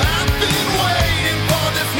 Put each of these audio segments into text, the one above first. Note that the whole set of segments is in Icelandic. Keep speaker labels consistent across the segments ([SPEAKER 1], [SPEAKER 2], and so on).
[SPEAKER 1] I've been waiting for this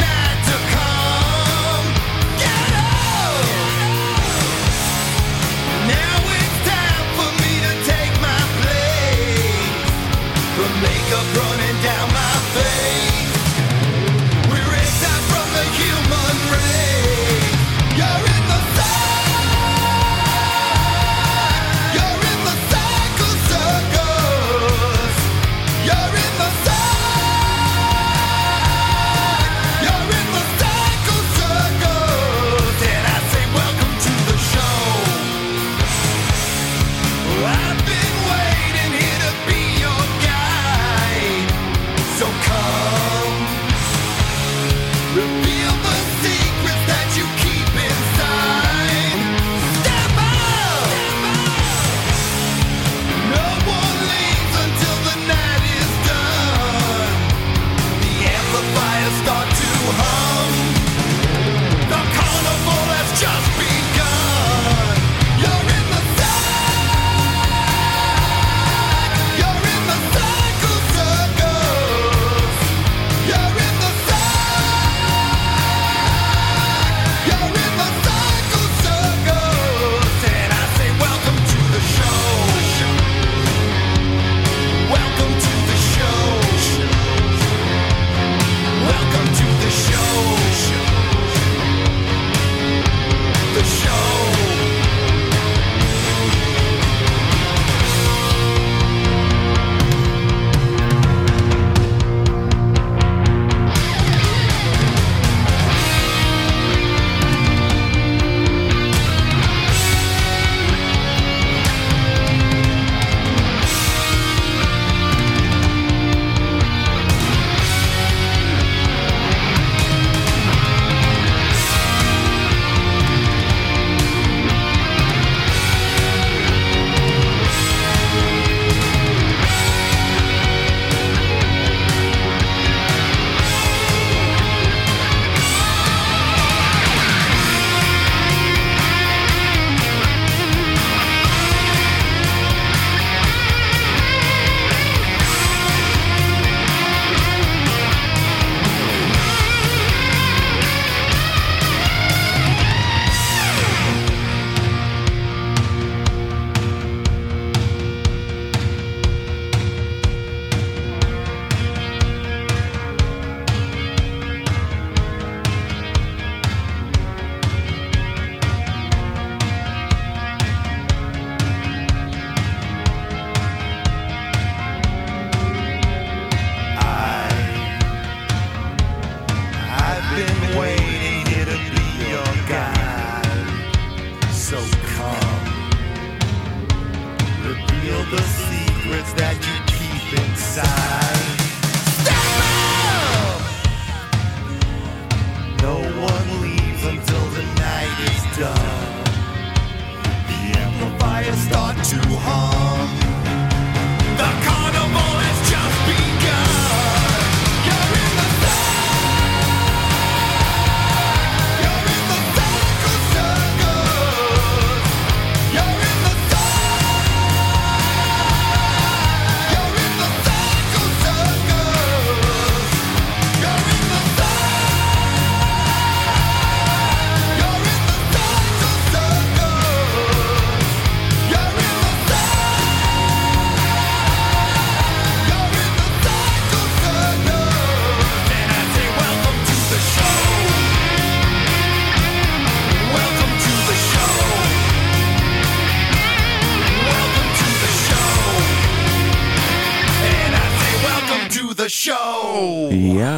[SPEAKER 2] Já,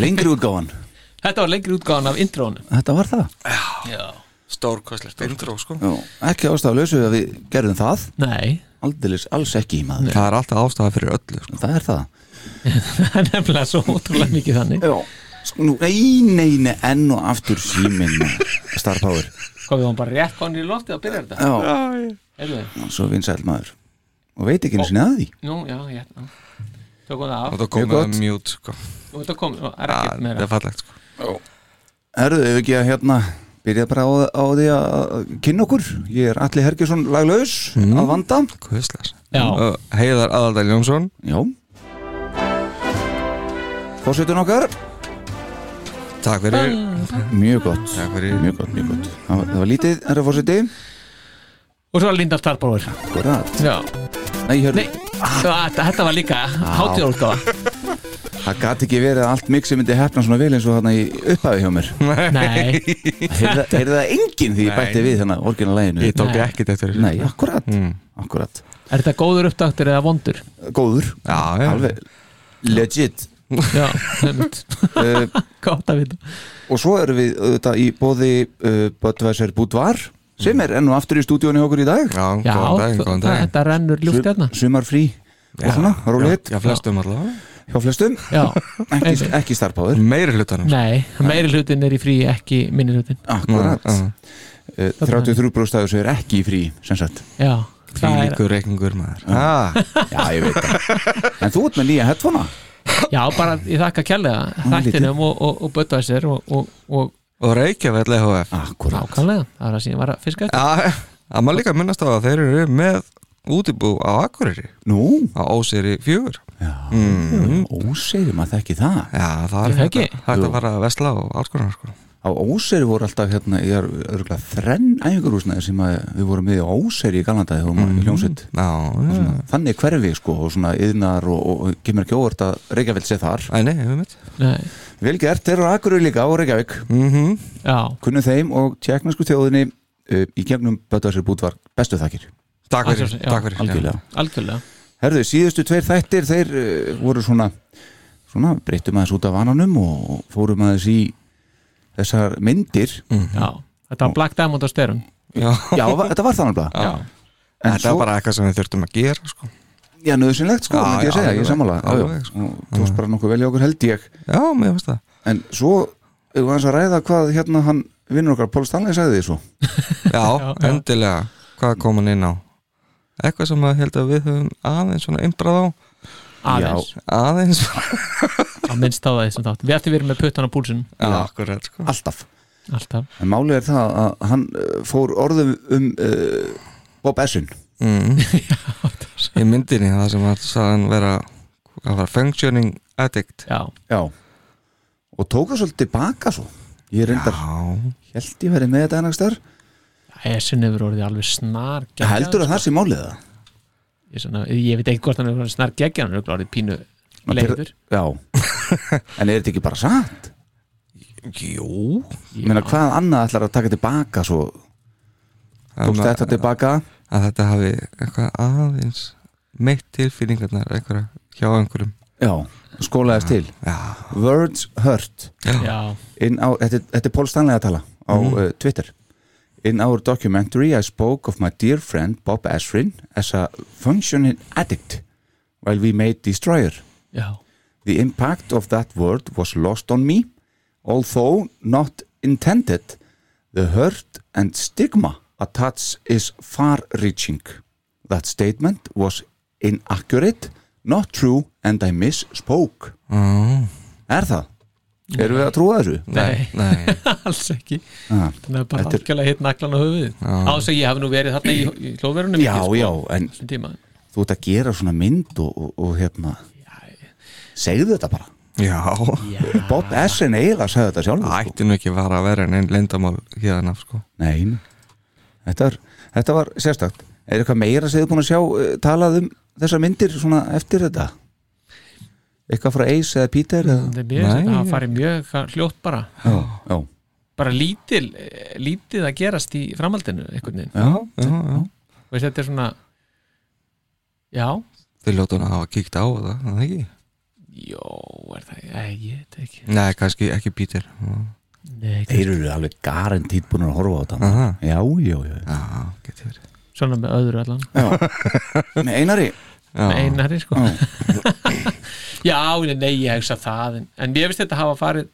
[SPEAKER 2] lengri útgáfan
[SPEAKER 3] Þetta var lengri útgáðan af intrónu
[SPEAKER 2] Þetta var það
[SPEAKER 3] Já
[SPEAKER 4] Stórkostlegt intro sko
[SPEAKER 2] Já, ekki ástaflausu að við gerðum það
[SPEAKER 3] Nei,
[SPEAKER 2] Aldilis alls ekki maður
[SPEAKER 4] Það er alltaf ástæða fyrir öllu sko.
[SPEAKER 2] Það er það
[SPEAKER 3] það er nefnilega svo ótrúlega mikið þannig
[SPEAKER 2] Já Sko, Nú, nei, nei, nei, enn og aftur síminn Star Power
[SPEAKER 3] Hvað við varum bara rétt konir í loftið að byrja þetta
[SPEAKER 2] Já,
[SPEAKER 3] Heyrðu þið?
[SPEAKER 2] svo vinsæl maður Og veit ekki einu sinni að því
[SPEAKER 3] Nú, já, já já. Tökum það af
[SPEAKER 4] Og það komið
[SPEAKER 2] Mjög gott.
[SPEAKER 4] að mute sko.
[SPEAKER 3] Og þetta kom, það er
[SPEAKER 4] Það
[SPEAKER 3] ekkert
[SPEAKER 4] það
[SPEAKER 3] meira
[SPEAKER 4] er fallegt sko.
[SPEAKER 2] Herðu, ef ekki að hérna Byrja bara á, á því að kynna okkur Ég er Alli Hergjesson laglaus
[SPEAKER 4] Mhm.
[SPEAKER 2] Að vanda
[SPEAKER 4] Kvistlas
[SPEAKER 3] Já.
[SPEAKER 4] Heiðar Aðaldal Jónsson
[SPEAKER 2] Já Fórsetun okkar
[SPEAKER 4] Takk fyrir
[SPEAKER 2] Mjög gott
[SPEAKER 4] Takk fyrir.
[SPEAKER 2] Mjög gott, mjög gott Það var, það var lítið, herra fórseti
[SPEAKER 3] Og svo Linda Starbróður
[SPEAKER 2] Akkurat
[SPEAKER 3] Já,
[SPEAKER 2] Nei, hörðu
[SPEAKER 3] nei, þetta, þetta var líka hátíðarútgáða
[SPEAKER 2] Það gat ekki verið að allt mixi myndi hefna svona vel eins og þarna í upphafi hjá mér
[SPEAKER 3] Nei,
[SPEAKER 2] Heyrði það- heyrði það enginn því ég bætti við þannig orginalæginu
[SPEAKER 4] Ég tók
[SPEAKER 3] Nei.
[SPEAKER 4] ekkert eftir þessu.
[SPEAKER 2] Nei, akkurat Akkurat
[SPEAKER 3] er þetta góður uppdáttur eða vondur?
[SPEAKER 2] Góður
[SPEAKER 4] Já, já
[SPEAKER 2] Alveg Legit
[SPEAKER 3] Já, nefnt
[SPEAKER 2] uh,
[SPEAKER 3] Gótt að vita
[SPEAKER 2] Og svo erum við auðvitað í bóði uh, Böttvæsar Búdvar sem er enn og aftur í stúdíónu hjá okkur í dag
[SPEAKER 4] Já,
[SPEAKER 3] Já,
[SPEAKER 4] góðan dag, góðan
[SPEAKER 3] það-
[SPEAKER 4] dag
[SPEAKER 3] þetta rennur ljúft hérna
[SPEAKER 2] Sumar frí Og svona, rólið
[SPEAKER 4] Já, flestum allavega
[SPEAKER 2] hjá flestum
[SPEAKER 3] Já,
[SPEAKER 2] ekki,
[SPEAKER 3] einmitt.
[SPEAKER 2] ekki starfbáður
[SPEAKER 4] Meiri hlutanum sko.
[SPEAKER 3] Nei, meiri hlutin er í frí, ekki minni hlutin
[SPEAKER 2] Akkurat
[SPEAKER 4] Já, já.
[SPEAKER 2] Eh, 33 brústæður sem er ekki í frí sem sagt
[SPEAKER 3] Já, það er,
[SPEAKER 4] Fylgur reykingur maður ah,
[SPEAKER 2] Já, ég veit það En þú ert með nýja headphonea
[SPEAKER 3] já, bara ég þakka kærlega þættinum og, og, og Böttvæsir og, og, og
[SPEAKER 4] Og Reykjavík LHF
[SPEAKER 2] Akkurat
[SPEAKER 3] nákvæmlega, það er að síðan var að fiska eftir
[SPEAKER 4] Já, að maður líka minnast á að þeir eru með útibú á Akureyri
[SPEAKER 2] Nú,
[SPEAKER 4] á Óseri 4
[SPEAKER 2] Mm. ósegir maður þekki það
[SPEAKER 4] Já, það
[SPEAKER 3] Er
[SPEAKER 4] er
[SPEAKER 3] það ekki?
[SPEAKER 4] hægt að- hægt að fara að vesla og alls konar sko.
[SPEAKER 2] Á ósegir voru alltaf hérna Ég er örgulega þrenn æfingarúsnaði sem að við vorum með á ósegir í Galandaði þegar maður mm. hljómsveit
[SPEAKER 4] Já, já.
[SPEAKER 2] Þannig hverfi sko og svona yðnar og, og, og kemur ekki óvart að Reykjavík sé þar
[SPEAKER 4] Æ, nei, við mitt
[SPEAKER 3] Nei,
[SPEAKER 2] Vel gert, þeir eru akkurur líka á Reykjavík
[SPEAKER 4] Mhm.
[SPEAKER 3] Já,
[SPEAKER 2] Kunnum þeim og tjekknarsku þjóðinni uh, í gegnum Bötvarsir Búdvar bestu þakkir
[SPEAKER 4] Takk fyrir,
[SPEAKER 3] Algjörlega, já,
[SPEAKER 4] takk fyrir
[SPEAKER 2] Algjörlega
[SPEAKER 3] algjörlega
[SPEAKER 2] Herðu, síðustu tveir þættir, þeir uh, voru svona, svona breyttum aðeins út af vananum og fórum aðeins í þessar myndir.
[SPEAKER 3] Já, þetta var Black Diamond á styrum
[SPEAKER 4] Já.
[SPEAKER 2] Já, va- þetta var þannig bara.
[SPEAKER 4] Já.
[SPEAKER 2] En
[SPEAKER 4] Þetta
[SPEAKER 2] svo-
[SPEAKER 4] var bara eitthvað sem við þurftum að gera sko.
[SPEAKER 2] Já, nöðsynlegt sko,
[SPEAKER 4] Já,
[SPEAKER 2] myndi ég
[SPEAKER 4] já,
[SPEAKER 2] segja, ég
[SPEAKER 4] alveg,
[SPEAKER 2] sammála. Já, já,
[SPEAKER 4] alveg, sko.
[SPEAKER 2] og Þú varst bara nokkuð velja okkur held ég.
[SPEAKER 4] Já, mér finnst það
[SPEAKER 2] En svo, ef við aðeins að ræða hvað hérna hann vinnur okkar, Pól Stanley sagði því svo.
[SPEAKER 4] Já,
[SPEAKER 3] Já, já.
[SPEAKER 4] endilega, hvað kom hann inn á Eitthvað sem að held að við höfum aðeins svona einbrað á
[SPEAKER 3] Aðeins,
[SPEAKER 4] Aðeins
[SPEAKER 3] á minnst á það þessum þátt Við ættum verið með puttan á púlsinn
[SPEAKER 4] Já, akkurat sko
[SPEAKER 2] Alltaf.
[SPEAKER 3] Alltaf
[SPEAKER 2] En málið er það að hann uh, fór orðum um uh, Bob Essun.
[SPEAKER 4] mm. Í myndinni það sem að sagðan vera hvað var functioning addict
[SPEAKER 3] Já,
[SPEAKER 2] Já. Og tók það svolítið baka svo. Ég reyndar, held ég verið með þetta ennast þar.
[SPEAKER 3] Essin hefur orðið alveg snar
[SPEAKER 2] Heldur að það sé málið það?
[SPEAKER 3] ég, svona, ég veit ekki hvort hann er snar geggjan Hann er orðið pínu leiður
[SPEAKER 2] Já En er þetta ekki bara satt?
[SPEAKER 4] Jú
[SPEAKER 2] Ég meina hvað annað ætlar að taka tilbaka svo Tókst þetta tilbaka?
[SPEAKER 4] að þetta hafi eitthvað aðeins meitt tilfinningarnar einhverja hjá einhverjum
[SPEAKER 2] Já, skólaðist til
[SPEAKER 4] Já,
[SPEAKER 2] Words hurt
[SPEAKER 3] Já,
[SPEAKER 2] In our, þetta, þetta er Paul Stanley að tala á uh, Twitter In our documentary I spoke of my dear friend Bob Esrin as a functioning addict while we made Destroyer
[SPEAKER 3] já,
[SPEAKER 2] The impact of that word was lost on me, although not intended. The hurt and stigma attached is far reaching. That statement was inaccurate, not true, and I misspoke.
[SPEAKER 4] mm.
[SPEAKER 2] Er það? Erum við að trúa þessu?
[SPEAKER 3] Nei.
[SPEAKER 4] nei
[SPEAKER 3] alls ekki
[SPEAKER 2] Ah,
[SPEAKER 3] Þannig að bara
[SPEAKER 2] Þetta er-
[SPEAKER 3] algjörlega hitt naklan á höfuðið Á þess að ég hafi nú verið þarna í, í hlóðverunum
[SPEAKER 2] Já,
[SPEAKER 4] sko.
[SPEAKER 2] já, en
[SPEAKER 3] Tíma.
[SPEAKER 2] þú ert að gera svona mynd og, og, og hérna, segðu þetta bara.
[SPEAKER 4] Já,
[SPEAKER 2] Bob Essen eiginlega sagði þetta sjálfur. sko.
[SPEAKER 4] ætti nú ekki að fara að vera en einn lindamál hérna sko
[SPEAKER 2] Nein, þetta var, þetta var sérstakt. Er eitthvað meira sem þið búin að sjá eh, talað um þessar myndir svona eftir þetta? Eitthvað frá Ace eða Peter? Eða?
[SPEAKER 3] Þetta er mjög,
[SPEAKER 4] Nei.
[SPEAKER 3] þetta hafa farið mjög hljótt bara
[SPEAKER 2] Já, já,
[SPEAKER 3] bara lítil, eh, lítið að gerast í framhaldinu einhvern veginn
[SPEAKER 2] já,
[SPEAKER 4] Já, já
[SPEAKER 3] Veist, þetta er svona já,
[SPEAKER 4] Þau ljótu hann að hafa kíkt á það, er það ekki?
[SPEAKER 3] Jó, er það, nei, ég veit ekki
[SPEAKER 4] Nei, kannski ekki Peter
[SPEAKER 3] Nei,
[SPEAKER 2] Þeir eru alveg garantít búin að horfa á þetta
[SPEAKER 4] Aha,
[SPEAKER 2] Já, já, já,
[SPEAKER 4] já, getur verið
[SPEAKER 3] svona með öðru allan
[SPEAKER 2] já. Með Einari
[SPEAKER 3] með
[SPEAKER 4] Já,
[SPEAKER 3] einari sko
[SPEAKER 2] Já.
[SPEAKER 3] já, nei, nei, ég hugsa það en, en ég veist þetta hafa farið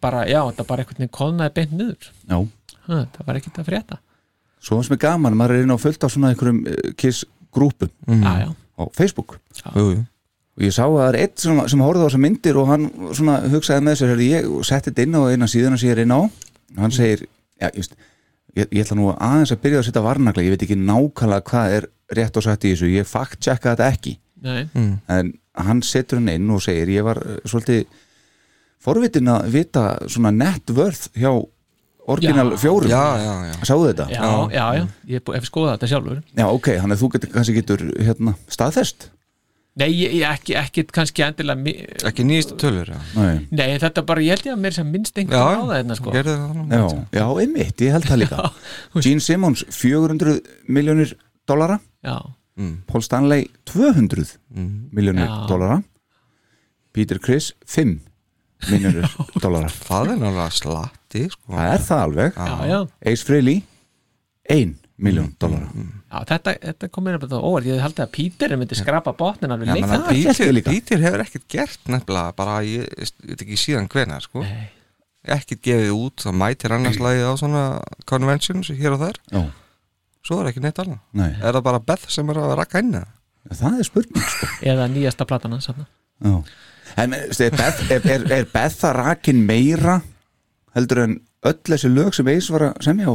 [SPEAKER 3] bara, já, þetta bara einhvern veginn kolnaði beint niður
[SPEAKER 2] Já,
[SPEAKER 3] ha, það var ekkert að frétta
[SPEAKER 2] svo hans með gaman maður er inn á fullt á svona einhverjum eh, kiss grúpum
[SPEAKER 3] já, já,
[SPEAKER 2] á Facebook
[SPEAKER 4] jú, jú
[SPEAKER 2] og ég sá að það er eitt sem, sem horfði á þessar myndir og hann svona hugsaði með sér "Heyrðu, ég setti þetta inn á eina síðuna sem ég er inn á og hann segir já, just, ég, ég ætla nú aðeins að byrja að setja varnagla ég veit ekki nákvæmlega hvað er rétt og satt í þessu ég fakt checka þetta ekki
[SPEAKER 3] nei,
[SPEAKER 2] en hann setur hann inn og segir ég var eh, svolítið forvitin að vita svona net worth hjá orginal
[SPEAKER 3] Já.
[SPEAKER 2] fjórum
[SPEAKER 4] Já, já, já
[SPEAKER 2] sáðu þetta?
[SPEAKER 3] já, já, já ég er bú- hef skoðað þetta sjálfur
[SPEAKER 2] Já, ok, hann er þú getur, kannski getur hérna, staðfest
[SPEAKER 3] nei, ég, ég ekki, ekki kannski endilega mi-
[SPEAKER 4] Ekki nýjistu tölur, já
[SPEAKER 2] Nei.
[SPEAKER 3] nei, þetta bara, ég held ég að mér sem minnst einhvern á það hérna sko
[SPEAKER 4] gerðu það nú.
[SPEAKER 2] Já, já, einmitt, ég held það líka Gene Simmons, 400 miljónir dollara,
[SPEAKER 3] já,
[SPEAKER 2] Paul Stanley 200 miljónir
[SPEAKER 3] Já.
[SPEAKER 2] dollara Peter Criss 5 miljónir dollara
[SPEAKER 4] Það er náttúrulega slatti, sko
[SPEAKER 2] Það er það alveg
[SPEAKER 3] já, já,
[SPEAKER 2] Ace Frehley 1 miljón dollara
[SPEAKER 3] já þetta, þetta kom mér bara óvart, ég held að Píterin myndi skrapa botnin alveg
[SPEAKER 4] Já, menn
[SPEAKER 3] leika
[SPEAKER 4] að
[SPEAKER 2] hélt ég
[SPEAKER 4] Peter,
[SPEAKER 2] líka.
[SPEAKER 4] Peter hefur ekkert gert nefnilega bara, ég ég veit ekki síðan hvena sko.
[SPEAKER 3] Nei.
[SPEAKER 4] ekkert gefið út þá mætir annars lagið á svona conventions hér og þar,
[SPEAKER 2] Já,
[SPEAKER 4] svo er ekki neitt annað
[SPEAKER 2] nei,
[SPEAKER 4] er það bara Beth sem er að rakka inn eða?
[SPEAKER 2] það er spurning sko.
[SPEAKER 3] eða nýjasta platana sann
[SPEAKER 2] Já. En veistu, er Beth, er, er, er Beth að rakin meira heldur en öll þessi lög sem Ace var að semja á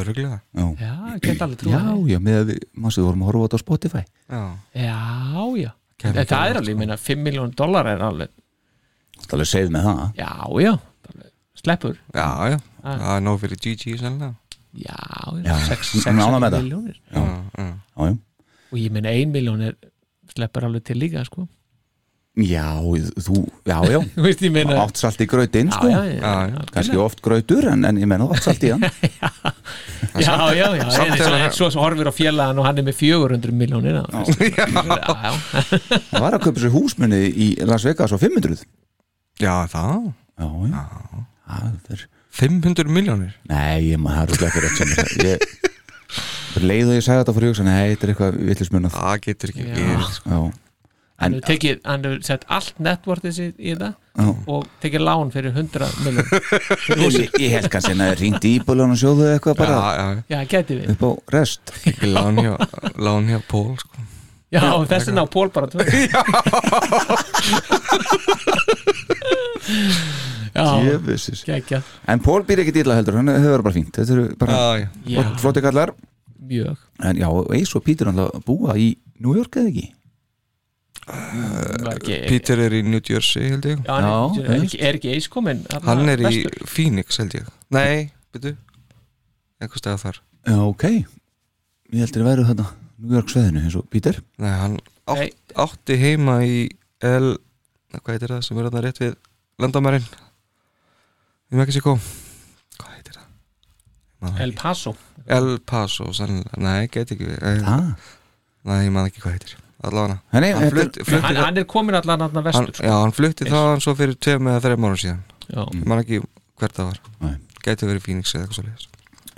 [SPEAKER 4] öruglega
[SPEAKER 2] Já,
[SPEAKER 3] Já, ég get alveg trúið
[SPEAKER 2] já, já með að við, maður séð vorum að horfa á þetta á Spotify
[SPEAKER 4] já,
[SPEAKER 3] Já, já
[SPEAKER 4] Kæmi
[SPEAKER 3] En Það
[SPEAKER 4] ekki
[SPEAKER 3] er alveg, ég meina 5 miljón dólar er alveg
[SPEAKER 2] Það er alveg segð með það
[SPEAKER 3] Já, já alveg, Sleppur
[SPEAKER 4] já, já. það er nóg fyrir GG sennilega
[SPEAKER 3] Já,
[SPEAKER 2] Já,
[SPEAKER 3] já, 6
[SPEAKER 2] hún er ánægð með það.
[SPEAKER 3] miljónir
[SPEAKER 4] já, já.
[SPEAKER 2] Já, já.
[SPEAKER 3] Og ég meina 1 miljón er sleppur alveg til líka sko
[SPEAKER 2] já, þú, já, já
[SPEAKER 3] Þú veist, ég meina
[SPEAKER 2] átt salt í grautinn
[SPEAKER 3] Já,
[SPEAKER 2] sko
[SPEAKER 3] já, já,
[SPEAKER 4] Já, já.
[SPEAKER 3] algjörlega.
[SPEAKER 2] kannski oft grautur en, en ég menna átt salt í hann
[SPEAKER 3] já, já, já,
[SPEAKER 4] samt
[SPEAKER 3] en
[SPEAKER 4] er
[SPEAKER 3] svo,
[SPEAKER 4] það-
[SPEAKER 3] en svo, svo horfir á fjellaðan og hann er með 400 miljónir Já, já, já,
[SPEAKER 2] það var að kaupa sér húsmunni í Las Vegas á 500 já,
[SPEAKER 4] já, það
[SPEAKER 2] já, það er
[SPEAKER 4] 500 miljónir
[SPEAKER 2] Nei, ég maður, það er rúglega ekki rétt sem ég sagði. ég fyrir leið og ég sagði þetta fyrir hugsa nei, þetta er eitthvað villismunað
[SPEAKER 4] það getur ekki
[SPEAKER 3] Já.
[SPEAKER 4] verið sko.
[SPEAKER 2] já,
[SPEAKER 3] hann hefur tekið, hann hefur sett allt netvortið sitt í þetta og tekið lán fyrir 100 miljón
[SPEAKER 2] ég, ég held kannski að það er ringt í íbúlan og sjóðu eitthvað
[SPEAKER 4] já,
[SPEAKER 2] bara
[SPEAKER 4] já,
[SPEAKER 3] já, geti við,
[SPEAKER 2] upp á rest
[SPEAKER 4] ekki lán hérna hjá lán hjá Pól sko.
[SPEAKER 3] já, og þess vegna á Pól bara tvö já já,
[SPEAKER 2] Jöfusins.
[SPEAKER 3] gekkja
[SPEAKER 2] en Pól býr ekki dýrla heldur, hann hefur bara fínt þetta eru bara
[SPEAKER 4] já, já,
[SPEAKER 3] Já.
[SPEAKER 2] flott- flotti kallar
[SPEAKER 3] mjög,
[SPEAKER 2] en já, Eis og Pítur alltaf búa í New York eða ekki
[SPEAKER 3] var ekki
[SPEAKER 4] Peter er í New Jersey held ég
[SPEAKER 3] já, hann
[SPEAKER 2] Já,
[SPEAKER 3] er, er, ekki, er ekki eis komin þarna
[SPEAKER 4] hann er í
[SPEAKER 3] vestur?
[SPEAKER 4] Phoenix held ég nei, byrju einhvers dag þar
[SPEAKER 2] já, ok, ég heldur að vera þetta New York sveðinu eins og Pítur
[SPEAKER 4] nei, hann átt,
[SPEAKER 3] Nei.
[SPEAKER 4] átti heima í L hvað heitir það sem er þarna rétt við landamærin í Mexiko hvað heitir það Ég man það
[SPEAKER 3] El
[SPEAKER 4] ekki.
[SPEAKER 3] Paso
[SPEAKER 4] El Paso sennilega. nei, get ekki við Eh,
[SPEAKER 2] ah.
[SPEAKER 4] nei, ég man ekki hvað heitir allavega
[SPEAKER 2] Nei,
[SPEAKER 4] hann
[SPEAKER 2] þetta-
[SPEAKER 4] flutti, flutti
[SPEAKER 3] hann, hann er komin allan hann
[SPEAKER 4] hann,
[SPEAKER 3] vestur sko.
[SPEAKER 4] já, hann flutti það svo fyrir tveim eða þreim árum síðan
[SPEAKER 3] já,
[SPEAKER 4] ég man ekki hvert það var
[SPEAKER 2] Nei.
[SPEAKER 4] gæti verið Phoenix eða eitthvað svo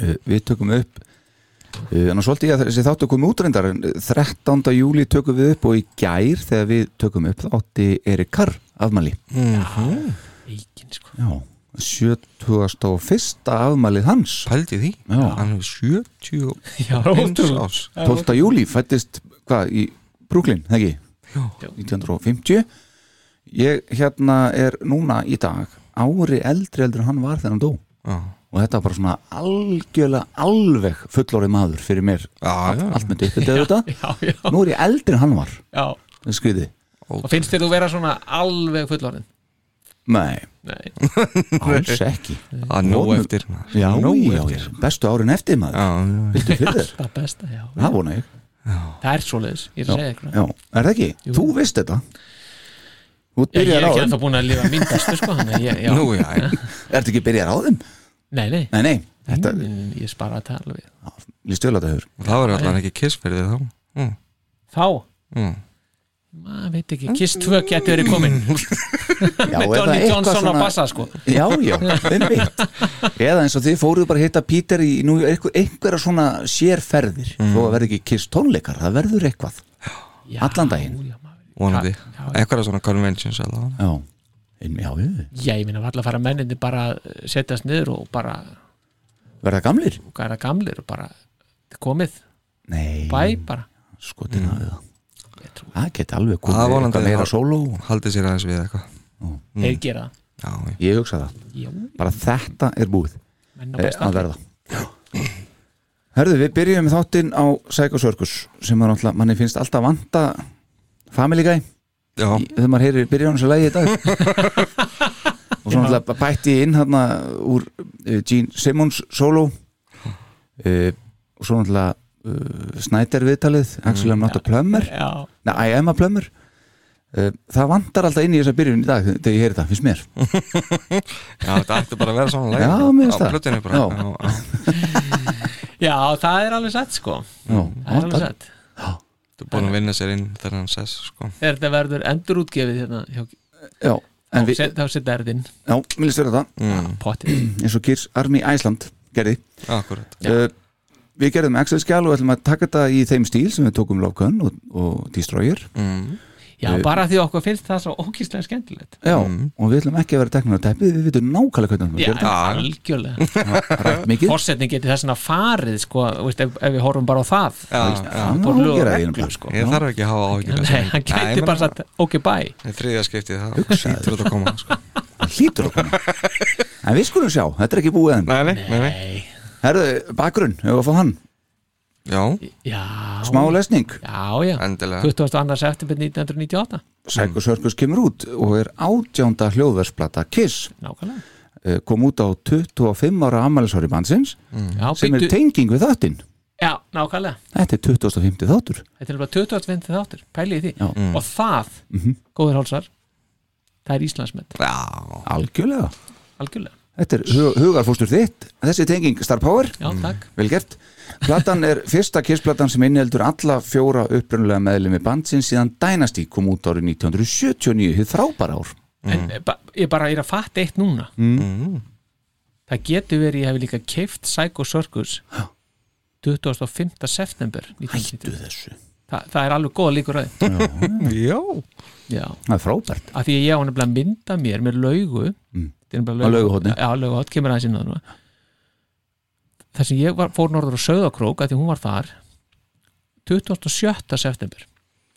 [SPEAKER 2] Uh, við tökum upp uh, en svolítið ég að þessi þáttu komið útrendar en uh, 13. júli tökum við upp og í gær þegar við tökum upp þátti Erik Karr afmæli
[SPEAKER 3] eikin sko
[SPEAKER 2] Já, 71. afmælið hans
[SPEAKER 4] pældi því,
[SPEAKER 2] Já.
[SPEAKER 4] hann hefur 70
[SPEAKER 3] já,
[SPEAKER 4] eins
[SPEAKER 3] ótrúlegt.
[SPEAKER 4] árs
[SPEAKER 2] 12. júli fættist hvað í Brooklyn, það ekki?
[SPEAKER 4] Já.
[SPEAKER 2] 1950 ég hérna er núna í dag ári eldri eldri en hann var þegar hann dó
[SPEAKER 4] já,
[SPEAKER 2] og þetta var bara svona algjörlega alveg fullorið maður fyrir mér
[SPEAKER 4] Já, já.
[SPEAKER 2] allt myndi upp þetta
[SPEAKER 3] Ah. já, já,
[SPEAKER 2] nú er ég eldri en hann var
[SPEAKER 3] já
[SPEAKER 2] það er skrýði
[SPEAKER 3] og finnst þér þú vera svona alveg fullorinn
[SPEAKER 2] nei,
[SPEAKER 3] nei
[SPEAKER 2] alls ekki
[SPEAKER 4] að nóg
[SPEAKER 2] Vonum-
[SPEAKER 4] eftir maður.
[SPEAKER 2] já,
[SPEAKER 4] Nóg
[SPEAKER 2] já,
[SPEAKER 4] eftir.
[SPEAKER 2] já, bestu árin eftir maður
[SPEAKER 4] Já, já, já.
[SPEAKER 2] viltu fyrir þér,
[SPEAKER 3] það besta, já,
[SPEAKER 2] það vona ég
[SPEAKER 3] það er svoleiðis ég er að segja ykkur
[SPEAKER 2] já, er það ekki,
[SPEAKER 3] Jú.
[SPEAKER 2] þú veist þetta þú
[SPEAKER 3] Ég, ég
[SPEAKER 2] byrjar
[SPEAKER 3] er
[SPEAKER 2] á
[SPEAKER 3] ekki
[SPEAKER 2] þeim
[SPEAKER 3] ennþá búin að lifa mín bestu sko hann er ég, já,
[SPEAKER 4] Nú, já, já.
[SPEAKER 2] ertu ekki byrjar á þeim,
[SPEAKER 3] nei, nei,
[SPEAKER 2] nei, nei þetta,
[SPEAKER 3] þetta... ég spara þetta alveg
[SPEAKER 2] líst vel að það hefur
[SPEAKER 4] það var allan ekki kiss fyrir þig þá mm.
[SPEAKER 3] þá,
[SPEAKER 4] Mm.
[SPEAKER 3] maður veit ekki, Kiss 2 getur verið komin
[SPEAKER 2] Mm. Já,
[SPEAKER 3] með
[SPEAKER 2] eða
[SPEAKER 3] Donny
[SPEAKER 2] eitthvað
[SPEAKER 3] Johnson
[SPEAKER 2] svona-
[SPEAKER 3] á bassa sko
[SPEAKER 2] Já, já, einmitt Eða eins og þið fóruð bara að hitta Peter í nú, einhver, einhverja svona sérferðir mm. þó að verði ekki kiss tónleikar, það verður eitthvað
[SPEAKER 3] já,
[SPEAKER 2] Allan daginn.
[SPEAKER 3] já, maður-
[SPEAKER 4] vonandi
[SPEAKER 3] Já, já.
[SPEAKER 4] eitthvað svona conventions allavega.
[SPEAKER 2] Já, Einmi- já, já.
[SPEAKER 3] já, ég minna varla að fara menninni bara að setjast niður og bara
[SPEAKER 2] verða gamlir?
[SPEAKER 3] og gæra gamlir og bara komið,
[SPEAKER 2] Nei,
[SPEAKER 3] bæ bara
[SPEAKER 2] Mm. skotin að við það
[SPEAKER 3] Ég trúi.
[SPEAKER 2] Það geti alveg komið
[SPEAKER 4] Það er vonandi
[SPEAKER 2] eitthvað meira
[SPEAKER 4] það.
[SPEAKER 2] sóló
[SPEAKER 4] haldið sér aðeins við eitthvað
[SPEAKER 3] þeir gera það
[SPEAKER 4] já, já.
[SPEAKER 2] Ég hugsa það,
[SPEAKER 3] já,
[SPEAKER 2] bara þetta er búið
[SPEAKER 3] menn á
[SPEAKER 2] eh,
[SPEAKER 3] besta
[SPEAKER 2] að verða Herðu, við byrjum með þáttinn á Psycho Circus sem er alltaf, manni finnst alltaf vanta Family Guy,
[SPEAKER 4] já,
[SPEAKER 2] í- þegar maður heyrir byrjunum sem lægi í dag og svona alltaf bætti ég inn hérna úr uh, Gene Simmons solo uh, og svona alltaf uh, Snyder viðtalið, Axel I'm not a plumber
[SPEAKER 3] Mm, já,
[SPEAKER 2] Nei, I am a plumber uh, það vantar alltaf inn í þessa byrjun í dag þegar ég heyri það, finnst mér
[SPEAKER 4] já þetta ætti bara að vera svona
[SPEAKER 2] Já, mér finnst það.
[SPEAKER 4] það já,
[SPEAKER 2] Já.
[SPEAKER 4] já, já.
[SPEAKER 3] já, það er alveg satt sko
[SPEAKER 2] Jó,
[SPEAKER 3] það er alveg satt
[SPEAKER 4] þú er búin að vinna sér inn þennan sess sko.
[SPEAKER 3] þegar þetta verður endurútgefið hérna hjá,
[SPEAKER 2] Já, en
[SPEAKER 3] við,
[SPEAKER 2] við,
[SPEAKER 3] set, þá setja erðin
[SPEAKER 2] já, mér líst vera það
[SPEAKER 4] mm.
[SPEAKER 3] potið,
[SPEAKER 2] eins og Kirs Army Æsland gerði
[SPEAKER 4] akkurat
[SPEAKER 3] Já.
[SPEAKER 2] uh, við gerðum Excel-skjál og ætlum að taka þetta í þeim stíl sem við tókum Love Gun og, og Destroyer
[SPEAKER 4] mm.
[SPEAKER 3] já,
[SPEAKER 2] Eh.
[SPEAKER 3] bara því okkur finnst það svo ókýrslega skemmtilegt
[SPEAKER 2] já,
[SPEAKER 4] Mm.
[SPEAKER 2] og við ætlum ekki að vera teknir á teppið við vitum nákvæmlega hvernig við
[SPEAKER 3] já,
[SPEAKER 2] gerum
[SPEAKER 3] algjörlega
[SPEAKER 2] það rætt mikið
[SPEAKER 3] fórsetning getur þess að farið sko, þú veist, ef, ef við horfum bara á það
[SPEAKER 4] já, já.
[SPEAKER 2] Það má
[SPEAKER 3] Bara lög og
[SPEAKER 2] gera því
[SPEAKER 3] reglur,
[SPEAKER 2] nefnilega.
[SPEAKER 3] sko.
[SPEAKER 2] Já.
[SPEAKER 4] ég þarf ekki að hafa áhyggjur af þessu
[SPEAKER 3] Nei,
[SPEAKER 4] leik.
[SPEAKER 3] hann
[SPEAKER 4] Nei,
[SPEAKER 3] gæti
[SPEAKER 4] ég
[SPEAKER 3] bara
[SPEAKER 4] meina,
[SPEAKER 3] sagt ok bye
[SPEAKER 4] það er þriðja skiptið það hlýtur þetta að koma sko.
[SPEAKER 2] það hlýtur okkur en við skulum sjá, þetta er ekki búið enn
[SPEAKER 4] nei, nei, nei, nei.
[SPEAKER 3] Nei,
[SPEAKER 2] herðu, bakgrunn, hefur að fá hann
[SPEAKER 4] já,
[SPEAKER 3] já
[SPEAKER 2] smá lesning,
[SPEAKER 3] Já, já,
[SPEAKER 4] endilega
[SPEAKER 3] 22. september 1998
[SPEAKER 2] Psycho Circus kemur út og er átjánda hljóðversplata Kiss
[SPEAKER 3] Nákvæmlega
[SPEAKER 2] Eh, kom út á 25 ára ammælisári bandsins
[SPEAKER 3] já,
[SPEAKER 2] sem er
[SPEAKER 3] bíddu-
[SPEAKER 2] tenging við þáttinn
[SPEAKER 3] já, nákvæmlega
[SPEAKER 2] þetta er 2050 þáttur
[SPEAKER 3] Þetta er bara 25. þáttur, pælið í því
[SPEAKER 2] Já.
[SPEAKER 3] Og það, góður hálsar Það er Íslandsmet,
[SPEAKER 4] já,
[SPEAKER 2] algjörlega
[SPEAKER 3] algjörlega
[SPEAKER 2] Þetta er hu- hugarfóstur þitt, þessi tenging Star Power,
[SPEAKER 3] Já, takk
[SPEAKER 2] vel gert Platan er fyrsta kissplatan sem innheldur alla fjóra upprunalega meðlumi bandsins síðan Dynasty kom út árið 1979 hið frábara ár
[SPEAKER 3] En eh, ba ég bara er að fatta eitt núna Það getur verið, ég hef líka keift Psycho Circus 25. september 1990.
[SPEAKER 2] þessu
[SPEAKER 3] Þa, það er alveg góða líkur að því.
[SPEAKER 4] já.
[SPEAKER 3] Já,
[SPEAKER 2] Það er frábært
[SPEAKER 3] af því að ég á nefnilega að mynda mér með laugu mm.
[SPEAKER 2] Á Lauguhorni.
[SPEAKER 3] Já, lauguhotn, kemur aðeins inn á það núna. þar sem ég var, fór norður á Söðakrók af því hún var þar 27. september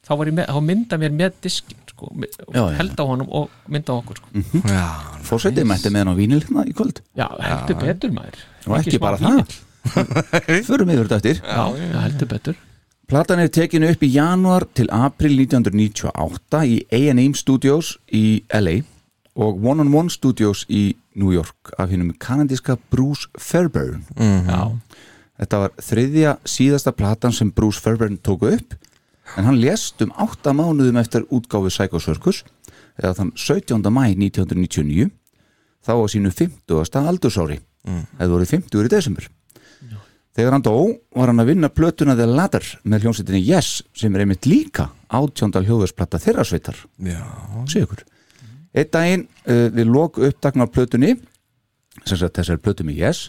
[SPEAKER 3] þá, var ég með, þá mynda mér með diskin sko, með- og
[SPEAKER 2] Já, já.
[SPEAKER 3] held á honum og mynda á okkur sko.
[SPEAKER 4] já.
[SPEAKER 2] Fórsetið mætti með hann á vínil hérna í kvöld
[SPEAKER 3] já, heldur betur maður
[SPEAKER 2] og ekki
[SPEAKER 3] smá
[SPEAKER 2] bara
[SPEAKER 3] fíkill.
[SPEAKER 2] það Förum yfir þetta eftir
[SPEAKER 3] já, já, heldur betur
[SPEAKER 2] Platan er tekinu upp í janúar til april 1998 í A&M Studios í LA og One on One Studios í New York af hinnum kanadíska Bruce Fairburn
[SPEAKER 3] já,
[SPEAKER 2] Þetta var þriðja síðasta platan sem Bruce Fairbairn tóku upp en hann lést um 8 mánuðum eftir útgáfi Psycho Circus eða þann 17. mæ 1999 þá á sínu 50. aldursári mm. eða voru 50 í desember Þegar hann dó var hann að vinna plötuna The Ladder með hljómsveitinni Yes sem er einmitt líka átjóndal hljóðversplata þeirra sveitar
[SPEAKER 4] já.
[SPEAKER 2] sé ykkur einn daginn uh, við lok uppdagnar plötunni sem sagt þessar plötu með Yes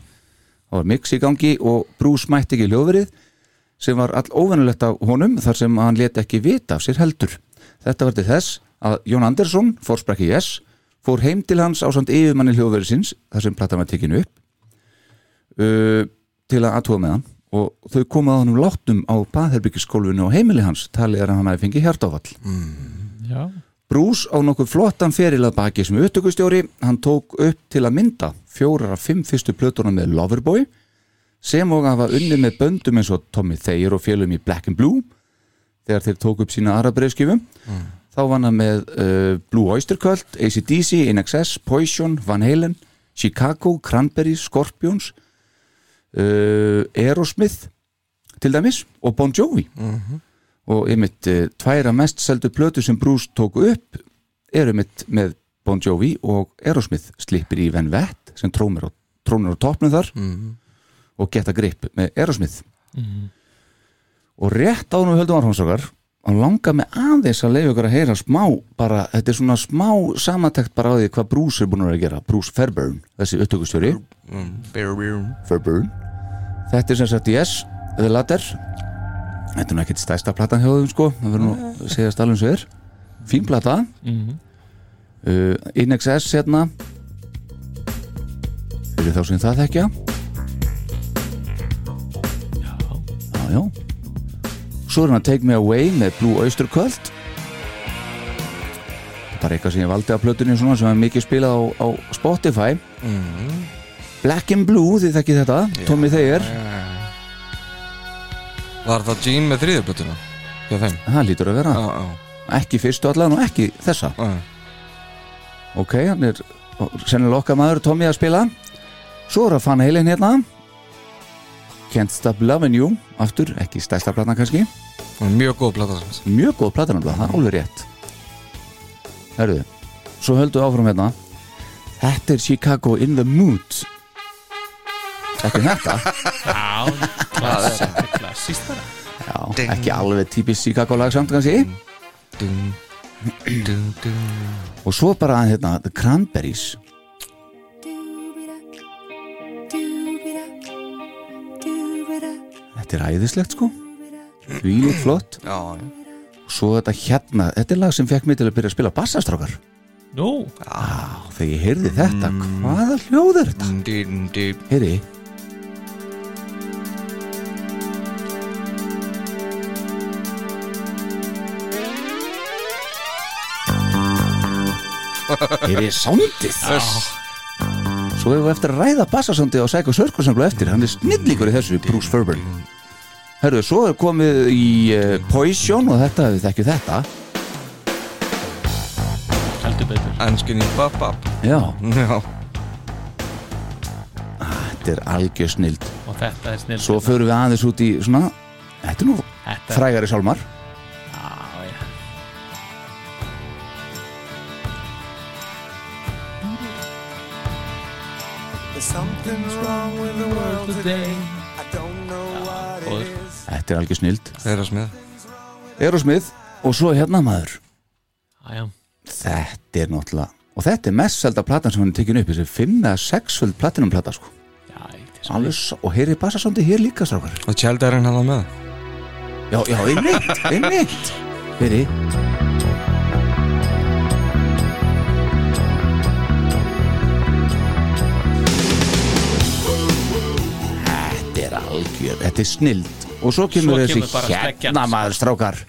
[SPEAKER 2] það var mix í gangi og Bruce mætti ekki í hljóðverið sem var all óvennulegt af honum þar sem hann let ekki vita af sér heldur þetta var til þess að Jón Andersson fórsprakki Yes fór heim til hans á samt yfirmanni hljóðverðisins þar sem platan var tekinu upp uh, til að aðtúa með hann og þau komaði honum láttum á baðherbyggiskólfinu og heimili hans talið er að hann hafi fengið hjartáfall
[SPEAKER 3] já,
[SPEAKER 2] Bruce á nokkuð flottan feril að baki sem upptökustjóri, hann tók upp til að mynda fjórar af fimm fyrstu plötuna með Loverboy sem og að hafa unni með böndum eins og Tommy Thayer og félum í Black and Blue þegar þeir tók upp sína aðra breyskifum þá vann hann með uh, Blue Oyster Cult, ACDC, INXS, Poison, Van Halen, Chicago, Cranberries, Scorpions uh, Aerosmith til dæmis og Bon Jovi og einmitt eh, tværa mest seldu plötu sem Bruce tók upp eru einmitt með Bon Jovi og Aerosmith slipir í Van Vett sem trónir á, trónir á topnum þar og geta grip með Aerosmith og rétt á nú höldum arfánsokkar hann langar mig aðeins að leifa ykkur að heyra smá bara, þetta er svona smá samatekt bara á því hvað Bruce er búin að vera að gera Bruce Fairburn, þessi upptökustjóri Fairburn þetta er sem sagt Yes, The Ladder þetta er nú ekkert stæsta platan hjá þeim sko, það verður nú að segja stælum sér fín plata uh, In Excess hérna fyrir þá sem það þekkja já, já Svo er hann að Take Me Away með Blue Oyster Cult Bara eitthvað sem ég valdi af plötunni svona sem er mikið spilað á, á Spotify Black and Blue, þið þekkið þetta Tommy Thayer,
[SPEAKER 4] Var það Gene með þriðjöplötuna? Hjá þeim?
[SPEAKER 2] það lítur að vera
[SPEAKER 4] Já, já,
[SPEAKER 2] Ekki fyrstu allan og ekki þessa
[SPEAKER 4] já
[SPEAKER 2] Ok, hann er sennilega okkar maður Tommy að spila Svo er að fann heilin hérna Can't Stop Lovin' You Aftur, ekki stærsta platan kannski
[SPEAKER 4] Hún er Mjög góð plata sem
[SPEAKER 2] mjög góð platanabla, það er alveg rétt Herðu svo höldum við áfram hérna Þetta er Chicago in the mood Þetta er þetta
[SPEAKER 3] já, klassist bara
[SPEAKER 2] Já, ekki alveg típist Chicago lag samt kannski
[SPEAKER 4] Dun, dun, dun
[SPEAKER 2] og svo bara hérna The Cranberries Þetta er æðislegt sko Því líkt flott
[SPEAKER 4] Já, já
[SPEAKER 2] Svo þetta hérna, þetta er lag sem fekk mig til að byrja að spila bassastrákar
[SPEAKER 3] Nú,
[SPEAKER 2] Á, þegar ég heyrði þetta, hvaða hljóð er þetta?
[SPEAKER 4] Dun, dun, dun
[SPEAKER 2] Heyri Heyri sándið Svo hefur við eftir að ræða bassasándið á Psycho Circus samlega eftir, hann er snillíkur í þessu Bruce Fairburn Herru, svo er komið í uh, Poison og þetta, við þekkjum þetta
[SPEAKER 3] heldur betur
[SPEAKER 4] Ennskinni bap bap
[SPEAKER 2] Já,
[SPEAKER 4] Já
[SPEAKER 2] þetta er algjör snild
[SPEAKER 3] og þetta er snill
[SPEAKER 2] Svo förum við aðeins út í svona Þetta er nú
[SPEAKER 3] þetta er
[SPEAKER 2] frægari sálmar
[SPEAKER 3] já, já. Og
[SPEAKER 2] Þetta er algjör snild
[SPEAKER 4] Þeirra smið
[SPEAKER 2] Erosmith og svo hérna maður
[SPEAKER 3] Já, já,
[SPEAKER 2] Þetta er náttúrulega og þetta er mest selda platan sem hann er tekin upp þessi 5 eða 6 föld platinum plata sko.
[SPEAKER 3] já, ég- þetta er
[SPEAKER 2] Alveg s- og heyri bassasándi hér líka strákar
[SPEAKER 4] Og tjaldærin hann með það.
[SPEAKER 2] já, já, einmitt, einmitt heyri þetta er algjör þetta er snild og svo kemur
[SPEAKER 3] Svo
[SPEAKER 2] þessi
[SPEAKER 3] kemur bara sleggjan,
[SPEAKER 2] hérna
[SPEAKER 3] sko.
[SPEAKER 2] maður strákar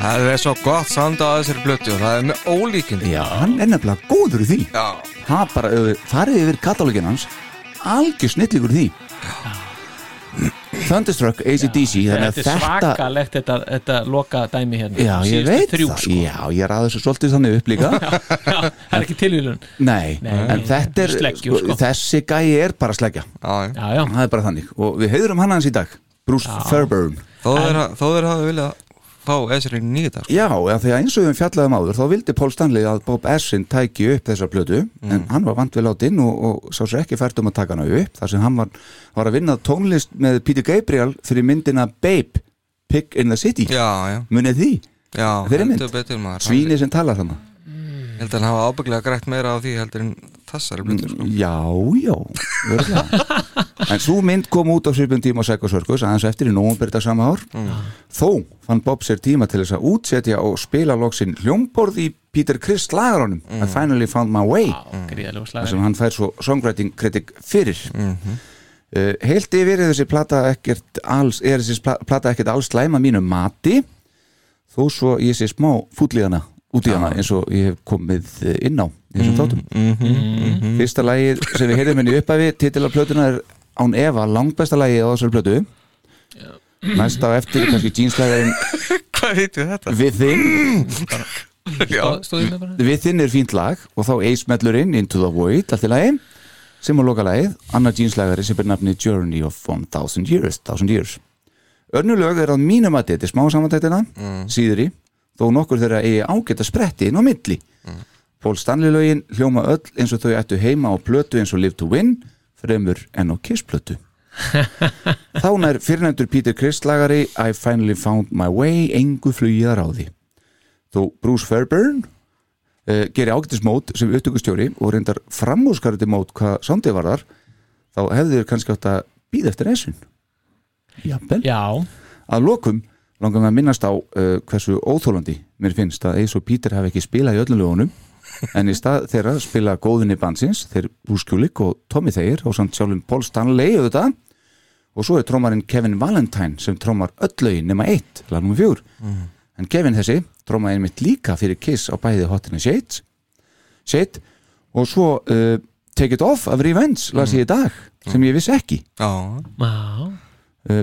[SPEAKER 4] Það er svo gott samt á þessari blötu og það er með ólíkindi
[SPEAKER 2] já, hann er nefnilega góður í því
[SPEAKER 4] Já
[SPEAKER 2] það bara ef við farið yfir katalógin hans algjör snilligur í því Thunderstruck, ACDC þannig að
[SPEAKER 3] Þetta er
[SPEAKER 2] þetta
[SPEAKER 3] svakalegt þetta, þetta loka dæmi hérna
[SPEAKER 2] Já, ég
[SPEAKER 3] Síðustu
[SPEAKER 2] veit
[SPEAKER 3] þrjú,
[SPEAKER 2] það,
[SPEAKER 3] sko.
[SPEAKER 2] já, ég er aðeins svolítið þannig upp líka
[SPEAKER 3] Það er ekki tilvílun
[SPEAKER 2] Nei,
[SPEAKER 3] Nei,
[SPEAKER 2] en þetta er,
[SPEAKER 3] sleggju, sko.
[SPEAKER 2] þessi gæi er bara sleggja
[SPEAKER 4] Já, já
[SPEAKER 3] Já, já,
[SPEAKER 2] Það er bara þannig, og við heiðurum hann hans í dag Bruce Fairburn
[SPEAKER 4] Þó þeir, þó þeir hafa viljað fá Esri nýja dag
[SPEAKER 2] Já, eða því að eins og við fjallaðum áður þá vildi Pól Stanley að Bob Essin tæki upp þessa plötu,
[SPEAKER 3] Mm.
[SPEAKER 2] en hann var vant við látinn og, og sá sér ekki fært um að taka hana upp þar sem hann var, var að vinna tónlist með Peter Gabriel fyrir myndina Babe, Pick in the City
[SPEAKER 4] Já, já
[SPEAKER 2] munið því,
[SPEAKER 4] Já,
[SPEAKER 2] Þeirri mynd.
[SPEAKER 4] heldur betur maður
[SPEAKER 2] svíni sem tala þannig
[SPEAKER 4] Ég held að hann hafa ábygglega grætt meira á því heldur en þessari blötu sko.
[SPEAKER 2] Já, Mm, já örugglega. En svo mynd kom út á svipum tíma á Psycho Circus aðeins eftir í nómumberða sama ár Þó fann Bob sér tíma til þess að útsetja og spila loksinn hljómborð í Peter Criss lagarunum I finally found my way
[SPEAKER 3] gríðalegu
[SPEAKER 2] þar
[SPEAKER 3] slag
[SPEAKER 2] sem hann fær svo songwriting kritik fyrir uh, heilt yfir er þessi plata ekkert alls, er þessi pla- plata ekkert alls slæma mínu mati þó svo ég sé smá fútlíðana út í hana eins og ég hef komið eh, inn á í þessum þáttum fyrsta lagið sem við heyrðum hérna henni uppafi titilaplötuna er án efa langbesta lagið á þessari plötu næsta á eftir er kannski jeanslæðarinn
[SPEAKER 4] Hvað heitir þetta?
[SPEAKER 2] við þinn
[SPEAKER 4] Já,
[SPEAKER 3] Stóðu með bara
[SPEAKER 2] Við þinn er fínt lag og þá Ace Mellurinn Into the Void, allt í lagi sem á loka lagið, annar jeanslagari sem ber nafni Journey of 1000 Years, 1000 years. Örnulög er að mínum að þetta er smá samantættina, síður í þó nokkur þeirra eigi ágætt að spretti inn á milli. Pól Stanley lögin hljóma öll eins og þau ættu heima á plötu eins og Live to Win fremur en á Kiss plötu. Þá nær fyrirnefndur Peter Criss lagari I finally found my way engu flugið að ráði. Þó Bruce Fairburn uh, gerir ágættismót sem upptökustjóri og reyndar framúskarði mót hvað sándið varðar þá hefðu þér kannski átt að býða eftir essun. Jafnvel.
[SPEAKER 3] Já,
[SPEAKER 2] Að lokum langar mig að minnast á uh, hversu óþólandi mér finnst að eins og Pítur hafi ekki spilað í öllum lögunum en í stað þeirra spila góðinni bandsins þeir Búskjúlik og Tommy Þeir og samt sjálfum Paul Stanley auðvitað og svo er trómarinn Kevin Valentine sem trómar öll lögin nema eitt, lag nummer fjúr en Kevin þessi trómaði einmitt líka fyrir Kiss á bæði hotinni Shades Shade og svo uh, Take It Off af Revenge las ég í dag sem ég vissi ekki
[SPEAKER 4] Já,
[SPEAKER 3] já,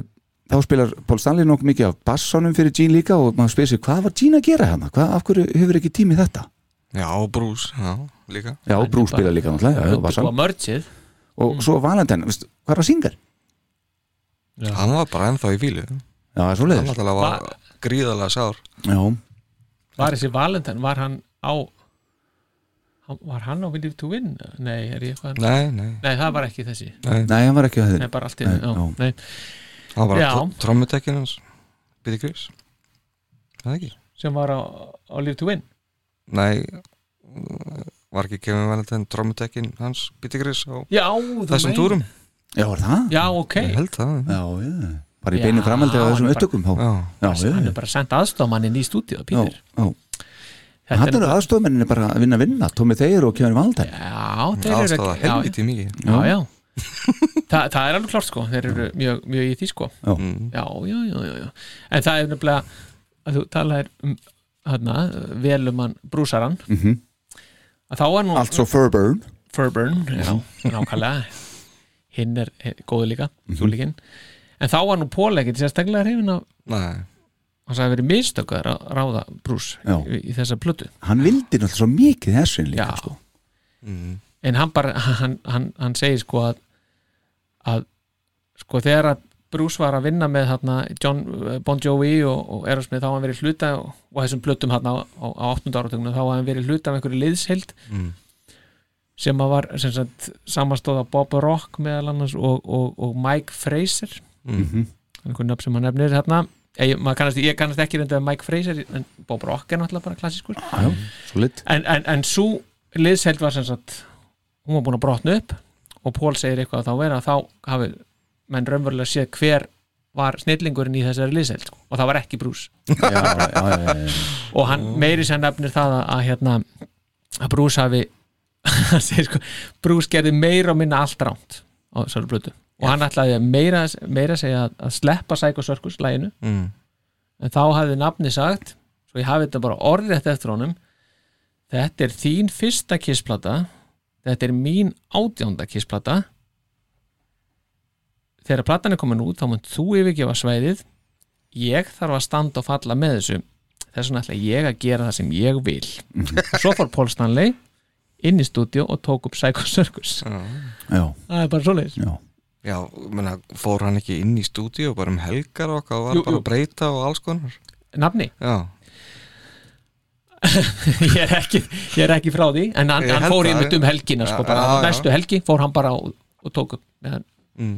[SPEAKER 2] þá spilar Paul Stanley nokkuð mikið af bassonum fyrir Gene líka og maður spyrir sig hvað var Gene að gera hana, hvað, af hverju hefur ekki tími í þetta
[SPEAKER 4] já, brús, já, líka
[SPEAKER 2] já,
[SPEAKER 3] Hann er
[SPEAKER 2] Brú
[SPEAKER 3] bara-
[SPEAKER 2] spilar líka náttúrulega já, já,
[SPEAKER 3] undirbúa
[SPEAKER 2] bassann.
[SPEAKER 3] mörgsið
[SPEAKER 2] og svo Valentine, veist, hvað er að syngar?
[SPEAKER 4] Hann var bara ennþá í fílu Hann
[SPEAKER 2] já, það er svo leiðis
[SPEAKER 4] náttúrulega var gríðalega sár
[SPEAKER 2] já,
[SPEAKER 3] Var þessi Valentin, var hann á hann- Var hann á Winnie to Win? Nei, er ég eitthvað
[SPEAKER 4] Nei, nei,
[SPEAKER 3] Nei, það var ekki þessi
[SPEAKER 2] nei, hann var ekki að
[SPEAKER 3] Nei,
[SPEAKER 2] þeirri
[SPEAKER 3] bara allt í
[SPEAKER 2] Nei,
[SPEAKER 3] já,
[SPEAKER 2] já.
[SPEAKER 3] nei,
[SPEAKER 4] hann var
[SPEAKER 3] Já.
[SPEAKER 4] bara trommutekkin hans Bíti grís Það ekki
[SPEAKER 3] sem var á, á Live to Win
[SPEAKER 4] Nei, var ekki kemur vel þetta en trommutekkin hans Bíti grís á
[SPEAKER 3] Já, þú
[SPEAKER 4] þessum
[SPEAKER 3] meinar.
[SPEAKER 4] túrum
[SPEAKER 2] já, var það?
[SPEAKER 3] Já, ok,
[SPEAKER 4] Ég held það
[SPEAKER 2] já, já, bara í
[SPEAKER 3] Já,
[SPEAKER 2] beinu framhaldi af
[SPEAKER 3] hann
[SPEAKER 2] þessum
[SPEAKER 3] er bara-
[SPEAKER 2] upptökum þá. já,
[SPEAKER 4] Já,
[SPEAKER 2] já,
[SPEAKER 3] hann
[SPEAKER 2] já,
[SPEAKER 3] er bara sendt aðstofmannin í stúdíu
[SPEAKER 2] já,
[SPEAKER 3] Pítur
[SPEAKER 2] já
[SPEAKER 3] Þetta
[SPEAKER 2] hann eru aðstofmenninni bara að vinna að vinna Tommy Þeir og Kevin Valentine
[SPEAKER 3] Já, þeir eru
[SPEAKER 4] aðstáða
[SPEAKER 3] ekki- já,
[SPEAKER 4] helviti mikið
[SPEAKER 3] já, já. Þa, það er alveg klart sko þeir eru mjög, mjög í því sko
[SPEAKER 2] Já.
[SPEAKER 4] Mm.
[SPEAKER 3] já, já, já, já, já. en það er nefnilega að þú talaðir um hana, velumann brúsaran
[SPEAKER 2] mm -hmm.
[SPEAKER 3] að þá er nú
[SPEAKER 2] allt svo Furburn
[SPEAKER 3] Furburn já, Mhm. nákvæmlega hinn er er góður líka, kjúlikinn en þá var nú Pól ekkert sérstaklega hrifin af
[SPEAKER 4] Nei,
[SPEAKER 3] hans að verið mistökkar að ráða brús
[SPEAKER 2] Já.
[SPEAKER 3] í, í þessa plötu
[SPEAKER 2] hann vildi náttúrulega svo mikið þessun
[SPEAKER 3] já,
[SPEAKER 2] líka sko.
[SPEAKER 4] Mm.
[SPEAKER 3] en hann bara hann, hann, hann segir sko að, að sko þegar að Bruce var að vinna með hana, John eh, Bon Jovi og, og Erosmith þá hafði hann verið hluta og, og þessum plötum hana, á, á, á 8. áratögnum þá hafði hann verið hluta af einhverju liðshild
[SPEAKER 4] Mm.
[SPEAKER 3] sem að var sem sagt, samastóð af Bob Rock meðal annars og, og, og Mike Fraser
[SPEAKER 4] Mhm.
[SPEAKER 3] einhvern nöfn sem hann nefnir hérna ég, maður kannast, ég kannast ekki reynda Mike Fraser en Bob Rock er náttúrulega bara klassískur
[SPEAKER 2] já, svo lit
[SPEAKER 3] en, en, en svo liðsheld var sem sagt hún var búin að brotna upp og Pól segir eitthvað að þá vera að þá hafi menn raunverulega séð hver var snillingurinn í þessari liðsheld sko. og það var ekki brús
[SPEAKER 2] já, já, já, já, já.
[SPEAKER 3] og hann meiri sem nefnir það að, að hérna að brús hafi hann segir sko, brús gerði meira og minna allt ránt á þessari blötu og hann ætlaði að meira, meira segja að, að sleppa Psycho Circus læginu
[SPEAKER 4] Mm.
[SPEAKER 3] en þá hafði nafni sagt svo ég hafi þetta bara orðrétt eftir honum þetta er þín fyrsta kissplata þetta er mín átjánda kissplata þegar platan er komin út þá mun þú yfirgefa svæðið ég þarf að standa og falla með þessu þess vegna ætla ég að gera það sem ég vil svo fór Paul Stanley inn í stúdíu og tók upp Psycho Circus
[SPEAKER 4] Já.
[SPEAKER 2] já,
[SPEAKER 3] það er bara svoleiðis
[SPEAKER 2] já.
[SPEAKER 4] Já, menna, fór hann ekki inn í stúdíu bara um helgar og okkar og var
[SPEAKER 3] Jú,
[SPEAKER 4] bara
[SPEAKER 3] jú.
[SPEAKER 4] að breyta og alls konar
[SPEAKER 3] nafni,
[SPEAKER 4] Já,
[SPEAKER 3] ég er ekki, ég er ekki frá því en hann,
[SPEAKER 4] Ég
[SPEAKER 3] hann
[SPEAKER 4] held
[SPEAKER 3] fór
[SPEAKER 4] það,
[SPEAKER 3] einmitt
[SPEAKER 4] já.
[SPEAKER 3] um helgina sko,
[SPEAKER 4] Já,
[SPEAKER 3] bara,
[SPEAKER 4] já, já.
[SPEAKER 3] næstu helgi fór hann bara og, og tók upp meðan,
[SPEAKER 4] mm.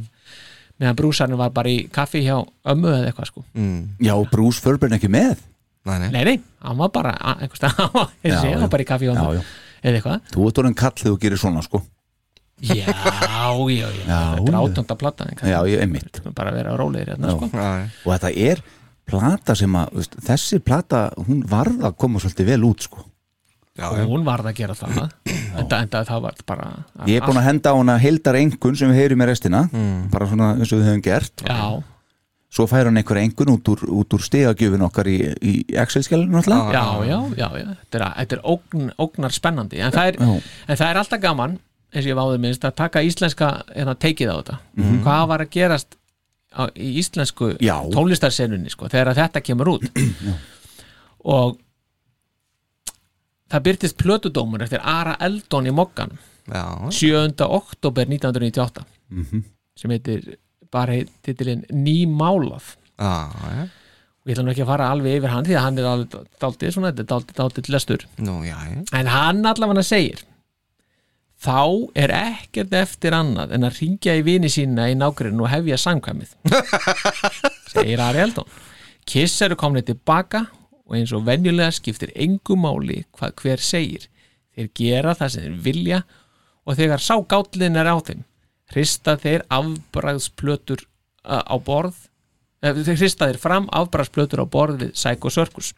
[SPEAKER 3] meðan brúsarinn var bara í kaffi hjá ömmu eða eitthvað sko
[SPEAKER 4] Mm.
[SPEAKER 2] já Bruce Furburn ekki með
[SPEAKER 4] Nei, nei,
[SPEAKER 3] nei, nei, hann var bara a- einhvers staðar, hann var- ég
[SPEAKER 2] Já,
[SPEAKER 3] sé, hann
[SPEAKER 2] já.
[SPEAKER 3] var bara í kaffi hjá
[SPEAKER 2] já,
[SPEAKER 3] ömmu
[SPEAKER 2] já.
[SPEAKER 3] eða eitthvað
[SPEAKER 2] Þú ert orðin kall þegar þú gerir svona sko
[SPEAKER 3] já, já, já, þetta er
[SPEAKER 2] já.
[SPEAKER 3] átönda plata en kannski
[SPEAKER 2] Já, ég einmitt
[SPEAKER 3] skulum bara vera rólegir hérna
[SPEAKER 2] Já.
[SPEAKER 3] sko
[SPEAKER 4] nei.
[SPEAKER 2] Og þetta er plata sem að veist, þessi plata, hún varð að koma svolítið vel út sko
[SPEAKER 4] Já,
[SPEAKER 3] og
[SPEAKER 4] já.
[SPEAKER 3] hún varð að gera það enda, enda það var bara
[SPEAKER 2] Ég er búin að henda á hana heildar engun sem við heyrum í restina bara svona eins og við höfum gert
[SPEAKER 3] Mm. já,
[SPEAKER 2] Svo fær hann einhver engun út úr, út úr stegagjöfin okkar í, í Excel-skjælinu náttúrulega
[SPEAKER 3] Ah, já, já, já, já þetta er, þetta er ógn, ógnar spennandi en
[SPEAKER 2] Já.
[SPEAKER 3] það, er, en það er alltaf gaman eins og ég váður minnst að taka íslenska eða teikið á þetta hvað var að gerast á, í íslensku
[SPEAKER 2] Mhm. Já.
[SPEAKER 3] tónlistarsenunni sko, þegar að þetta kemur út og það byrtist plötudómur eftir Ara Eldon í Mokkan
[SPEAKER 4] já
[SPEAKER 3] 7. oktober 1998
[SPEAKER 2] Mhm.
[SPEAKER 3] sem heitir bara heit- titilinn Nýmálað
[SPEAKER 4] Já, já,
[SPEAKER 3] og ég ætla nú ekki að fara alveg yfir hann því að hann er alveg dálítið svona, þetta er dálítið dálítið lestur
[SPEAKER 4] nú, já, já
[SPEAKER 3] en hann allavega segir þá er ekkert eftir annað en að ringja í vini sína í nágrinn og hefja samkvæmið segir Ari Eldon Kiss eru komni tilbaka og eins og venjulega skiptir engu máli hvað hver segir þeir gera það sem þeir vilja og þegar sá gátlinn er á þeim hrista þeir afbræðsplötur uh, á borð eh, þeir hrista þeir fram afbræðsplötur á borð við Psycho Circus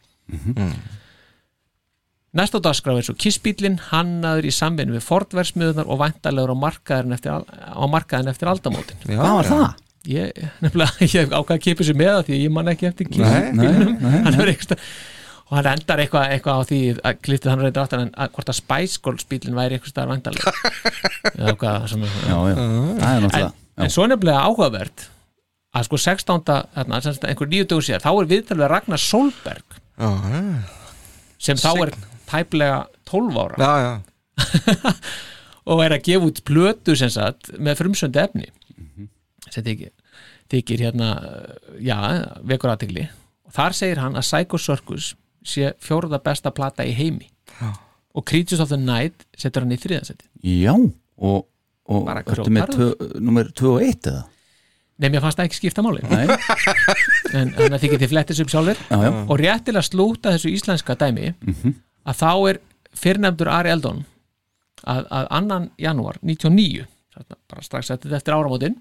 [SPEAKER 3] Næst á dagskrá er svo kissbílinn, hannaður í samvinni við Fordversmiðunar og vantalegur á markaðin eftir, al- á markaðin eftir aldamótin.
[SPEAKER 4] Já,
[SPEAKER 2] Hvað var það?
[SPEAKER 3] Ég, nefnilega, ég hef ákvað að kipa sér með það því að ég man ekki eftir
[SPEAKER 4] Nei,
[SPEAKER 3] kissbílnum. Hann er eitthvað og hann endar eitthvað eitthva á því að kliftið hann reyndi áttan en að, hvort að Spice Girls bílinn væri eitthvað staðar vantalegur. Já, hvað, sem,
[SPEAKER 2] Já, já, það er
[SPEAKER 3] Ah. en,
[SPEAKER 2] náttúrulega
[SPEAKER 3] en svo er nefnilega áhugavert að sko 16. Þarna, sem sagt einhver nýju dög sér, þá er viðtal við Ragnar Solberg
[SPEAKER 4] já, já,
[SPEAKER 3] sem þá er tæplega 12 ára
[SPEAKER 4] já, já.
[SPEAKER 3] og er að gefa út plötu sem sagt með frumsöndu efni sem þykir, þykir hérna já, vekur aðtegli og þar segir hann að Psycho Circus sé fjórða besta plata í heimi og Creatures of the Night setur hann í þriðansetti
[SPEAKER 2] Já, og, og
[SPEAKER 3] Bara
[SPEAKER 2] ertu með tvö,
[SPEAKER 3] grótarður.
[SPEAKER 2] nummer 2 og 1 eða?
[SPEAKER 3] Nei, mér fannst það ekki skipta máli
[SPEAKER 2] Nei,
[SPEAKER 3] en, en það þykir þið flettis upp sjálfur
[SPEAKER 2] já, Mhm. já,
[SPEAKER 3] og rétt til að slúta þessu íslenska dæmi að þá er fyrrnefndur Ari Eldon að, að annan janúar 99 þarna bara strax eftir, eftir áramótin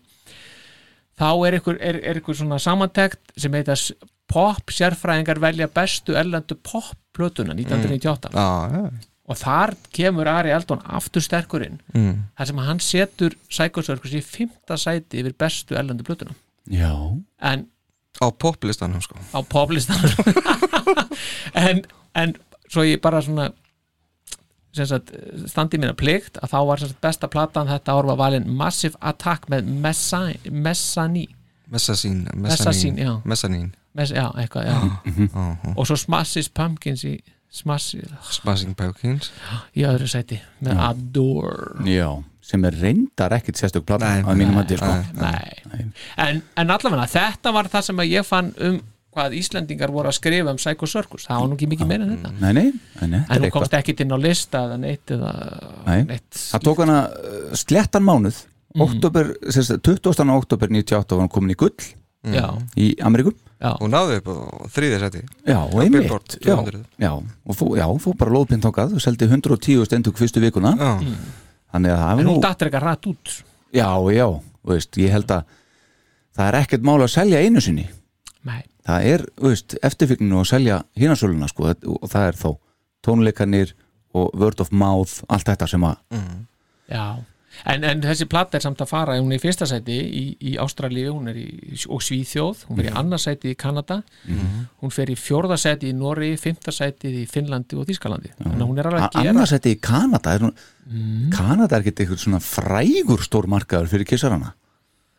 [SPEAKER 3] þá er ykkur, er, er ykkur svona samantekt sem heitast pop sérfræðingar velja bestu erlendu pop plötuna
[SPEAKER 2] Mm.
[SPEAKER 3] 1998
[SPEAKER 4] já, já.
[SPEAKER 3] og þar kemur Ari Eldon aftur sterkurinn
[SPEAKER 4] Mm.
[SPEAKER 3] þar sem hann setur sækosverkus í fymta sæti yfir bestu erlendu plötuna
[SPEAKER 2] já
[SPEAKER 3] en
[SPEAKER 4] Á poplistanum, sko
[SPEAKER 3] á poplistan en, en svo ég bara svona sem sagt, standi mín að plikt að þá var sem sagt, besta platan þetta ár var valin Massive Attack með Messa- Messani
[SPEAKER 4] Messasín
[SPEAKER 3] Messasín, já.
[SPEAKER 4] Messanín
[SPEAKER 3] Mess, já, eitthvað, já. og svo Smashes Pumpkins í, Smashes,
[SPEAKER 4] Smashing Pumpkins
[SPEAKER 3] í öðru sæti með Adore
[SPEAKER 2] Já, sem er reyndar ekkit sérstök plata
[SPEAKER 4] Nei,
[SPEAKER 2] að mínum hætti, sko
[SPEAKER 3] Nei. En, en allavega þetta var það sem að ég fann um hvað Íslendingar voru að skrifa um Psycho Circus það var nú ekki mikið meira en þetta
[SPEAKER 2] Nei, nei, nei, nei, þetta
[SPEAKER 3] en
[SPEAKER 2] er
[SPEAKER 3] hún
[SPEAKER 2] eitthvað
[SPEAKER 3] komst ekkit inn á lista eða neitt eða
[SPEAKER 2] Nei.
[SPEAKER 3] neitt
[SPEAKER 2] Það tók hana uh, slettan mánuð mm. oktober, sérst, 20. oktober 98 var hann komin í gull
[SPEAKER 3] já,
[SPEAKER 2] í Ameríku
[SPEAKER 3] já,
[SPEAKER 4] Hún náði upp á þriðið seti
[SPEAKER 2] Já, og
[SPEAKER 4] Billboard
[SPEAKER 2] einmitt já,
[SPEAKER 4] 200.
[SPEAKER 2] já, og fó, já, fó bara lóðpinn þangað og seldi 110 stendug fyrstu vikuna
[SPEAKER 4] Já,
[SPEAKER 2] Þannig að það
[SPEAKER 3] en
[SPEAKER 2] er nú
[SPEAKER 3] hún dattur eitthvað rætt út
[SPEAKER 2] Já, já, þú veist, ég held að það er ekkert mál að selja einu sinni
[SPEAKER 3] Nei.
[SPEAKER 2] það er, þú veist, eftirfyrkninu að selja hinnasöluna sko þetta- og það er þá tónleikanir og word of mouth, allt þetta sem að
[SPEAKER 3] já en, en þessi platta er samt að fara hún er í fyrsta sæti í, í Ástralíu hún er í, og Svíþjóð, hún fer í annars sæti í Kanada,
[SPEAKER 2] Mhm.
[SPEAKER 3] hún fer í fjórða sæti í Nóri, fymta sæti í Finnlandi og Þískalandi, þannig að hún er alveg að
[SPEAKER 2] að
[SPEAKER 3] gera
[SPEAKER 2] annars þetta í Kanada er, mm. Kanada er ekkert eitthvað svona frægur stór markaður fyrir kissarana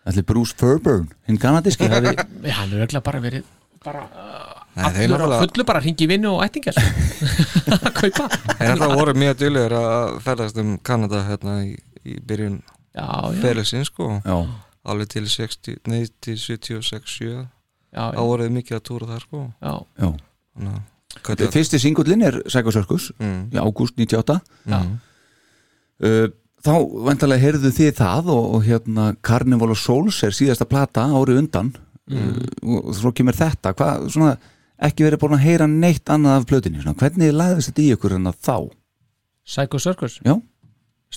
[SPEAKER 2] Ætli Bruce Fairburn, hinn kanadíski hafi,
[SPEAKER 3] Já, hann er örugglega bara verið bara, uh,
[SPEAKER 4] Nei, þeir
[SPEAKER 3] allur á
[SPEAKER 4] náttúrulega-
[SPEAKER 3] fullu bara hringi vinnu og ættingar að kaupa
[SPEAKER 4] en það voru mjög dýlegur að ferðast um Kanada hérna í, í byrjun
[SPEAKER 3] já, já,
[SPEAKER 4] ferilsinn sko
[SPEAKER 2] já,
[SPEAKER 4] alveg til 60, nei til 76, 7
[SPEAKER 3] já,
[SPEAKER 4] þá voruð þið mikið að túra þar sko
[SPEAKER 3] já,
[SPEAKER 2] já
[SPEAKER 4] Ná,
[SPEAKER 2] Fyrsti singullin er Psycho Circus
[SPEAKER 4] Mm.
[SPEAKER 2] í ágúst 98
[SPEAKER 3] já,
[SPEAKER 2] Uh, þá vantarlega heyrðu þið það og, og hérna Carnival of Souls er síðasta plata ári undan
[SPEAKER 3] Mm.
[SPEAKER 2] uh, og svo kemur þetta hvað, svona, ekki verið búin að heyra neitt annað af plötinni, svona, hvernig lagðist þetta í ykkur en þá?
[SPEAKER 3] Psycho Circus
[SPEAKER 2] Já,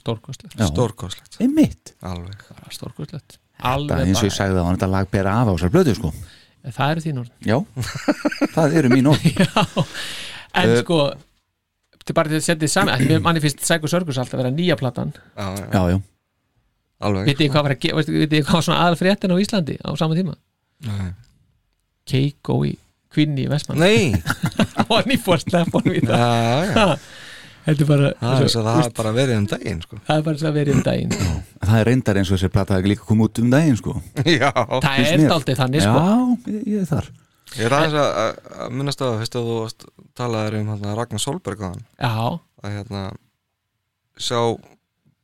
[SPEAKER 3] stórkostlegt,
[SPEAKER 2] já.
[SPEAKER 4] stórkoslegt,
[SPEAKER 2] einmitt,
[SPEAKER 4] alveg
[SPEAKER 3] bara stórkostlegt
[SPEAKER 2] það
[SPEAKER 3] alveg
[SPEAKER 2] er eins og ég
[SPEAKER 3] bara,
[SPEAKER 2] sagði það var þetta lag bera af á þessar plötu sko
[SPEAKER 3] það eru þín orð
[SPEAKER 2] já, það eru mín orð
[SPEAKER 3] Já, en
[SPEAKER 2] Eh,
[SPEAKER 3] sko til bara til að setja þið saman, því manni finnst Psycho Circus alltaf að vera nýja platan
[SPEAKER 4] já, já,
[SPEAKER 2] já, já,
[SPEAKER 4] alveg
[SPEAKER 3] vitið þið hvað var að ge- veistu- vitið þið hvað var svona aðal fréttin á Íslandi á sama tíma
[SPEAKER 4] Nei.
[SPEAKER 3] Keiko í Kvinni í Vestmann
[SPEAKER 4] nei,
[SPEAKER 3] og hann í fórstlefanum í
[SPEAKER 4] já,
[SPEAKER 3] það
[SPEAKER 4] já
[SPEAKER 3] þetta er bara,
[SPEAKER 4] það er
[SPEAKER 3] svo,
[SPEAKER 4] svo það hafi bara verið um daginn sko
[SPEAKER 3] það er bara svo að vera um daginn
[SPEAKER 2] það er reyndar eins og þessi plata hafi líka komið út um daginn sko
[SPEAKER 4] já,
[SPEAKER 3] það
[SPEAKER 2] Finnst
[SPEAKER 3] er
[SPEAKER 2] mér.
[SPEAKER 3] daldið þannig sko
[SPEAKER 2] já, ég, ég er þar
[SPEAKER 4] ég er aðeins að, að, að minnast á það fyrst að þú varst- talaðir um hérna, Ragnar Solberg á hann
[SPEAKER 3] já,
[SPEAKER 4] að hérna sjá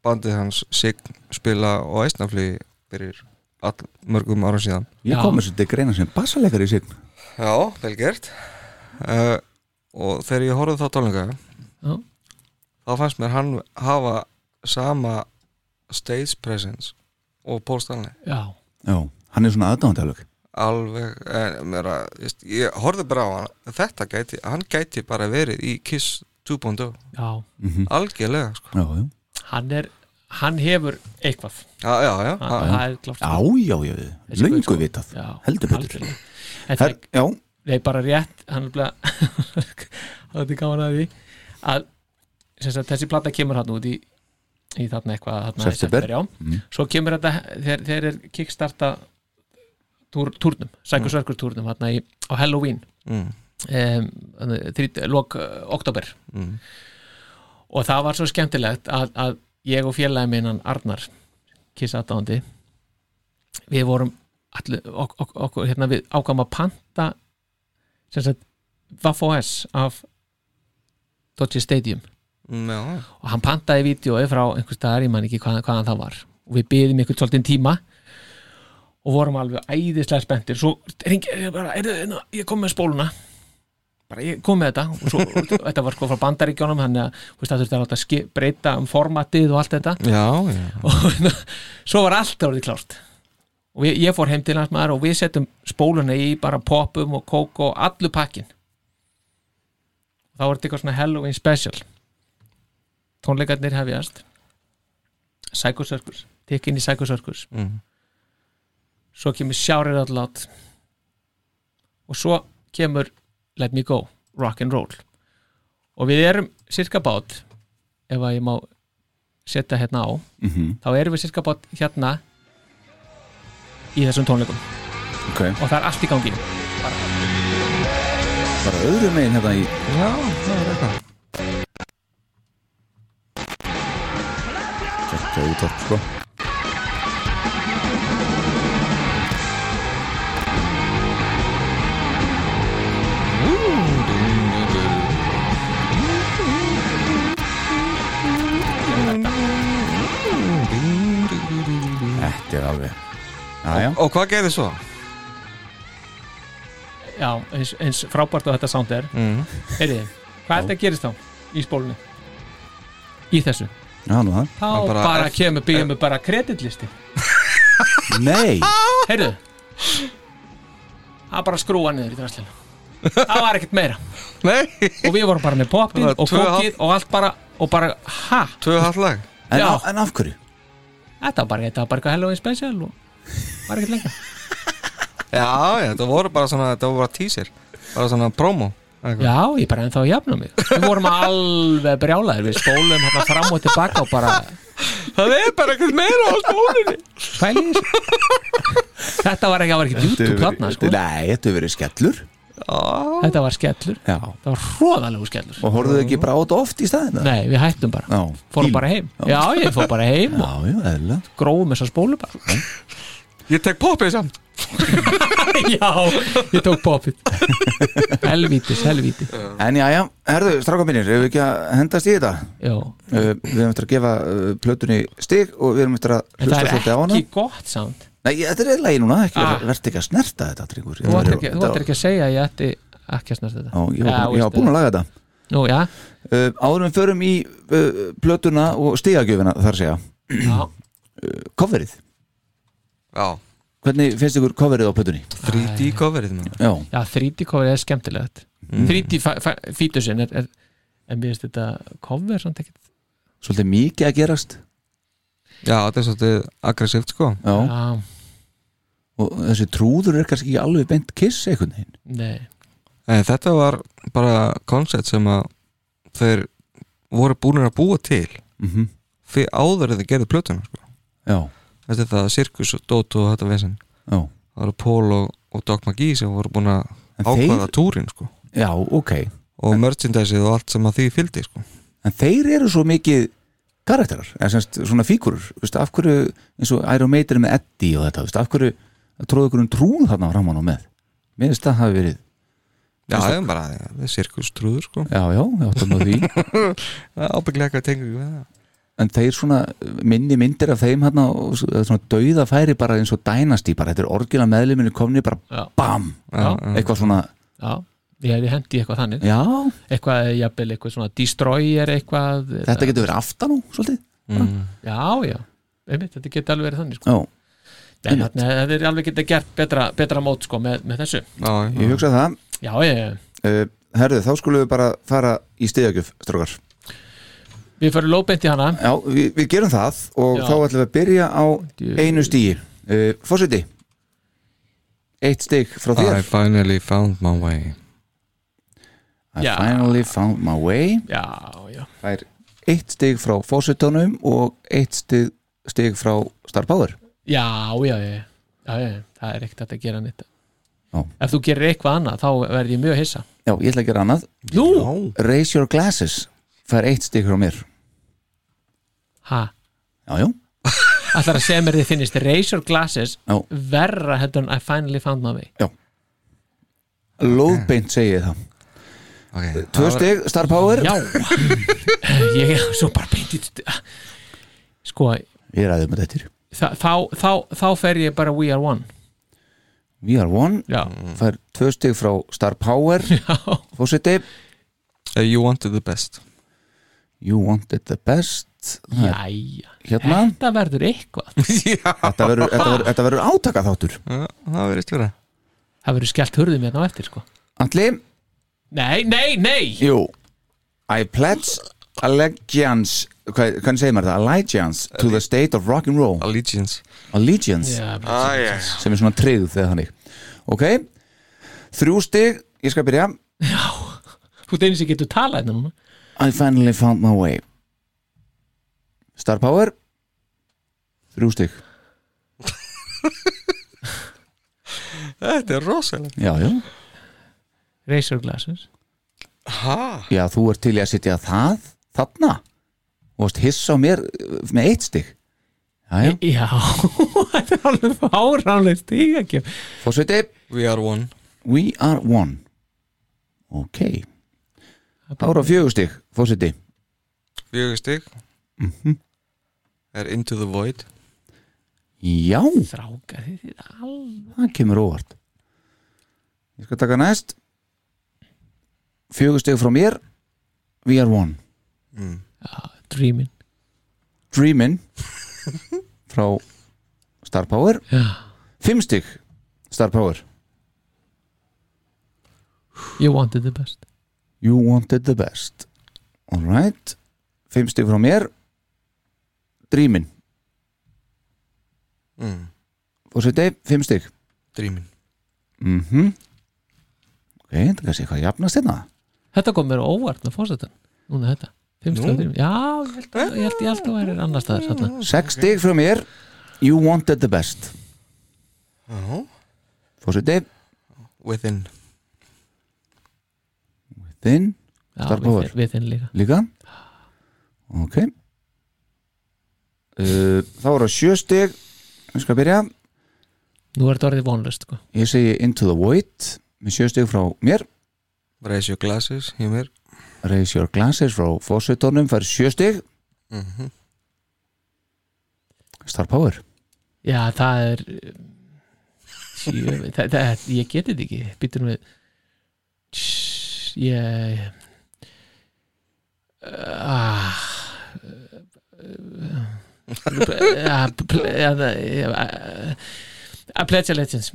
[SPEAKER 4] bandið hans Sign spila á æstnafli fyrir all, mörgum árum síðan
[SPEAKER 2] ég
[SPEAKER 3] Já.
[SPEAKER 2] kom þessu til greina sem bassalegar í sign
[SPEAKER 4] Já, vel gert uh, Og þegar ég horfði þá tónleika
[SPEAKER 3] Já.
[SPEAKER 4] þá fannst mér hann hafa sama stage presence og Paul Stanley
[SPEAKER 3] já,
[SPEAKER 2] já, hann er svona aðdándalög
[SPEAKER 4] alveg, en, mera, just, ég horfði bara á hann þetta gæti, hann gæti bara verið í Kiss 2.0
[SPEAKER 3] já,
[SPEAKER 4] algjörlega sko.
[SPEAKER 2] já, já,
[SPEAKER 3] hann er hann hefur eitthvað
[SPEAKER 4] já, já, já,
[SPEAKER 3] Hann-
[SPEAKER 4] já.
[SPEAKER 3] það er klart
[SPEAKER 2] já, já, já,
[SPEAKER 3] Þessi gaur,
[SPEAKER 2] löngu
[SPEAKER 3] sko.
[SPEAKER 2] vitað
[SPEAKER 3] Já,
[SPEAKER 2] heldur betur
[SPEAKER 3] algjörlega. En
[SPEAKER 2] Her,
[SPEAKER 3] það
[SPEAKER 2] já,
[SPEAKER 3] Nei, bara rétt hann er bara það er gaman að því að sem sagt, þessi plata kemur hann út í, í þarna eitthvað þarna í
[SPEAKER 2] September.
[SPEAKER 3] já.
[SPEAKER 2] Mm.
[SPEAKER 3] svo kemur þetta þegar, þegar er kickstarta túr, túrnum,
[SPEAKER 2] Mhm.
[SPEAKER 3] sækursverkur túrnum þarna í, á Halloween
[SPEAKER 4] Mm,
[SPEAKER 3] um, þrít, lok eh, oktober
[SPEAKER 4] mm,
[SPEAKER 3] og það var svo skemmtilegt að, að ég og félagi minn hann Arnar kissatándi við vorum allir, ok, ok, ok, hérna, við ákvæm að panta sem sagt Vaff OS af Dodge Stadium
[SPEAKER 4] mm, já, já.
[SPEAKER 3] og hann pantaði vídjói frá einhvers staðar, ég man ekki hvaðan, hvaðan það var og við byðum einhvern svolítinn tíma og vorum alveg æðislega spenntir svo ringi ég bara, er það, ég kom með spóluna bara ég kom með þetta og svo, þetta var sko frá bandaríkjónum þannig að þú veist, það þurfti að láta ski- breyta um formatið og allt þetta
[SPEAKER 4] já, já.
[SPEAKER 3] og hérna, svo var allt orðið klárt og ég, ég fór heim til hans maður og við settum spóluna í bara popum og kók og allu pakkin þá var þetta eitthvað svona Halloween special tónleikarnir hefjast Psycho Circus tikk inn í Psycho Circus
[SPEAKER 4] Mm.
[SPEAKER 3] svo kemur Shout It Out Loud og svo kemur Let Me Go, Rock and Roll og við erum cirka bát ef að ég má setja hérna á
[SPEAKER 2] mhm,
[SPEAKER 3] þá erum við cirka bát hérna í þessum tónleikum
[SPEAKER 2] ok
[SPEAKER 3] og það er allt í gangi
[SPEAKER 2] bara öðru megin hérna í
[SPEAKER 4] já, það er eitthvað
[SPEAKER 2] þetta útvarp sko Þetta er alveg Jæja,
[SPEAKER 4] og hvað gerði svo?
[SPEAKER 3] já, eins, eins frábært og þetta sound er
[SPEAKER 4] Mm.
[SPEAKER 3] heyrðu, hvað þetta gerist þá í spólunni í þessu
[SPEAKER 2] já nú það
[SPEAKER 3] þá
[SPEAKER 4] Það
[SPEAKER 3] bara,
[SPEAKER 4] bara-
[SPEAKER 3] kemur býðum við bara kreditlisti
[SPEAKER 2] Nei,
[SPEAKER 3] heyrðu það bara skrúa niður í drastlinu það var ekkert meira
[SPEAKER 4] nei,
[SPEAKER 3] og við vorum bara með popið
[SPEAKER 4] Bara
[SPEAKER 3] og
[SPEAKER 4] tvö
[SPEAKER 3] kókið og allt bara og bara, ha,
[SPEAKER 4] tvö hallag
[SPEAKER 2] en,
[SPEAKER 3] Já.
[SPEAKER 2] en af hverju?
[SPEAKER 3] þetta var bara, þetta var bara eitthvað Halloween special og var ekkert lengra
[SPEAKER 4] já, já, það voru bara svona, það voru bara teaser bara svona promo eitthvað.
[SPEAKER 3] já, ég bara ennþá jafna mig við vorum alveg brjálaðir, við spólum hérna fram og tilbaka og bara
[SPEAKER 4] það er bara ekkert meira á spólunni
[SPEAKER 3] pæli í þessu þetta var ekki, það var ekki YouTube platna sko.
[SPEAKER 2] Nei, þetta hefur verið skellur
[SPEAKER 4] já,
[SPEAKER 3] þetta var skellur,
[SPEAKER 2] Já
[SPEAKER 3] það var hróðalegu skellur
[SPEAKER 2] Og horfðu ekki bara á þetta oft í staðina?
[SPEAKER 3] nei, við hættum bara,
[SPEAKER 2] Já,
[SPEAKER 3] fórum bara heim já, ég fór bara heim
[SPEAKER 2] Já,
[SPEAKER 3] og
[SPEAKER 2] já, eðlilega
[SPEAKER 3] grófum þessar spólu bara
[SPEAKER 4] ég tek popið samt
[SPEAKER 3] já, ég tók popið helvítis, helvíti
[SPEAKER 2] En já, já, herðu, strákaminir, hefur ekki að hendast í þetta?
[SPEAKER 3] já
[SPEAKER 2] Uh, við erum eftir að gefa uh, plötunni stig og við erum eftir að
[SPEAKER 3] En
[SPEAKER 2] hlusta
[SPEAKER 3] það
[SPEAKER 2] svolítið á
[SPEAKER 3] er
[SPEAKER 2] hana
[SPEAKER 3] ekki gott samt
[SPEAKER 2] Nei, þetta er eiginlega í núna, ekki,
[SPEAKER 3] Ah.
[SPEAKER 2] ah. verð ekki að snerta þetta, Tryggur
[SPEAKER 3] Þú ættir ekki, þú ættir ekki að segja að ég ætti ekki að snart þetta
[SPEAKER 2] Já, ég var, ég var búin að laga þetta
[SPEAKER 3] Nú, já,
[SPEAKER 2] uh, Áður en við förum í uh, plötuna og stigagjöfina, þar segja eh,
[SPEAKER 3] já
[SPEAKER 2] Coverið,
[SPEAKER 4] já,
[SPEAKER 2] hvernig finnst ykkur coverið á plötunni?
[SPEAKER 4] 3D coverið maður. Mm.
[SPEAKER 2] Já,
[SPEAKER 3] Já, 3D cover er skemmtilegt
[SPEAKER 2] Mm.
[SPEAKER 3] 3D fa- fa- fítusinn er, er, en mér finnst þetta cover samt ekkert
[SPEAKER 2] svolítið mikið að gerast
[SPEAKER 4] já, þetta er svolítið aggressíft sko
[SPEAKER 2] Já,
[SPEAKER 3] Já,
[SPEAKER 2] og þessi trúður er kannski ekki alveg beint kiss einhvern veginn
[SPEAKER 3] nei
[SPEAKER 4] en þetta var bara koncept sem að þeir voru búin að búa til
[SPEAKER 2] mm -hmm.
[SPEAKER 4] fyrir áður en þeir gerðu plötuna sko.
[SPEAKER 2] Já,
[SPEAKER 4] þetta er það Sirkus og Dóto og þetta vesen
[SPEAKER 2] já,
[SPEAKER 4] það eru Pól og, og Doc McGee sem voru búin að
[SPEAKER 2] En
[SPEAKER 4] ákvaða túrin sko.
[SPEAKER 2] já, ok
[SPEAKER 4] og merchandiseið og allt sem að því fylgdi sko.
[SPEAKER 2] en þeir eru svo mikið karakterar, eða semst svona fígurur veist, af hverju, eins og Iron Maiden með Eddie og þetta, veist, af hverju tróðu ykkur um trúð þarna framan og með mér finnst það hafi verið,
[SPEAKER 4] já, það er bara ja, það er sirkustrúður sko.
[SPEAKER 2] já, já, ég áttum að því
[SPEAKER 4] það er ábygglega eitthvað tengur við það
[SPEAKER 2] en þeir svona minni myndir af þeim hérna, og s- eða svona dauða færi bara eins og dænastí, bara þetta er orginal meðluminu komni bara
[SPEAKER 3] Já,
[SPEAKER 2] bam,
[SPEAKER 3] já,
[SPEAKER 4] Mm.
[SPEAKER 2] eitthvað svona
[SPEAKER 3] já Ég hefði hendi í eitthvað þannig
[SPEAKER 2] já,
[SPEAKER 3] Eitthvað, jafnvel, eitthvað svona destroyer eitthvað
[SPEAKER 2] þetta getur verið aftan á, svolítið
[SPEAKER 4] mm.
[SPEAKER 3] já, já, einmitt, þetta geti alveg verið þannig sko.
[SPEAKER 2] Já,
[SPEAKER 3] Nei,
[SPEAKER 2] einmitt.
[SPEAKER 3] þarna hefði þeir alveg geta gert betra, betra mót sko, með, með þessu
[SPEAKER 4] já, já.
[SPEAKER 2] ég hugsa það
[SPEAKER 3] já, ég,
[SPEAKER 2] uh, Herðu, þá skulum við bara fara í stiðagjöf, strókar
[SPEAKER 3] við fyrir lóbeint í hana
[SPEAKER 2] Já, við, við gerum það og
[SPEAKER 3] Já.
[SPEAKER 2] þá ætlum við að byrja á
[SPEAKER 3] Djú-
[SPEAKER 2] einu stíi uh, Fósiti Eitt stig frá þér
[SPEAKER 4] I finally found my way
[SPEAKER 2] I
[SPEAKER 3] Já.
[SPEAKER 2] finally found my way
[SPEAKER 3] já, já,
[SPEAKER 2] Það er eitt stig frá fósitónum og eitt stig, stig frá Star Power
[SPEAKER 3] já, já, já, já, já, já. það er ekkert hægt að gera nýtt
[SPEAKER 2] Já.
[SPEAKER 3] ef þú gerir eitthvað annað, þá verð ég mjög hissa
[SPEAKER 2] Já, ég ætla að gera annað
[SPEAKER 3] nú,
[SPEAKER 2] Raise your glasses Það er eitt stig frá mér
[SPEAKER 3] hæ
[SPEAKER 2] Já, já,
[SPEAKER 3] Ætlar að segja mér þið finnist Razor Glasses
[SPEAKER 2] Já.
[SPEAKER 3] verra heldur en I finally found my way
[SPEAKER 2] lóðbeint segi ég það
[SPEAKER 4] okay.
[SPEAKER 2] Tvö stig, Star Power
[SPEAKER 3] Já Ég er svo bara beint í Sko,
[SPEAKER 2] Ég ræðum með þetta
[SPEAKER 3] þá, þá, þá, þá fer ég bara We are one
[SPEAKER 2] We are one,
[SPEAKER 3] Já,
[SPEAKER 2] það er tvö stig frá Star Power
[SPEAKER 3] Mm. já,
[SPEAKER 2] Fósiti,
[SPEAKER 4] Uh, You wanted the best
[SPEAKER 2] you wanted the best Það er
[SPEAKER 3] jæja
[SPEAKER 2] Hérna,
[SPEAKER 3] Þetta verður eitthvað
[SPEAKER 4] Já,
[SPEAKER 2] þetta verður- þetta verður- þetta verður átaka þáttur
[SPEAKER 4] Eh, það verðist vera
[SPEAKER 3] Það verður skellt hurðum hérna á eftir sko
[SPEAKER 2] Atli,
[SPEAKER 3] Nei, nei, nei
[SPEAKER 2] jú I pledge allegiance hvað, Hvernig segir maður það? Allegiance to the state of rock and roll
[SPEAKER 4] Allegiance
[SPEAKER 2] Allegiance
[SPEAKER 3] Já,
[SPEAKER 2] sem er svona tryggð þegar þannig ok, þrjú stig ég skal byrja
[SPEAKER 3] þú deynir sem getur talað hérna núna
[SPEAKER 2] I finally found my way Star Power þrjú stig
[SPEAKER 4] Þetta er rosalega
[SPEAKER 2] já, já,
[SPEAKER 3] Razor Glasses
[SPEAKER 4] Hæ?
[SPEAKER 2] já, þú ert til í að sitja það þarna og varst hissa á mér uh, með eitt stig já, já,
[SPEAKER 3] Já, þetta er alveg fáránlega stígakjöf
[SPEAKER 2] fórsveiti
[SPEAKER 4] We are one
[SPEAKER 2] we are one ok ára fjögur stig, fórsveiti
[SPEAKER 4] Fjögur stig Mhm. Er into the void
[SPEAKER 2] já,
[SPEAKER 3] Strákar, þið er alveg
[SPEAKER 2] það kemur óvart ég skal taka næst fjögur stig frá mér we are one
[SPEAKER 3] dreamin
[SPEAKER 2] Dreamin frá Star Power
[SPEAKER 3] Já.
[SPEAKER 2] fimm stig Star Power
[SPEAKER 3] You wanted the best
[SPEAKER 2] you wanted the best alright fimm stig frá mér Dreamin
[SPEAKER 4] mm.
[SPEAKER 2] fórseti, fimm stig
[SPEAKER 4] Dreamin
[SPEAKER 2] mhm ok, þetta er kannski eitthvað að jafnast hérna
[SPEAKER 3] Þetta kom mér á óvart með fórsetan Núna þetta Fimm
[SPEAKER 4] Nú?
[SPEAKER 3] stöðum Já, ég held að ég held, ég held að væri annar staðar þarna.
[SPEAKER 2] sex stig frá mér you wanted the best
[SPEAKER 4] oh.
[SPEAKER 2] fórseti,
[SPEAKER 4] Within
[SPEAKER 2] þinn
[SPEAKER 3] Já,
[SPEAKER 2] Star
[SPEAKER 3] við
[SPEAKER 2] Power.
[SPEAKER 3] þinn- Við þinn líka
[SPEAKER 2] líka ok uh, þá eru það sjö stig við skal byrja
[SPEAKER 3] Nú er þetta orðið vonlust sko.
[SPEAKER 2] ég segi Into the Void með sjö stig frá mér
[SPEAKER 4] Raise your glasses Hjá mér
[SPEAKER 2] Raise Your Glasses frá Fossetónum fær sjö stig
[SPEAKER 4] mm
[SPEAKER 2] Star Power
[SPEAKER 3] Já, það er um, sjö, það, það, Ég geti þetta ekki Býtur við Tss, Ég Ah Að pledge allegiance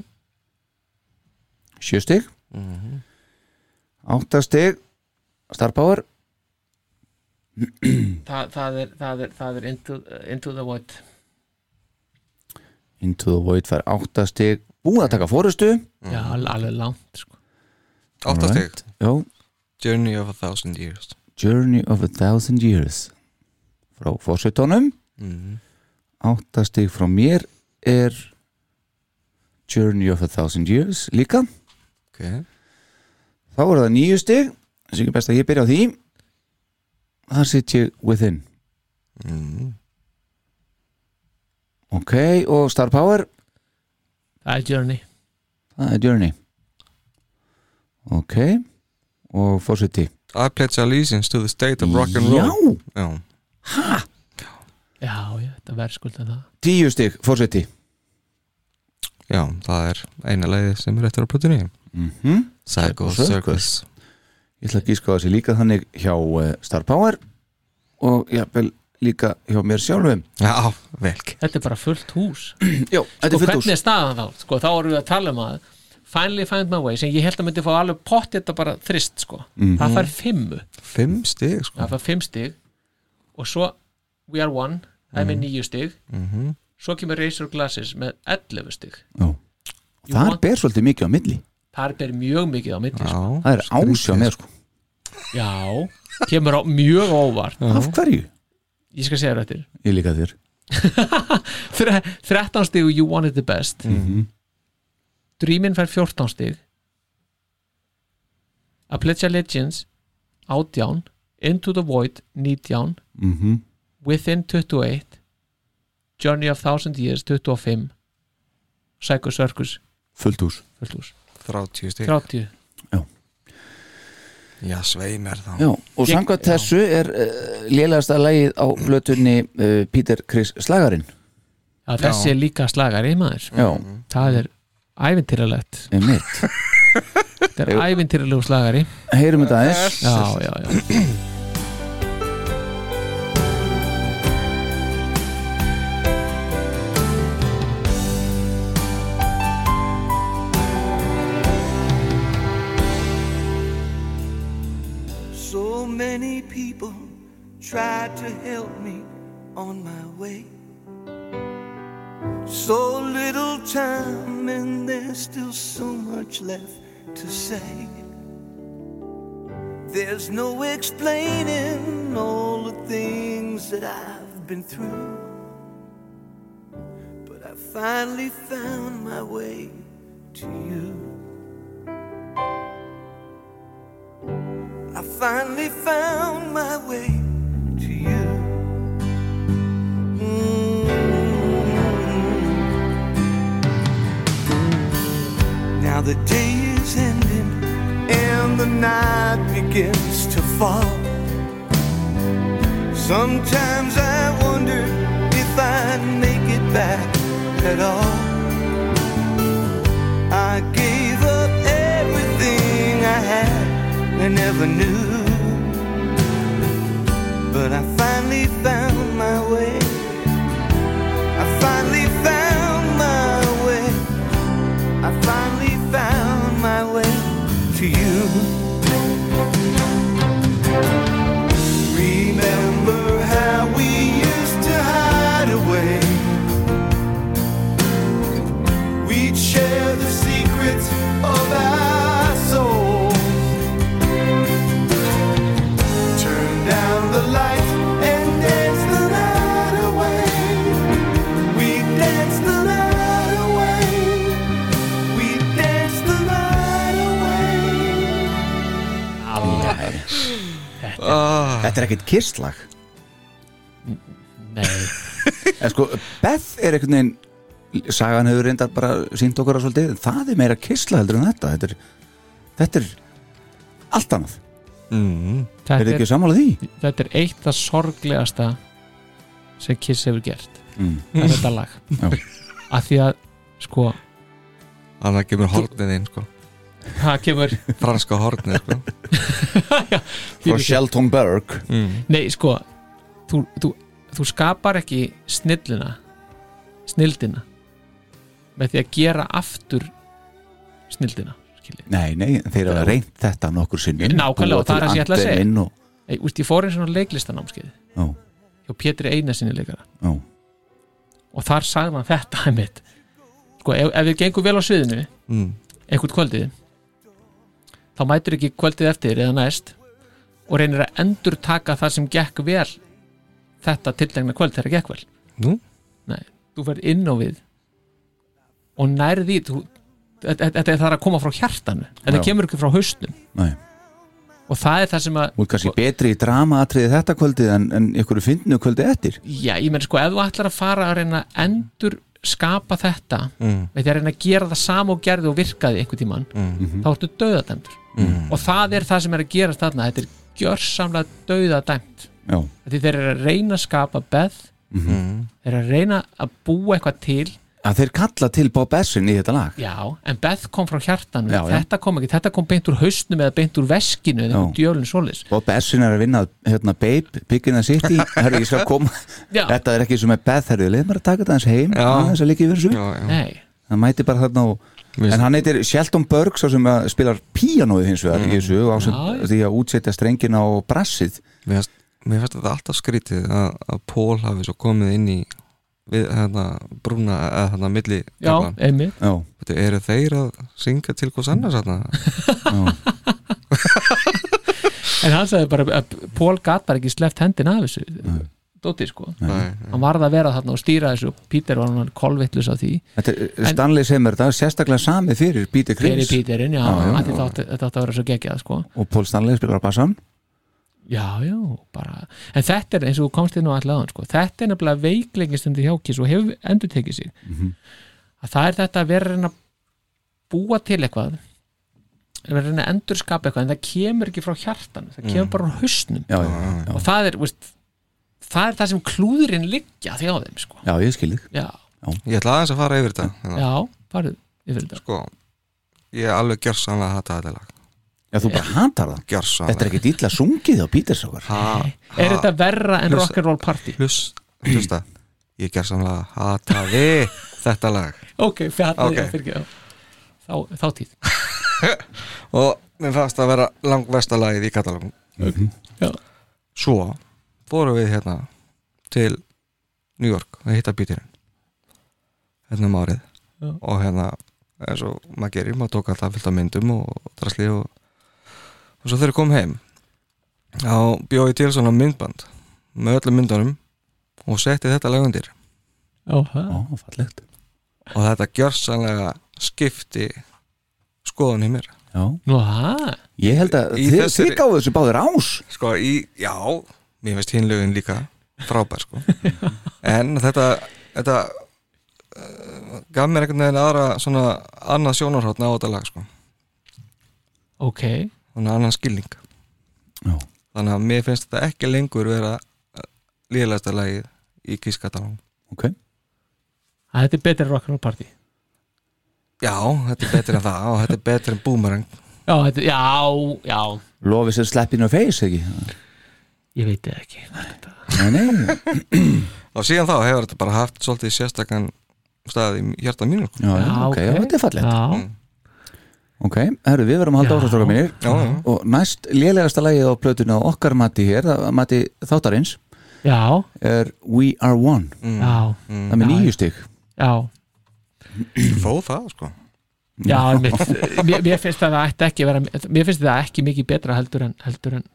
[SPEAKER 2] sjö stig
[SPEAKER 4] Mhm.
[SPEAKER 2] átta stig Star Power
[SPEAKER 3] Þa, það, er, það, er, það er into, into the void
[SPEAKER 2] Into the Void fær átta stig búið að taka fórustu
[SPEAKER 3] Já, al- alveg langt sko.
[SPEAKER 4] Átta stig
[SPEAKER 2] Alright. Já,
[SPEAKER 4] Journey of a thousand years
[SPEAKER 2] Journey of a Thousand Years frá Fossetónum
[SPEAKER 4] mm.
[SPEAKER 2] átta stig frá mér er Journey of a Thousand Years líka
[SPEAKER 4] Ok
[SPEAKER 2] þá eru það nýju stig þess ekki best að ég byrja á því þar sitt ég within
[SPEAKER 4] mm.
[SPEAKER 2] ok, og Star Power,
[SPEAKER 3] Það er journey
[SPEAKER 2] það er Journey ok og Fawcetti
[SPEAKER 4] I pledge allegiance to the state of rock and
[SPEAKER 2] já,
[SPEAKER 4] roll Já
[SPEAKER 3] Já, já, þetta verðskulda það
[SPEAKER 2] tíu stig Fawcetti
[SPEAKER 4] Já, það er eina leiði sem er eftir á plötunni
[SPEAKER 2] mm
[SPEAKER 4] Psycho
[SPEAKER 2] Circus.
[SPEAKER 4] Circus
[SPEAKER 2] ég ætla að gíska á þessi líka þannig hjá uh, Star Power eh, og jafnvel líka hjá mér sjálfum
[SPEAKER 4] Já, vel gert.
[SPEAKER 3] þetta er bara fullt hús
[SPEAKER 2] Jó, þetta
[SPEAKER 3] sko,
[SPEAKER 2] er fyrir
[SPEAKER 3] hvernig er staðan þá, sko, þá erum við að tala um að Finally Find My Way, sem ég held að myndi fá alveg pott þetta bara þrist, sko
[SPEAKER 2] Mhm.
[SPEAKER 3] það fær fimmu,
[SPEAKER 4] Fimm stig sko.
[SPEAKER 3] það fær fimm stig og svo We Are One það
[SPEAKER 2] Mhm.
[SPEAKER 3] er með níu stig svo kemur Razor Glasses með 11 stig
[SPEAKER 2] dós Það ber svolítið mikið á milli
[SPEAKER 3] þar ber mjög mikið á milli, sko.
[SPEAKER 4] Já,
[SPEAKER 2] Það er ásjá með sko
[SPEAKER 3] já kemur á mjög óvart
[SPEAKER 2] Af hverju?
[SPEAKER 3] ég skal segja þetta
[SPEAKER 2] Ég líka þér
[SPEAKER 3] Þre- 13 stig og You Want It The Best Dreamin fær 14 stig A Pledge of Legends 18 Into the Void 19
[SPEAKER 2] mm
[SPEAKER 3] Within 28 Journey of Thousand Years 25 Psycho Circus
[SPEAKER 2] Fullt hús
[SPEAKER 3] fullt hús,
[SPEAKER 4] 30 stig
[SPEAKER 3] 30
[SPEAKER 4] Já, svei mér þá
[SPEAKER 2] Já, og samkvæmt þessu er uh, lélagasta lagið á blötunni uh, Peter Chris Slagarinn
[SPEAKER 3] að þessi er líka slagar í maður
[SPEAKER 2] Já,
[SPEAKER 3] það er ævintýralegt
[SPEAKER 2] einmitt
[SPEAKER 3] það er ævintýralegu slagari
[SPEAKER 2] Heyrum þetta aðeins
[SPEAKER 3] já, já, já
[SPEAKER 5] So many people tried to help me on my way. So little time, and there's still so much left to say. There's no explaining all the things that I've been through. But I finally found my way to you. I finally found my way to you. Mm. Now the day is ending and the night begins to fall. Sometimes I wonder if I make it back at all. I gave up everything I had and never knew. But I finally found my way. I finally found my way. I finally found my way to you. Remember how we used to hide away. We'd share the secrets of our soul. Turn down the lights and dance the night away. We dance the night away. We dance the night away.
[SPEAKER 2] Þetta er ekkert kisslag
[SPEAKER 3] nei,
[SPEAKER 2] En sko, Beth er einhvern veginn Sagan hefur reyndar bara sínt okkur að svolítið en Það er meira kisla heldur en þetta Þetta er, þetta er allt annað
[SPEAKER 4] mm.
[SPEAKER 2] Er
[SPEAKER 3] þetta
[SPEAKER 2] þið
[SPEAKER 3] er
[SPEAKER 2] ekki sammála því?
[SPEAKER 3] þetta er eitt það sorglegasta sem Kiss hefur gert
[SPEAKER 2] Mm.
[SPEAKER 3] það er þetta lag
[SPEAKER 2] Já.
[SPEAKER 3] að því að sko
[SPEAKER 4] Þannig að kemur hornið inn sko.
[SPEAKER 3] það kemur
[SPEAKER 4] Franska hornið sko.
[SPEAKER 2] Frá Shelton Berg
[SPEAKER 4] Mm-hmm.
[SPEAKER 3] nei sko þú, þú, þú skapar ekki snillina snildina með því að gera aftur snildina skilji
[SPEAKER 2] Nei, nei, þeir hafa reynt þetta nokkur sinni
[SPEAKER 3] Nákvæmlega, og það er það sem ég ætla að segja.
[SPEAKER 2] og,
[SPEAKER 3] Ei, úst, ég fór eins og leiklistanámskeið
[SPEAKER 2] Já,
[SPEAKER 3] hjá Pétri Einarsinni leikara
[SPEAKER 2] já,
[SPEAKER 3] og þar sagði hann þetta einmitt sko ef, ef við gengum vel á sviðinu
[SPEAKER 4] mm.
[SPEAKER 3] einhvern kvöldið þá mætur ekki kvöldið eftir eða næst og reynir að endur taka það sem gekk vel þetta tiltegna kvöld þegar gekk vel
[SPEAKER 4] Nú?
[SPEAKER 3] Nei, þú verð inn á við og nærði þú, þetta, þetta er það að koma frá hjartanu þetta
[SPEAKER 2] Já.
[SPEAKER 3] kemur ekki frá haustum
[SPEAKER 2] nei
[SPEAKER 3] og það er það sem að
[SPEAKER 2] Þú er kannski betri í dramaatriði þetta kvöldið en, en ykkur fyndinu kvöldið eftir
[SPEAKER 3] já, ég meina sko, ef þú ætlar að fara að reyna að endur skapa þetta
[SPEAKER 4] Mm.
[SPEAKER 3] með því að reyna að gera það sama og gerði og virkaði einhvern tímann,
[SPEAKER 2] Mhm.
[SPEAKER 3] þá ertu döðadæmdur og það er það sem er að gera þarna þetta er gjörsamlega döðadæmt
[SPEAKER 2] Já, Mhm.
[SPEAKER 3] því þeir eru að reyna að skapa beð þeir eru að reyna að búa eitthvað til
[SPEAKER 2] að þeir kalla til Bob Essin í þetta lag
[SPEAKER 3] Já, en Beth kom frá hjartanu
[SPEAKER 2] Já, já.
[SPEAKER 3] þetta kom ekki, þetta kom beint úr hausnum eða beint úr veskinu eða
[SPEAKER 2] Já.
[SPEAKER 3] einhvern djölinn svolis
[SPEAKER 2] Bob Essin er að vinna hérna, Babe, Big in the City herri, ég skal koma,
[SPEAKER 3] Já.
[SPEAKER 2] þetta er ekki sem er Beth herri, leið maður að taka þetta hans heim
[SPEAKER 4] Já.
[SPEAKER 2] aðeins að líka yfir þessu,
[SPEAKER 4] já, já.
[SPEAKER 3] Nei,
[SPEAKER 2] hann mæti bara þarna og
[SPEAKER 4] Við-
[SPEAKER 2] en hann heitir Shelton Berg svo sem að spilar píanóið hins vegar í þessu, á sem,
[SPEAKER 3] Já, já.
[SPEAKER 2] því að útsetja strengina og brassið
[SPEAKER 4] Mér fannst- mér finnst þetta alltaf skrítið að, að Pól hafi svo komið inn í við hérna brúna eða hérna milli
[SPEAKER 3] já,
[SPEAKER 4] taflan.
[SPEAKER 3] einmitt
[SPEAKER 2] já,
[SPEAKER 4] Veitu, eru þeir að syngja til hvers annars hérna?
[SPEAKER 3] En hann sagði bara að Pól gat bara ekki sleppt hendin af þessu Dóti sko,
[SPEAKER 4] Nei,
[SPEAKER 3] hann varð að vera þarna og stýra þessu og Pítur var hann kolvittlus á því
[SPEAKER 2] þetta er
[SPEAKER 3] En-
[SPEAKER 2] Stanley sem er þetta sérstaklega sami fyrir Peter
[SPEAKER 3] Fyrir
[SPEAKER 2] Chris
[SPEAKER 3] Píturinn, já,
[SPEAKER 2] Já, já,
[SPEAKER 3] já,
[SPEAKER 2] já.
[SPEAKER 3] Þetta, átti, þetta átti að vera svo geggjað sko
[SPEAKER 2] og Paul Stanley spilar bassan
[SPEAKER 3] Já, já, bara En þetta er eins og þú komst inn á allan áðan, sko. Þetta er nefnilega veikleikinn sem þið hjákis og hefur endur tekið sig að það er þetta að vera að reyna að búa til eitthvað vera að reyna að endurskapa eitthvað en það kemur ekki frá hjartan það kemur bara á hausnum
[SPEAKER 2] já, já, já,
[SPEAKER 3] og það er, veist, það er það sem klúðurinn liggja því á þeim sko.
[SPEAKER 2] já, ég skil þig
[SPEAKER 3] Já,
[SPEAKER 4] Ég ætla aðeins að fara yfir þetta hérna.
[SPEAKER 3] já, farið yfir þetta
[SPEAKER 4] Sko, ég er alveg gjörsanlega að hata þetta lag
[SPEAKER 2] já, þú bara hatar það, þetta er
[SPEAKER 4] Gjörsanlega
[SPEAKER 2] ekki dýtla sungið á Peter Sákar
[SPEAKER 4] ha,
[SPEAKER 3] Er þetta verra en
[SPEAKER 4] Plus-
[SPEAKER 3] rock'n'roll party?
[SPEAKER 4] Hlust, hlusta Ég gjörsanlega hataði þetta lag
[SPEAKER 3] Ok, fjallar,
[SPEAKER 4] Ok.
[SPEAKER 3] okay. já, fyrir þá, þá tíð
[SPEAKER 4] Og mér fannst að vera langversta lagið í katalógum
[SPEAKER 2] Mhm.
[SPEAKER 3] Já.
[SPEAKER 4] Svo fórum við hérna til New York að hitta bítirinn hérna um árið
[SPEAKER 3] Já.
[SPEAKER 4] og hérna eins og maður gerir, maður tók alltaf fullt af myndum og drasli og og svo þegar ég kom heim þá bjóði ég til svona myndband með öllum myndunum og setti þetta lag undir
[SPEAKER 3] Já, það
[SPEAKER 2] Ó, fallegt
[SPEAKER 4] og þetta gjörsanlega skipti skoðun í mér
[SPEAKER 2] Já.
[SPEAKER 3] Nú, það
[SPEAKER 2] Ég held að
[SPEAKER 4] Í
[SPEAKER 2] þið,
[SPEAKER 4] þessari-
[SPEAKER 2] þið gáðu þessu báðir ás
[SPEAKER 4] sko í, já, mér finnst hinlögin líka frábær sko en þetta, þetta uh, gaf mér einhvern veginn aðra svona annað sjónarhóttna á þetta lag sko
[SPEAKER 3] Ok,
[SPEAKER 4] þannig annan skilning
[SPEAKER 2] Já.
[SPEAKER 4] þannig að mér finnst þetta ekki lengur vera líðlegasta lagið í kískatalán
[SPEAKER 2] okay.
[SPEAKER 3] að þetta er betra en rock'n'roll party
[SPEAKER 4] já, þetta er betur en það og þetta er betur en boomerang
[SPEAKER 3] Já, þetta, já, já
[SPEAKER 2] Lofið sér sleppinu og feis ekki
[SPEAKER 3] Ég veit það ekki
[SPEAKER 2] Nei, nei,
[SPEAKER 4] og síðan þá hefur þetta bara haft svolítið sérstakann staðið í hjarta mínu sko.
[SPEAKER 2] já, já, ok, já, þetta er fallegt Mm.
[SPEAKER 3] Já,
[SPEAKER 2] Ok, herru, við verðum að halda
[SPEAKER 3] Já.
[SPEAKER 2] áhrastróka mínir
[SPEAKER 4] Já, já.
[SPEAKER 2] Og næst lélegasta lagið á plötuna á okkar mati hér, það- mati þáttarins
[SPEAKER 3] já,
[SPEAKER 2] er We Are One
[SPEAKER 4] Mm.
[SPEAKER 3] já,
[SPEAKER 2] Það er með
[SPEAKER 3] Já, já.
[SPEAKER 2] nýju stig
[SPEAKER 3] já
[SPEAKER 4] þó það sko
[SPEAKER 3] Já, mitt, mér, mér finnst það að ætti ekki að vera Mér finnst það ekki mikið betra heldur en, heldur en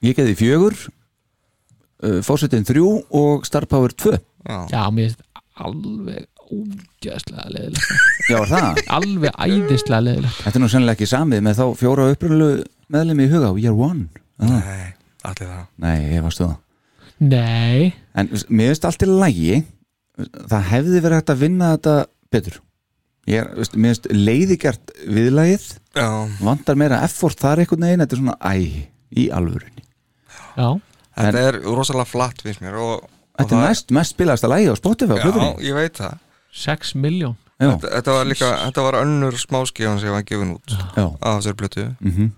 [SPEAKER 2] Ég geði fjögur uh, Fósettin þrjú og Star Power 2
[SPEAKER 4] já,
[SPEAKER 3] Já, mér finnst alveg ógæslega leðilegt
[SPEAKER 2] Já, var það
[SPEAKER 3] Alveg æðislega leðilegt
[SPEAKER 2] Þetta er nú sennilega ekki samið með þá fjóra upprunlu meðlum í huga We Are One ah,
[SPEAKER 4] nei, allir það
[SPEAKER 2] Nei, ég varstu það
[SPEAKER 3] Nei,
[SPEAKER 2] En mér finnst allt í lægi það hefði verið hægt að vinna þetta betur ég er, veist, mér finnst leiðigjart viðlægið
[SPEAKER 4] já,
[SPEAKER 2] vantar meira effort þar einhvern veginn þetta er svona æ, í alvörunni
[SPEAKER 3] já,
[SPEAKER 2] En-
[SPEAKER 4] Þetta er rosalega flatt finnst mér og, og
[SPEAKER 2] þetta er næst mest spilaðasta lægi á Spotify á
[SPEAKER 4] Já,
[SPEAKER 2] plötunni.
[SPEAKER 4] ég veit það
[SPEAKER 3] sex miljón
[SPEAKER 2] já,
[SPEAKER 4] þetta, þetta var líka, þetta var önnur smáskíðan sem var gefin út
[SPEAKER 2] já,
[SPEAKER 4] af þessari blötu
[SPEAKER 2] mm -hmm.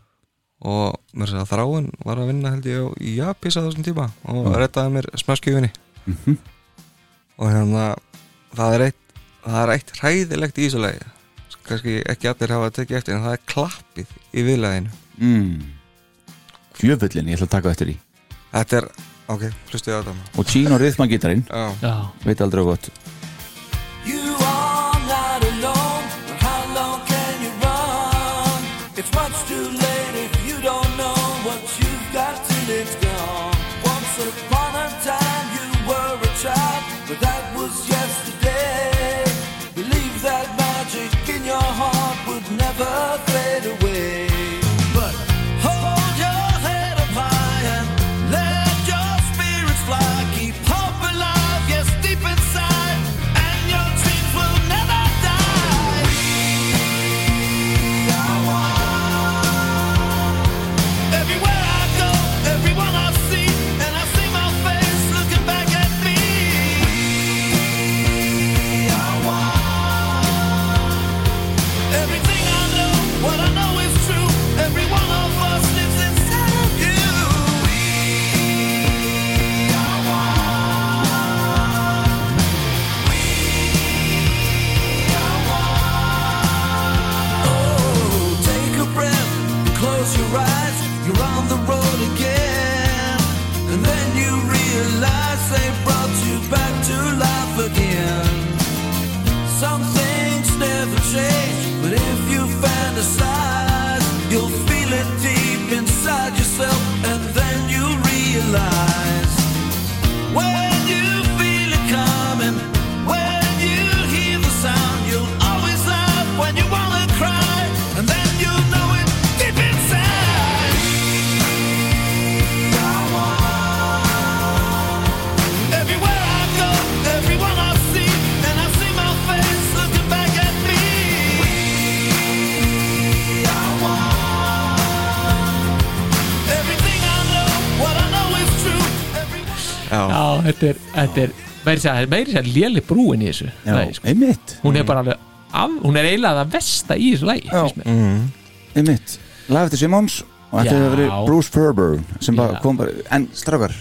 [SPEAKER 4] og mér sér að þráin var að vinna held ég á- í Japis á þessum tíma og rettaði mér smáskíðunni
[SPEAKER 2] Mhm.
[SPEAKER 4] og hérna það er eitt, það er eitt hræðilegt í þessu lagi kannski ekki allir hafa tekið eftir en það er klappið í viðlæðinu
[SPEAKER 2] mm. fjöfullin ég ætla að taka eftir í
[SPEAKER 4] Þetta er, ok, hlustu ég á þetta
[SPEAKER 2] og Gino Rithmagítarinn,
[SPEAKER 4] Já,
[SPEAKER 3] Já,
[SPEAKER 2] veit aldrei á gott
[SPEAKER 1] You are not alone, but how long can you run? It's much too late if you don't know what you've got till it's gone. Once upon a time you were a child, but that was yesterday. Believe that magic in your heart would never fade away. But hold your head up high and let your spirits fly. Keep hope alive, yes, deep inside, and your dreams will never die. Everywhere I go, everyone I see, and I see my
[SPEAKER 3] Já, þetta er, þetta er meiri sér, meiri sér léli brúin í þessu
[SPEAKER 2] Já,
[SPEAKER 3] lagi, sko.
[SPEAKER 2] einmitt,
[SPEAKER 3] Hún er bara alveg af, hún er eiginlega það vesta í þessu lagi
[SPEAKER 2] Já.
[SPEAKER 3] finnst mér.
[SPEAKER 2] einmitt Lag eftir Simons og þetta
[SPEAKER 3] Já.
[SPEAKER 2] hefur verið Bruce Fairburn sem bara
[SPEAKER 3] Já.
[SPEAKER 2] kom bara, en strákar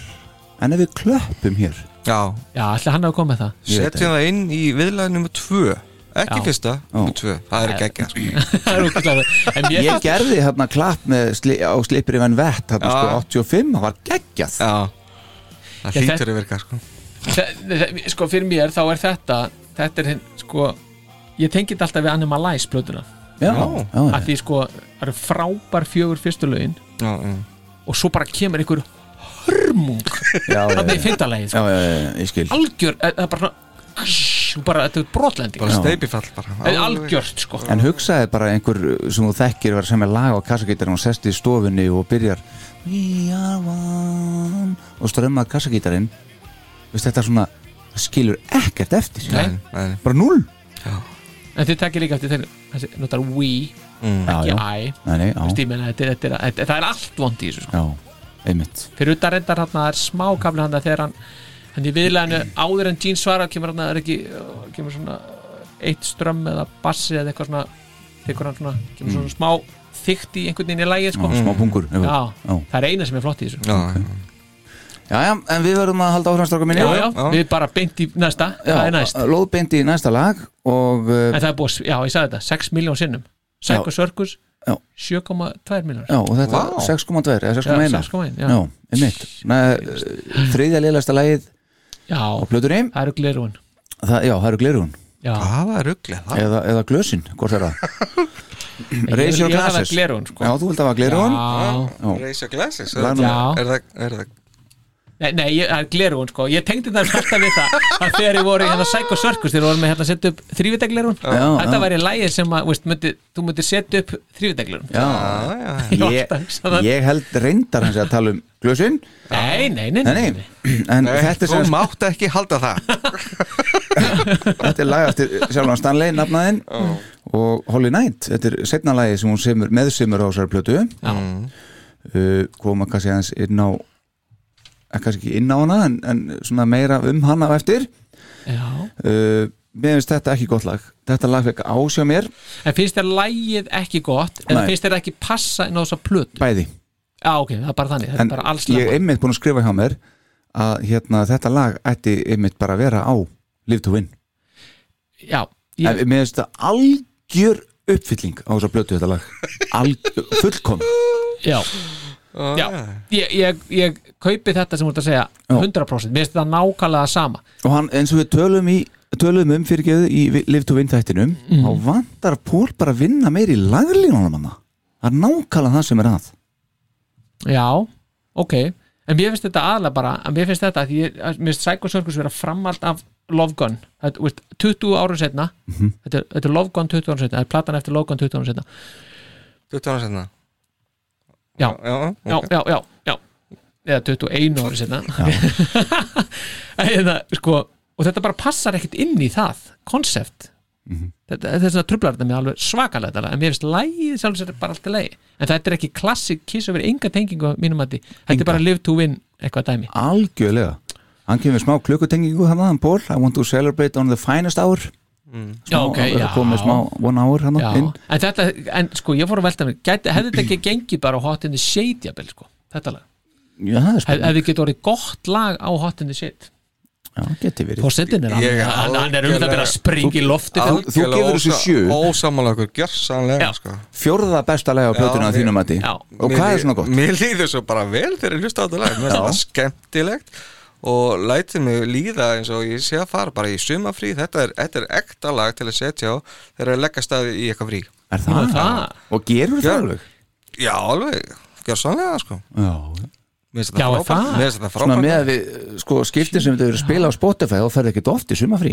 [SPEAKER 2] en ef við klöppum hér
[SPEAKER 4] já,
[SPEAKER 3] Já, alltaf hann hafa komið með það
[SPEAKER 2] Ég veit
[SPEAKER 4] setjum það inn í viðlæði nummer tvö ekki
[SPEAKER 3] Já.
[SPEAKER 4] fyrsta, nummer tvö, það er ekki ekki sko.
[SPEAKER 3] Það er ógeðslega- En mér
[SPEAKER 2] Ég
[SPEAKER 3] finnst-
[SPEAKER 2] gerði hérna klapp með sli, á slipir yfir en vett, hérna
[SPEAKER 4] Já.
[SPEAKER 2] sko 85 það var geggjað
[SPEAKER 4] já, það
[SPEAKER 3] Ég-
[SPEAKER 4] hlýtur að virka sko.
[SPEAKER 3] þe- þe- sko fyrir mér þá er þetta þetta er hinn sko ég tengi þetta alltaf við Animalize plötuna
[SPEAKER 2] Já,
[SPEAKER 4] Já.
[SPEAKER 2] já, já.
[SPEAKER 3] að því sko það eru frábær fjögur fyrstu lögin
[SPEAKER 4] já, já,
[SPEAKER 3] og svo bara kemur einhver hörmung
[SPEAKER 2] já, já,
[SPEAKER 3] þarna í
[SPEAKER 2] já,
[SPEAKER 3] fyndalegin
[SPEAKER 2] já,
[SPEAKER 3] sko.
[SPEAKER 2] já, já, ég skil
[SPEAKER 3] algjör, eh, það er bara svona ass, og bara þetta er brotlending
[SPEAKER 4] bara
[SPEAKER 2] Já.
[SPEAKER 4] steipifall bara
[SPEAKER 3] En
[SPEAKER 4] Alveg.
[SPEAKER 3] algjört sko
[SPEAKER 2] En hugsaði bara einhver sem þú þekkir var sem er lag á kassagítarinn og sest í stofunni og byrjar We are one og strömmað kassagítarinn Veist þetta er svona það skilur ekkert eftir
[SPEAKER 4] Nei, nei,
[SPEAKER 2] Bara null
[SPEAKER 3] En þið tekja líka eftir þeir þessi, notar we,
[SPEAKER 4] mm.
[SPEAKER 3] ekki
[SPEAKER 2] já,
[SPEAKER 3] I
[SPEAKER 2] Nei, nei,
[SPEAKER 3] Þú veist,
[SPEAKER 2] já,
[SPEAKER 3] ég meina, þetta, er- þetta, er- þetta, það er allt vond í þessu sko.
[SPEAKER 2] já, einmitt
[SPEAKER 3] Fyrir utan reyndar hann að það er smákafli hann þegar hann hann í viðleginu áður en Gene svarar kemur hann að það er ekki uh, kemur svona eitt strömm eða bassi eða eitthvað svona tekur hann svona kemur svona smá þykkt í einhvern veginn í
[SPEAKER 2] Mm. Já,
[SPEAKER 3] lægið sko.
[SPEAKER 2] Smá pungur eitthvað.
[SPEAKER 3] Já,
[SPEAKER 2] Já.
[SPEAKER 3] það er eina sem er flott í þessu
[SPEAKER 4] já, já.
[SPEAKER 2] já, já, en við verðum að halda áfram stráka minni
[SPEAKER 3] Já, já,
[SPEAKER 4] já.
[SPEAKER 3] við bara beint í næsta það er næst
[SPEAKER 2] Lóðbeint í næsta lag og uh,
[SPEAKER 3] En það er búið, að s- já ég sagði þetta, 6 miljón sinnum Psycho Circus,
[SPEAKER 2] Já.
[SPEAKER 3] 7,2 miljónar
[SPEAKER 2] Já, og þetta
[SPEAKER 4] Vá.
[SPEAKER 2] 6,2 eða 6,1
[SPEAKER 3] 6,1, já.
[SPEAKER 2] Já, einmitt Nei, Þriðja liðlæsta lagið
[SPEAKER 3] Já,
[SPEAKER 2] á plötunni
[SPEAKER 3] það eru glerun
[SPEAKER 2] Það- Já, það eru glerun
[SPEAKER 3] Já,
[SPEAKER 2] Ah,
[SPEAKER 4] það er rugglega það
[SPEAKER 2] eða, eða glösin, hvort er það?
[SPEAKER 3] Ég-
[SPEAKER 2] Raise your
[SPEAKER 3] ég held að það
[SPEAKER 2] glasses.
[SPEAKER 3] var glerun sko. Ah.
[SPEAKER 2] Já, þú vilt hafa glerun
[SPEAKER 3] Já.
[SPEAKER 2] Já.
[SPEAKER 4] Raise your glasses
[SPEAKER 2] Lag númer-
[SPEAKER 4] er
[SPEAKER 3] Já.
[SPEAKER 4] það, er það, er það
[SPEAKER 3] Nei, nei, ég- það er glerun sko Ég tengdi það alltaf við það að þegar ég voru í hérna Psycho Circus þegar voru með hérna að setja upp þrývitaglerun Þetta
[SPEAKER 2] já.
[SPEAKER 3] væri lægið sem að, veist, myndi, þú myndir setja upp þrývitaglerun
[SPEAKER 2] Já,
[SPEAKER 4] já, já, já.
[SPEAKER 3] var
[SPEAKER 2] ég,
[SPEAKER 3] alltaf að hugsa það.
[SPEAKER 2] ég held reyndar hans að tala um glösin
[SPEAKER 3] Nei, nei,
[SPEAKER 2] Nei,
[SPEAKER 3] nei,
[SPEAKER 2] nei, en
[SPEAKER 4] Nei,
[SPEAKER 2] þetta er
[SPEAKER 4] þú
[SPEAKER 2] sem
[SPEAKER 4] mátt ekki halda það
[SPEAKER 2] Þetta er lag eftir sjálfan Stanley, nafnaðinn og Holly Knight, þetta er setna lagi sem hún semur, meðsemur á þessari plötu
[SPEAKER 3] Já.
[SPEAKER 2] Mm. uh, koma kannski aðeins inn á eh, kannski ekki inn á hana en, en svona meira um hana á eftir
[SPEAKER 3] Já.
[SPEAKER 2] uh, mér finnst þetta ekki gott lag þetta lag fekk ásjá mér
[SPEAKER 3] En finnst þér lægið ekki gott eða
[SPEAKER 2] Nei.
[SPEAKER 3] finnst þér ekki passa inn á þessa plötu?
[SPEAKER 2] bæði
[SPEAKER 3] Já, ok, það er bara þannig, þetta
[SPEAKER 2] en
[SPEAKER 3] er bara alls
[SPEAKER 2] ég
[SPEAKER 3] lag
[SPEAKER 2] er einmitt búin að skrifa hjá mér að hérna, þetta lag ætti einmitt bara að vera á Live to Win
[SPEAKER 3] Já,
[SPEAKER 2] yeah.
[SPEAKER 3] ég,
[SPEAKER 2] mér finnst þetta algjör uppfylling á þess að blötu þetta lag algjör, fullkom
[SPEAKER 3] já, já ég, ég, ég kaupi þetta sem þú ert að segja 100%, mér finnst þetta nákvæmlega sama
[SPEAKER 2] og hann, eins og við tölum í tölum um fyrirgeðu í Vi- Live to Win þættinum
[SPEAKER 3] Mhm.
[SPEAKER 2] þá vantar Pól bara að vinna meir í laglínunum hann það er nákvæmlega það sem er að
[SPEAKER 3] Já, ok En mér finnst þetta aðlega bara að Mér finnst þetta að ég, að mér finnst Psycho Circus vera framald af Love Gun þetta, þú veist, 20 árum setna
[SPEAKER 2] Mhm.
[SPEAKER 3] þetta, er- þetta er Love Gun 20 árum setna Það er platan eftir Love Gun 20 árum setna
[SPEAKER 4] 20 ára senna
[SPEAKER 3] Já.
[SPEAKER 4] já,
[SPEAKER 3] Já, já, já, já Eða 21 árum setna Eða, sko, Og þetta bara passar ekkit inn í það Konsept
[SPEAKER 2] Mhm.
[SPEAKER 3] Þetta þetta er svona trublar þetta mér alveg svakalega þetta lag. en mér finnst lægið sjálfum sér bara allt í lagi en þetta er ekki klassik kiss over enga tengingu að mínum að því, þetta er bara live to win eitthvað dæmi
[SPEAKER 2] algjörlega hann kemur með smá klukkutengingu hann hann Pól I want to celebrate on the finest hour smá,
[SPEAKER 3] Já, ok, já.
[SPEAKER 2] komið smá one hour hann
[SPEAKER 3] Já,
[SPEAKER 2] inn
[SPEAKER 3] en þetta, en sko, ég fór að velta mig gæti, hefði þetta ekki gengið bara á Hot in the Shade jafnvel, sko, þetta lag,
[SPEAKER 2] já, það er
[SPEAKER 3] Hef,
[SPEAKER 2] spennandi,
[SPEAKER 3] hefði getið orðið gott lag á Hot in the Shade
[SPEAKER 2] já, geti verið
[SPEAKER 3] Fórsetin er hann,
[SPEAKER 4] Ég er
[SPEAKER 3] hann, hann er um það að byrja að
[SPEAKER 4] algjörlega-
[SPEAKER 3] springa í lofti
[SPEAKER 2] Þú- þú gefur þessu sjö.
[SPEAKER 4] Ósamála okkur, gjörsanlega
[SPEAKER 3] Já.
[SPEAKER 4] sko.
[SPEAKER 2] fjórða besta lega á plötuna
[SPEAKER 4] Já,
[SPEAKER 2] að þínum að því
[SPEAKER 3] já.
[SPEAKER 2] og hvað
[SPEAKER 4] Mér-
[SPEAKER 2] er svona gott?
[SPEAKER 4] Mér líður svo bara vel þegar ég hlusta á þetta lag Mér finnst það skemmtilegt og lætið mig líða eins og ég sé að fara bara í sumafrí Þetta er, þetta er ekta lag til að setja á þegar ég leggja staði í eitthvað frí
[SPEAKER 2] er það?
[SPEAKER 3] Já, Ah, það.
[SPEAKER 2] og gerur
[SPEAKER 4] Já.
[SPEAKER 2] það alveg?
[SPEAKER 4] Já, alveg, gjörsanlega sko
[SPEAKER 2] Já.
[SPEAKER 4] Mér finnst
[SPEAKER 3] Já,
[SPEAKER 4] þetta
[SPEAKER 3] er
[SPEAKER 4] frábært.
[SPEAKER 3] það?
[SPEAKER 4] Mér finnst þetta
[SPEAKER 2] svona
[SPEAKER 4] frábært
[SPEAKER 2] með að við sko, skiptin sem þau eru að spila á Spotify þá ferði ekkert oft í sumafrí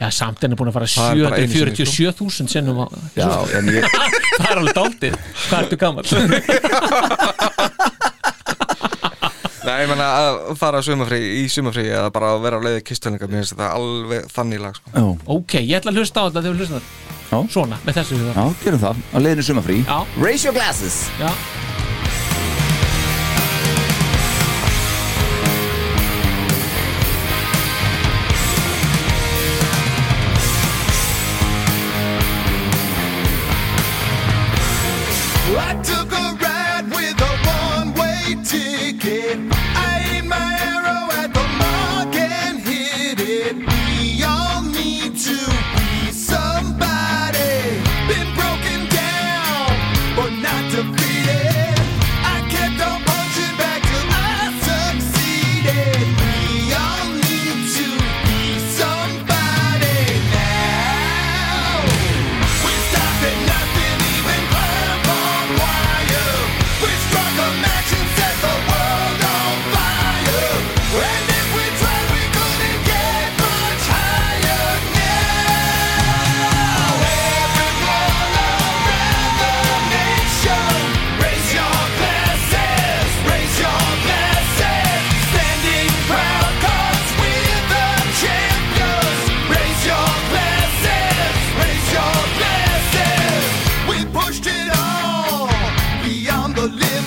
[SPEAKER 3] Já, samt henni búin að fara
[SPEAKER 4] Það er bara einu sinni,
[SPEAKER 3] 747.000 sinnum á,
[SPEAKER 2] já, en ég,
[SPEAKER 3] það er alveg dáltið hvað ertu gammal?
[SPEAKER 4] Nei, ég menna að fara sumafrí, í sumafrí eða bara að vera á leiði kistölinga Mér finnst þetta alveg þannig lag sko.
[SPEAKER 2] já,
[SPEAKER 3] ok, ég ætla að hlusta á þetta þegar við hlusta á þetta
[SPEAKER 2] Já.
[SPEAKER 3] svona, með þessu huga.
[SPEAKER 2] já, gerum það á leiðinu sumafrí
[SPEAKER 3] Já.
[SPEAKER 2] Raise your glasses
[SPEAKER 3] Já.
[SPEAKER 1] I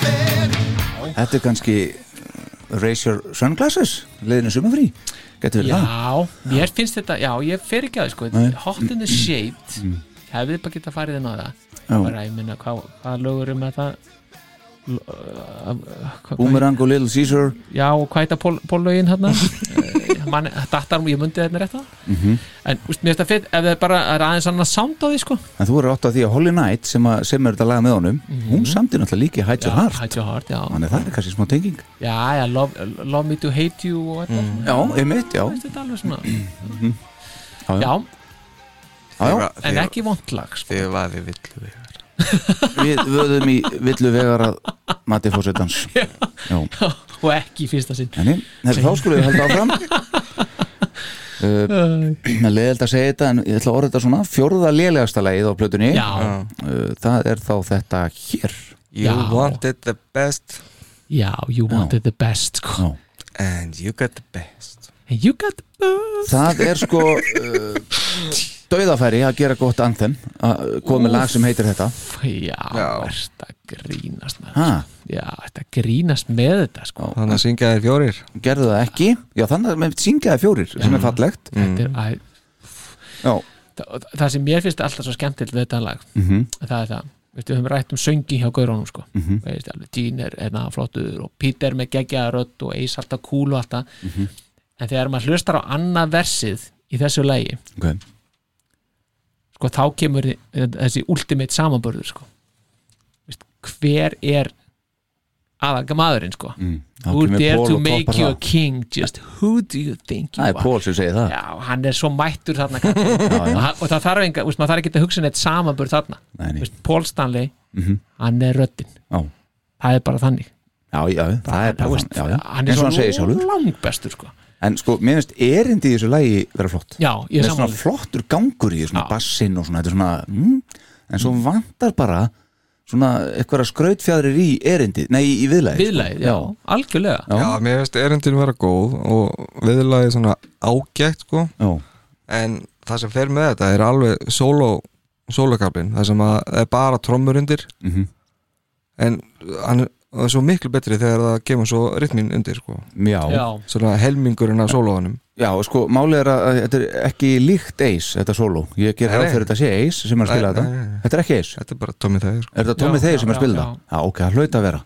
[SPEAKER 2] þetta er kannski uh, Raise Your Sunglasses liðinu sumafrí, getur verið það
[SPEAKER 3] Já, mér finnst þetta, já, ég fer ekki að því, sko,
[SPEAKER 2] Nei.
[SPEAKER 3] Hot in the Shade hefði bara geta farið inn á það bara, ég minna, hvað, hvað lögur um þetta L- uh, hvað-
[SPEAKER 2] Boomerang og Little Caesar
[SPEAKER 3] já, og hvað heita pól- póllögin hérna Man, dattar, ég myndi þetta rétt það
[SPEAKER 2] Mhm.
[SPEAKER 3] en, úst, mér finnst það fyrir, ef það er bara það er aðeins annað sound á því, sko
[SPEAKER 2] en þú eru átt á því að Holly Knight sem, að, sem er þetta lag með honum
[SPEAKER 3] Mhm.
[SPEAKER 2] hún samtir náttúrulega líki Hide Your Heart
[SPEAKER 3] Hide Your Heart, já,
[SPEAKER 2] þannig að það er kannski smá tenging
[SPEAKER 3] já, já love, love Me To Hate You og þetta, mm.
[SPEAKER 2] já, einmitt, já,
[SPEAKER 3] finnst þetta alveg svona
[SPEAKER 2] Mhm. Já, já.
[SPEAKER 3] já,
[SPEAKER 2] já, já.
[SPEAKER 3] en ekki vondlag, sko
[SPEAKER 4] Þið vaði villu við
[SPEAKER 2] við vöðum í villu vegar að mati fórsetans já
[SPEAKER 3] og ekki í fyrsta sinn
[SPEAKER 2] Þannig, þessi þá skulum við halda áfram uh, Með leðild að segja þetta en ég ætla að orða þetta svona fjórða lélegasta lagið á plötunni
[SPEAKER 3] já,
[SPEAKER 2] Uh, það er þá þetta hér
[SPEAKER 4] You
[SPEAKER 3] Já.
[SPEAKER 4] wanted the best
[SPEAKER 3] já, you wanted the best, sko
[SPEAKER 2] Já.
[SPEAKER 4] and you got the best
[SPEAKER 3] And you got the best
[SPEAKER 2] það er sko uh, dauðafæri að gera gott anthem að koma með lag sem heitir þetta
[SPEAKER 3] Já,
[SPEAKER 4] Já.
[SPEAKER 3] ert að grínast með
[SPEAKER 2] ha,
[SPEAKER 3] Já, ert að grínast með þetta sko.
[SPEAKER 2] Já.
[SPEAKER 4] Þannig að syngja þér fjórir
[SPEAKER 2] gerðu það ekki já þannig að með syngjaði fjórir sem er
[SPEAKER 4] Mm.
[SPEAKER 2] fallegt
[SPEAKER 3] Þetta er að,
[SPEAKER 2] já,
[SPEAKER 3] það, það sem mér finnst alltaf svo skemmtilegt við þetta lag
[SPEAKER 2] mm
[SPEAKER 3] það er það, veistu, við höfum rætt um söngi hjá Gaurunum sko,
[SPEAKER 2] Mhm.
[SPEAKER 3] veistu, alveg Dín er hérna flottur og Pítur með geggjaðarödd og Eis alltaf kúl og alltaf
[SPEAKER 2] Mhm.
[SPEAKER 3] en þegar maður hlustar á annað versið í þessu lagi,
[SPEAKER 2] ok
[SPEAKER 3] sko þá kemur þi- þessi ultimate samanbörður sko Veistu, hver er aðalga maðurinn sko
[SPEAKER 2] mm. Þá
[SPEAKER 3] Who
[SPEAKER 2] kemur
[SPEAKER 3] dare
[SPEAKER 2] Paul
[SPEAKER 3] to
[SPEAKER 2] og
[SPEAKER 3] make
[SPEAKER 2] toppar
[SPEAKER 3] you a
[SPEAKER 2] það.
[SPEAKER 3] king Just who do you think you
[SPEAKER 2] það er
[SPEAKER 3] are
[SPEAKER 2] Pól sem segir það
[SPEAKER 3] Já, hann er svo mættur þarna kallinn.
[SPEAKER 2] Ah. já.
[SPEAKER 3] og, hann- og það þarf enga, úst, maður þarf ekki að hugsa neitt samanburð þarna
[SPEAKER 2] Nei, nei.
[SPEAKER 3] Úst, Paul Stanley,
[SPEAKER 2] Mhm.
[SPEAKER 3] hann er röddin
[SPEAKER 2] Já.
[SPEAKER 3] það er bara þannig
[SPEAKER 2] já, já, það er bara
[SPEAKER 3] veist,
[SPEAKER 2] þannig, já, já.
[SPEAKER 3] hann
[SPEAKER 2] eins og hann
[SPEAKER 3] er
[SPEAKER 2] segir sjálfur
[SPEAKER 3] svo langbestur sko.
[SPEAKER 2] En sko, mér finnst erindi í þessu lagi vera flott
[SPEAKER 3] Já,
[SPEAKER 2] Mér
[SPEAKER 3] ég er
[SPEAKER 2] finnst svona
[SPEAKER 3] samanlega
[SPEAKER 2] flottur gangur í svona
[SPEAKER 3] Já.
[SPEAKER 2] bassinn og svona, þetta er svona mm, En svo vantar bara svona eitthvað skrautfjadrir í erindi Nei, í sko. viðlagi
[SPEAKER 3] Viðlæð, já, algjörlega
[SPEAKER 2] Já.
[SPEAKER 4] Já, mér finnst erindin vera góð og viðlaði svona ágætt sko
[SPEAKER 2] Já,
[SPEAKER 4] en það sem fer með þetta er alveg solo, solokablin það sem að það er bara trommur undir
[SPEAKER 2] Mhm.
[SPEAKER 4] en hann er- það er svo miklu betri þegar það kemur svo rytmin undir sko
[SPEAKER 2] já,
[SPEAKER 3] Já,
[SPEAKER 2] já,
[SPEAKER 4] svona helmingurinn af sólóðanum
[SPEAKER 2] sko, málið er að að þetta er ekki líkt eis, þetta sóló Ég ger
[SPEAKER 4] Nei,
[SPEAKER 2] ráð
[SPEAKER 4] nei.
[SPEAKER 2] fyrir þetta sé eis sem er að spila
[SPEAKER 4] Nei,
[SPEAKER 2] þetta
[SPEAKER 4] nei, nei, nei.
[SPEAKER 2] Þetta er ekki eis,
[SPEAKER 4] þetta er bara Tommy Thayer sko.
[SPEAKER 2] er þetta Tommy
[SPEAKER 3] Já,
[SPEAKER 2] Þeir
[SPEAKER 3] já,
[SPEAKER 2] sem er að
[SPEAKER 3] já,
[SPEAKER 2] spila
[SPEAKER 3] já.
[SPEAKER 2] það? Já, ok, það hlaut að vera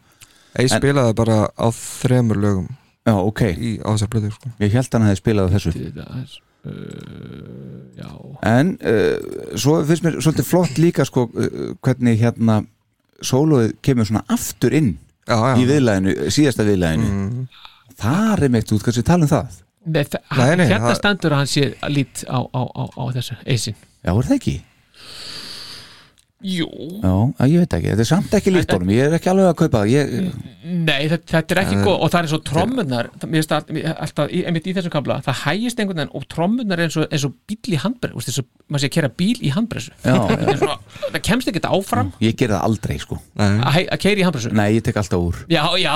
[SPEAKER 4] Ég
[SPEAKER 2] En-
[SPEAKER 4] spilaði bara á þremur lögum
[SPEAKER 2] Já, ok,
[SPEAKER 4] í ásarblöðu sko.
[SPEAKER 2] ég held hann að þið spilaði þessu
[SPEAKER 3] þetta er uh, Já,
[SPEAKER 2] en uh, svo finnst mér svolítið flott líka sko uh, hvernig hérna sólóið kemur svona aftur inn
[SPEAKER 4] já, já.
[SPEAKER 2] í viðlæðinu, síðasta viðlæðinu
[SPEAKER 4] Mm,
[SPEAKER 2] þar er meitt út kannski tala um það
[SPEAKER 3] Nei, þa-
[SPEAKER 4] Nei, nei,
[SPEAKER 3] hérna
[SPEAKER 4] það-
[SPEAKER 3] stendur að hann sé lít á, á, á, á þessu eisin
[SPEAKER 2] já, er það ekki?
[SPEAKER 3] Jú
[SPEAKER 2] Já, að ég veit ekki, þetta er samt ekki líkt honum ég er ekki alveg að kaupa það ég,
[SPEAKER 3] Nei, þetta, þetta er ekki góð og það er eins og trommunar mér finnst það mér- alltaf, í- einmitt í þessum kabla það hægist einhvern veginn og trommunar er eins og, eins og bíl í handbreysu, eins og maður sé að kera bíl í handbreysu
[SPEAKER 2] já, já,
[SPEAKER 3] það kemst ekki áfram
[SPEAKER 2] ég ger það aldrei sko
[SPEAKER 4] nei,
[SPEAKER 3] að, hæ- að keira í handbreysu
[SPEAKER 2] nei, ég tek alltaf úr
[SPEAKER 3] Já, já,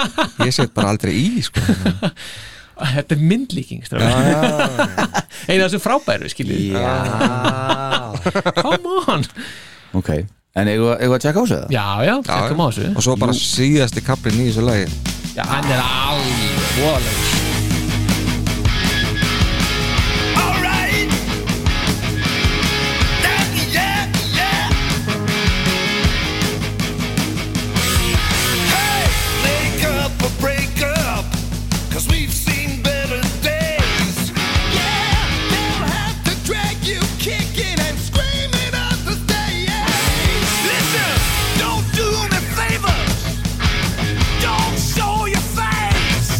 [SPEAKER 4] ég set bara aldrei í sko.
[SPEAKER 3] þetta er myndlíking strákar. eina af þessu frábæru skiljið, come on
[SPEAKER 2] ok, en eigum við- eigum við að tjekka á sig það?
[SPEAKER 3] Já, já, þetta má þessu
[SPEAKER 4] og svo bara síðasti kaplin í þessu lagi
[SPEAKER 3] Já, hann er alveg volegur
[SPEAKER 1] Alright. That- yeah, yeah. Hey, make up or break up, 'cause we've seen better days. Yeah, they'll have to drag you kicking and screaming out the stage. Listen, don't do me favors. Don't show your face.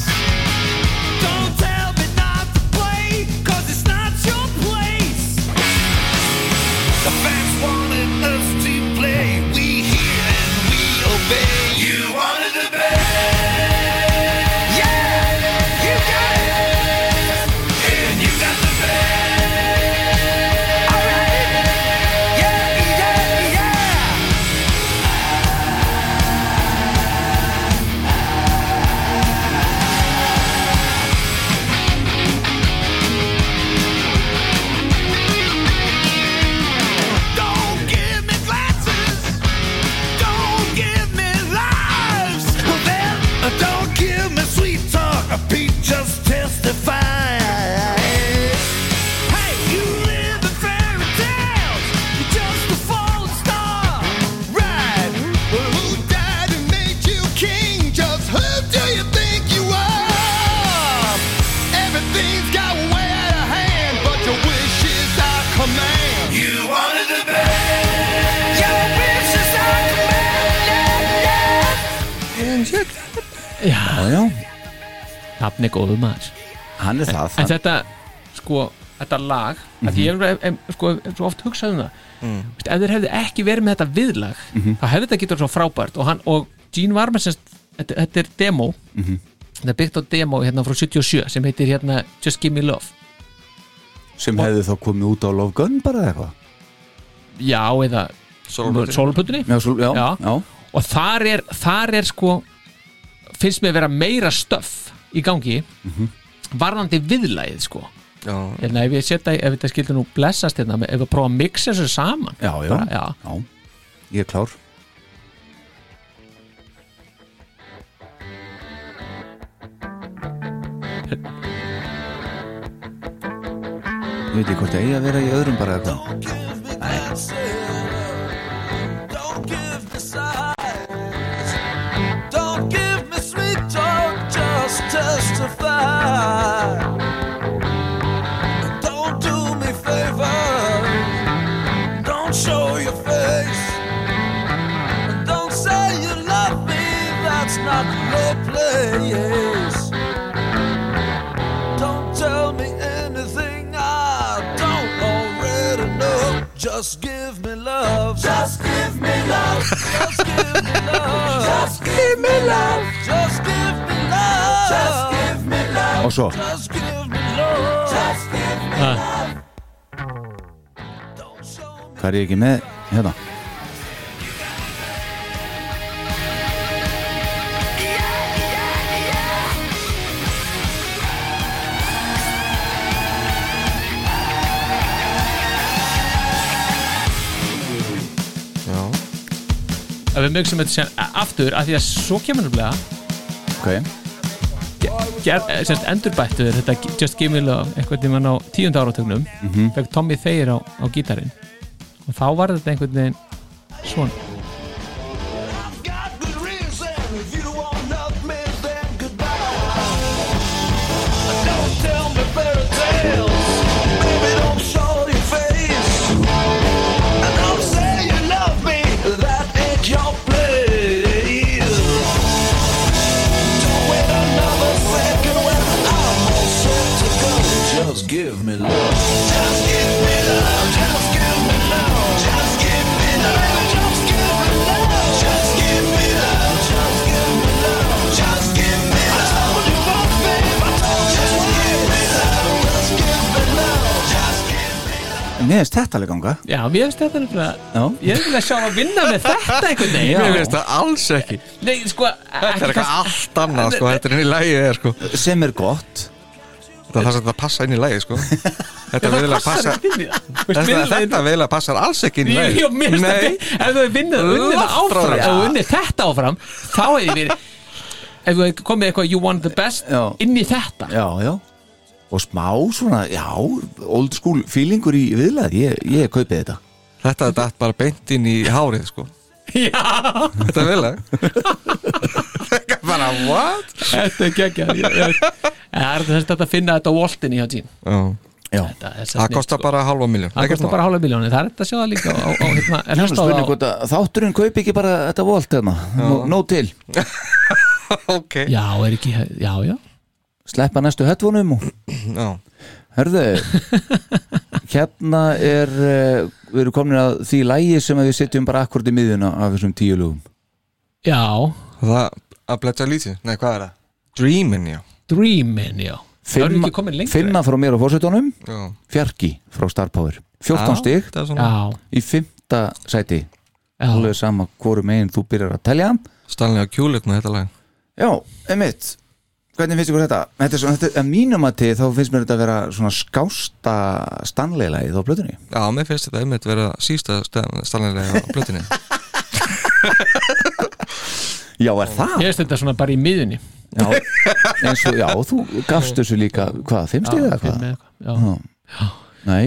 [SPEAKER 1] Don't tell me not to play, 'cause it's not your place. The fans wanted us to play. We hear and we obey. You wanted to play. Yeah, you uh,
[SPEAKER 2] já,
[SPEAKER 3] nafni góðu maður
[SPEAKER 2] hann er það
[SPEAKER 3] en
[SPEAKER 2] hann,
[SPEAKER 3] þetta, sko, þetta lag mm
[SPEAKER 2] Mhm.
[SPEAKER 3] því ég hef em, sko, hef svo oft hugsað um það
[SPEAKER 2] Mm.
[SPEAKER 3] Vist, ef þeir hefði ekki verið með þetta viðlag
[SPEAKER 2] Mhm.
[SPEAKER 3] þá hefði þetta getur svo frábært og, hann, og Gene var með semst þetta, þetta er demo
[SPEAKER 2] Mhm.
[SPEAKER 3] þetta er byggt á demo hérna frá 77 sem heitir hérna Just Give Me Love
[SPEAKER 2] sem hefði þá komið út á Love Gun bara eða eitthvað
[SPEAKER 3] já, eða sólputunni
[SPEAKER 2] já, svo, já, já.
[SPEAKER 3] Já. og þar er, þar er sko finnst mér vera meira stöff í gangi
[SPEAKER 2] Mhm.
[SPEAKER 3] varðandi viðlagið sko
[SPEAKER 4] já,
[SPEAKER 3] hérna, ef ég setja, ef þetta skildur nú blessast hérna, ef við prófa að mixa þessu saman
[SPEAKER 2] Já, já.
[SPEAKER 3] Bara, já.
[SPEAKER 2] ég er klár ég veit ekki hvort það eigi að vera í öðrum bara hérna. eða eitthvað
[SPEAKER 1] Don't give me sighs. Don't give me sweet talk, just testify. Don't do me favors. Don't show your face. Don't say you love me, that's not no place. Don't tell me anything I don't already know. Just give me love. Just give me love. Just give me love. Just give me love. Just give me love. Just give me love.
[SPEAKER 2] og svo,
[SPEAKER 1] Just give me love. Just give me
[SPEAKER 3] Ah.
[SPEAKER 1] love. Don't show me.
[SPEAKER 2] hvað er ég ekki með hérna
[SPEAKER 4] já,
[SPEAKER 3] ef við mixum þetta sem, aftur, af því að svo kemur nefnilega
[SPEAKER 2] ok,
[SPEAKER 3] ger, eh, semst endurbættuður þetta Just Give Me Love einhvern tímann á tíundu áratögnum mm
[SPEAKER 4] Mhm.
[SPEAKER 3] -hmm. fekk Tommy Thayer á, á gítarinn og þá var þetta einhvern veginn svona
[SPEAKER 1] Got good reason. If you won't help me, then goodbye. Don't tell me fairy tales. Baby, don't show your face. And don't say you love me. That ain't your place. Don't wait another second when I'm all set to go. Just give me love. Just give me love. Just give me love. Just give me love. Just give me love. Just give me love. Just give me love. Just give me love. I told you once, babe. I told you Just give me love. Just give me love. Just give me love.
[SPEAKER 2] mér finnst þetta alveg ganga
[SPEAKER 3] já, mér finnst þetta nefnilega
[SPEAKER 2] Já.
[SPEAKER 3] ég vil að sjá að vinna með þetta einhvern veginn
[SPEAKER 4] mér finnst það alls ekki
[SPEAKER 3] nei, sko,
[SPEAKER 4] þetta er
[SPEAKER 3] ekki
[SPEAKER 4] eitthvað
[SPEAKER 3] kannski-
[SPEAKER 4] allt annað sko, þetta er inn í lægi er, sko.
[SPEAKER 2] sem er gott
[SPEAKER 4] það er það sem þetta passa inn í lægi sko. þetta
[SPEAKER 3] það
[SPEAKER 4] viðlega
[SPEAKER 3] passar
[SPEAKER 4] passa
[SPEAKER 3] ekki inn í það Þú veist,
[SPEAKER 4] þetta,
[SPEAKER 3] viðlagið-
[SPEAKER 4] þetta viðlega passar alls ekki inn í
[SPEAKER 3] Jú,
[SPEAKER 4] lægi
[SPEAKER 3] jú, mér finnst
[SPEAKER 4] Nei.
[SPEAKER 3] þetta Ef þú vinnir unnið það
[SPEAKER 4] Langt frá
[SPEAKER 3] áfram
[SPEAKER 4] því.
[SPEAKER 3] Ef þú unnið þetta áfram Þá hefði verið Ef þú hefði komið eitthvað You want the best
[SPEAKER 2] Já.
[SPEAKER 3] Inn í þetta
[SPEAKER 2] já, já og smá svona, já, old school feelingur í viðlað, ég, ég kaupið þetta
[SPEAKER 4] þetta er datt bara beint inn í hárið sko.
[SPEAKER 3] Já
[SPEAKER 4] þetta viðlega þetta er bara what
[SPEAKER 3] Þetta er geggja Það er þess að finna þetta á voltinni hjá Jean
[SPEAKER 4] já.
[SPEAKER 2] já,
[SPEAKER 3] Þetta er sem
[SPEAKER 4] það
[SPEAKER 3] snill,
[SPEAKER 4] kostar
[SPEAKER 3] sko.
[SPEAKER 4] bara halva miljón
[SPEAKER 3] Það kostar bara hálfa miljóni Það er þetta að sjá það líka á, á, hérna, en hlusta á
[SPEAKER 2] spurning
[SPEAKER 3] það á-
[SPEAKER 2] hvort að þátturinn kaupi ekki bara þetta volt hérna, Nú- nóg til
[SPEAKER 4] ok já.
[SPEAKER 3] Já, er ekki Já, já
[SPEAKER 2] sleppa næstu headphone-um og Herðu, hérna er eh, við erum komin að því lægi sem að við setjum bara akkurat í miðjuna af þessum tíu lögum
[SPEAKER 3] Já
[SPEAKER 4] það að bletja lítið nei hvað er það dreamin já,
[SPEAKER 3] Dreamin, já Það eru ekki komin lengur
[SPEAKER 2] finna frá mér og fórsetunum
[SPEAKER 4] já.
[SPEAKER 2] Fjarki frá Star Power 14
[SPEAKER 4] Já,
[SPEAKER 2] stig
[SPEAKER 4] þetta er svona-
[SPEAKER 3] Já,
[SPEAKER 2] í fymta sæti
[SPEAKER 3] já
[SPEAKER 2] alveg sama hvoru megin þú byrjar að telja
[SPEAKER 4] Stanley og Kulik með þetta lag
[SPEAKER 2] Já, einmitt Hvernig finnst ykkur þetta? Þetta er svona, þetta, að mínum að til þá finnst mér þetta að vera svona skásta stanleilagið á blöðunni
[SPEAKER 4] Já, mér finnst þetta einmitt vera sísta stanlega á blötinni
[SPEAKER 2] Já, er það?
[SPEAKER 3] Ég veist þetta svona bara í miðunni
[SPEAKER 2] Já, eins og, já, þú gafst þessu líka, hvað, fimm stig eða
[SPEAKER 3] fimm
[SPEAKER 2] hvað?
[SPEAKER 3] eða eitthvað, Já,
[SPEAKER 2] Já. Nei,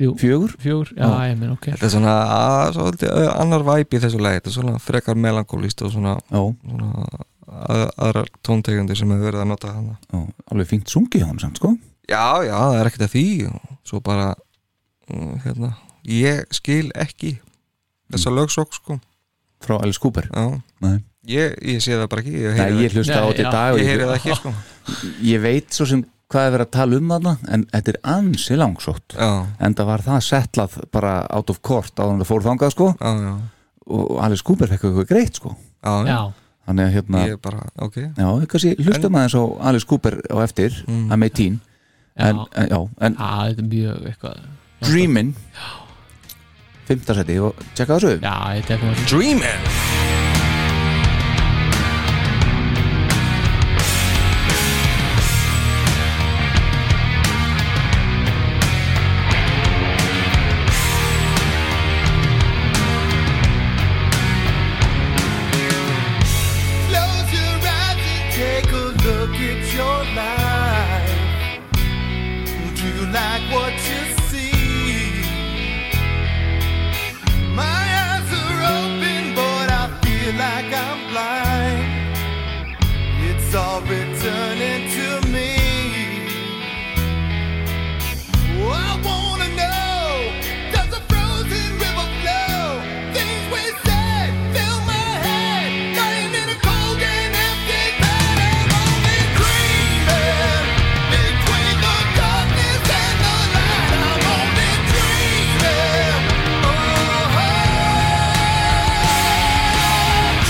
[SPEAKER 3] Jú.
[SPEAKER 2] fjögur
[SPEAKER 3] fjögur, já,
[SPEAKER 2] Já.
[SPEAKER 3] ég meina, ok
[SPEAKER 4] Þetta er svona að, svolítið, ö, annar væp í þessu lagi Þetta er svona frekar melankólist og svona,
[SPEAKER 2] Já,
[SPEAKER 4] svona að, aðrar tóntegjandi sem hefur verið að nota hana
[SPEAKER 2] já, alveg fínt sungi hún samt, sko
[SPEAKER 4] Já, já, það er ekkert að því og Svo bara mm, hérna, Ég skil ekki þessa lögsók sko
[SPEAKER 2] Frá Alice Cooper
[SPEAKER 4] Já,
[SPEAKER 2] Mm. Nei.
[SPEAKER 4] ég, ég sé það bara ekki ég
[SPEAKER 2] Nei,
[SPEAKER 4] heyri
[SPEAKER 2] ég hlusta á
[SPEAKER 3] Nei,
[SPEAKER 2] þetta í
[SPEAKER 3] já.
[SPEAKER 2] dag
[SPEAKER 4] það,
[SPEAKER 2] og
[SPEAKER 4] ég heyri það ekki sko.
[SPEAKER 2] ég veit svo sem hvað er verið að tala um þarna en þetta er ansi langsótt
[SPEAKER 4] já,
[SPEAKER 2] en það var það setlað bara out of court á hann að fór þangað sko
[SPEAKER 4] já, já,
[SPEAKER 2] og Alice Cooper fekk eitthvað greitt sko
[SPEAKER 4] já,
[SPEAKER 3] já,
[SPEAKER 2] þannig að hérna,
[SPEAKER 4] já. ég bara, ok
[SPEAKER 2] já, kannski hlustum aðeins á Alice Cooper á eftir
[SPEAKER 4] Mm.
[SPEAKER 2] að með tín
[SPEAKER 3] já,
[SPEAKER 2] en, en, já, en
[SPEAKER 3] já, þetta er mjög eitthvað
[SPEAKER 2] Dreamin' fimmtarsæti og tjekka þessu
[SPEAKER 3] já, þetta er eitthvað
[SPEAKER 4] Dreamin'
[SPEAKER 1] Close your eyes and take a look at your life. Do you like what you see? My eyes are open, but I feel like I'm blind. It's all returning to me. Oh, I wanna know, does a frozen river flow? Things we said fill my head, lying in a cold and empty bed. I'm only dreaming between the darkness and the light. I'm only dreaming, Uh-huh. oh,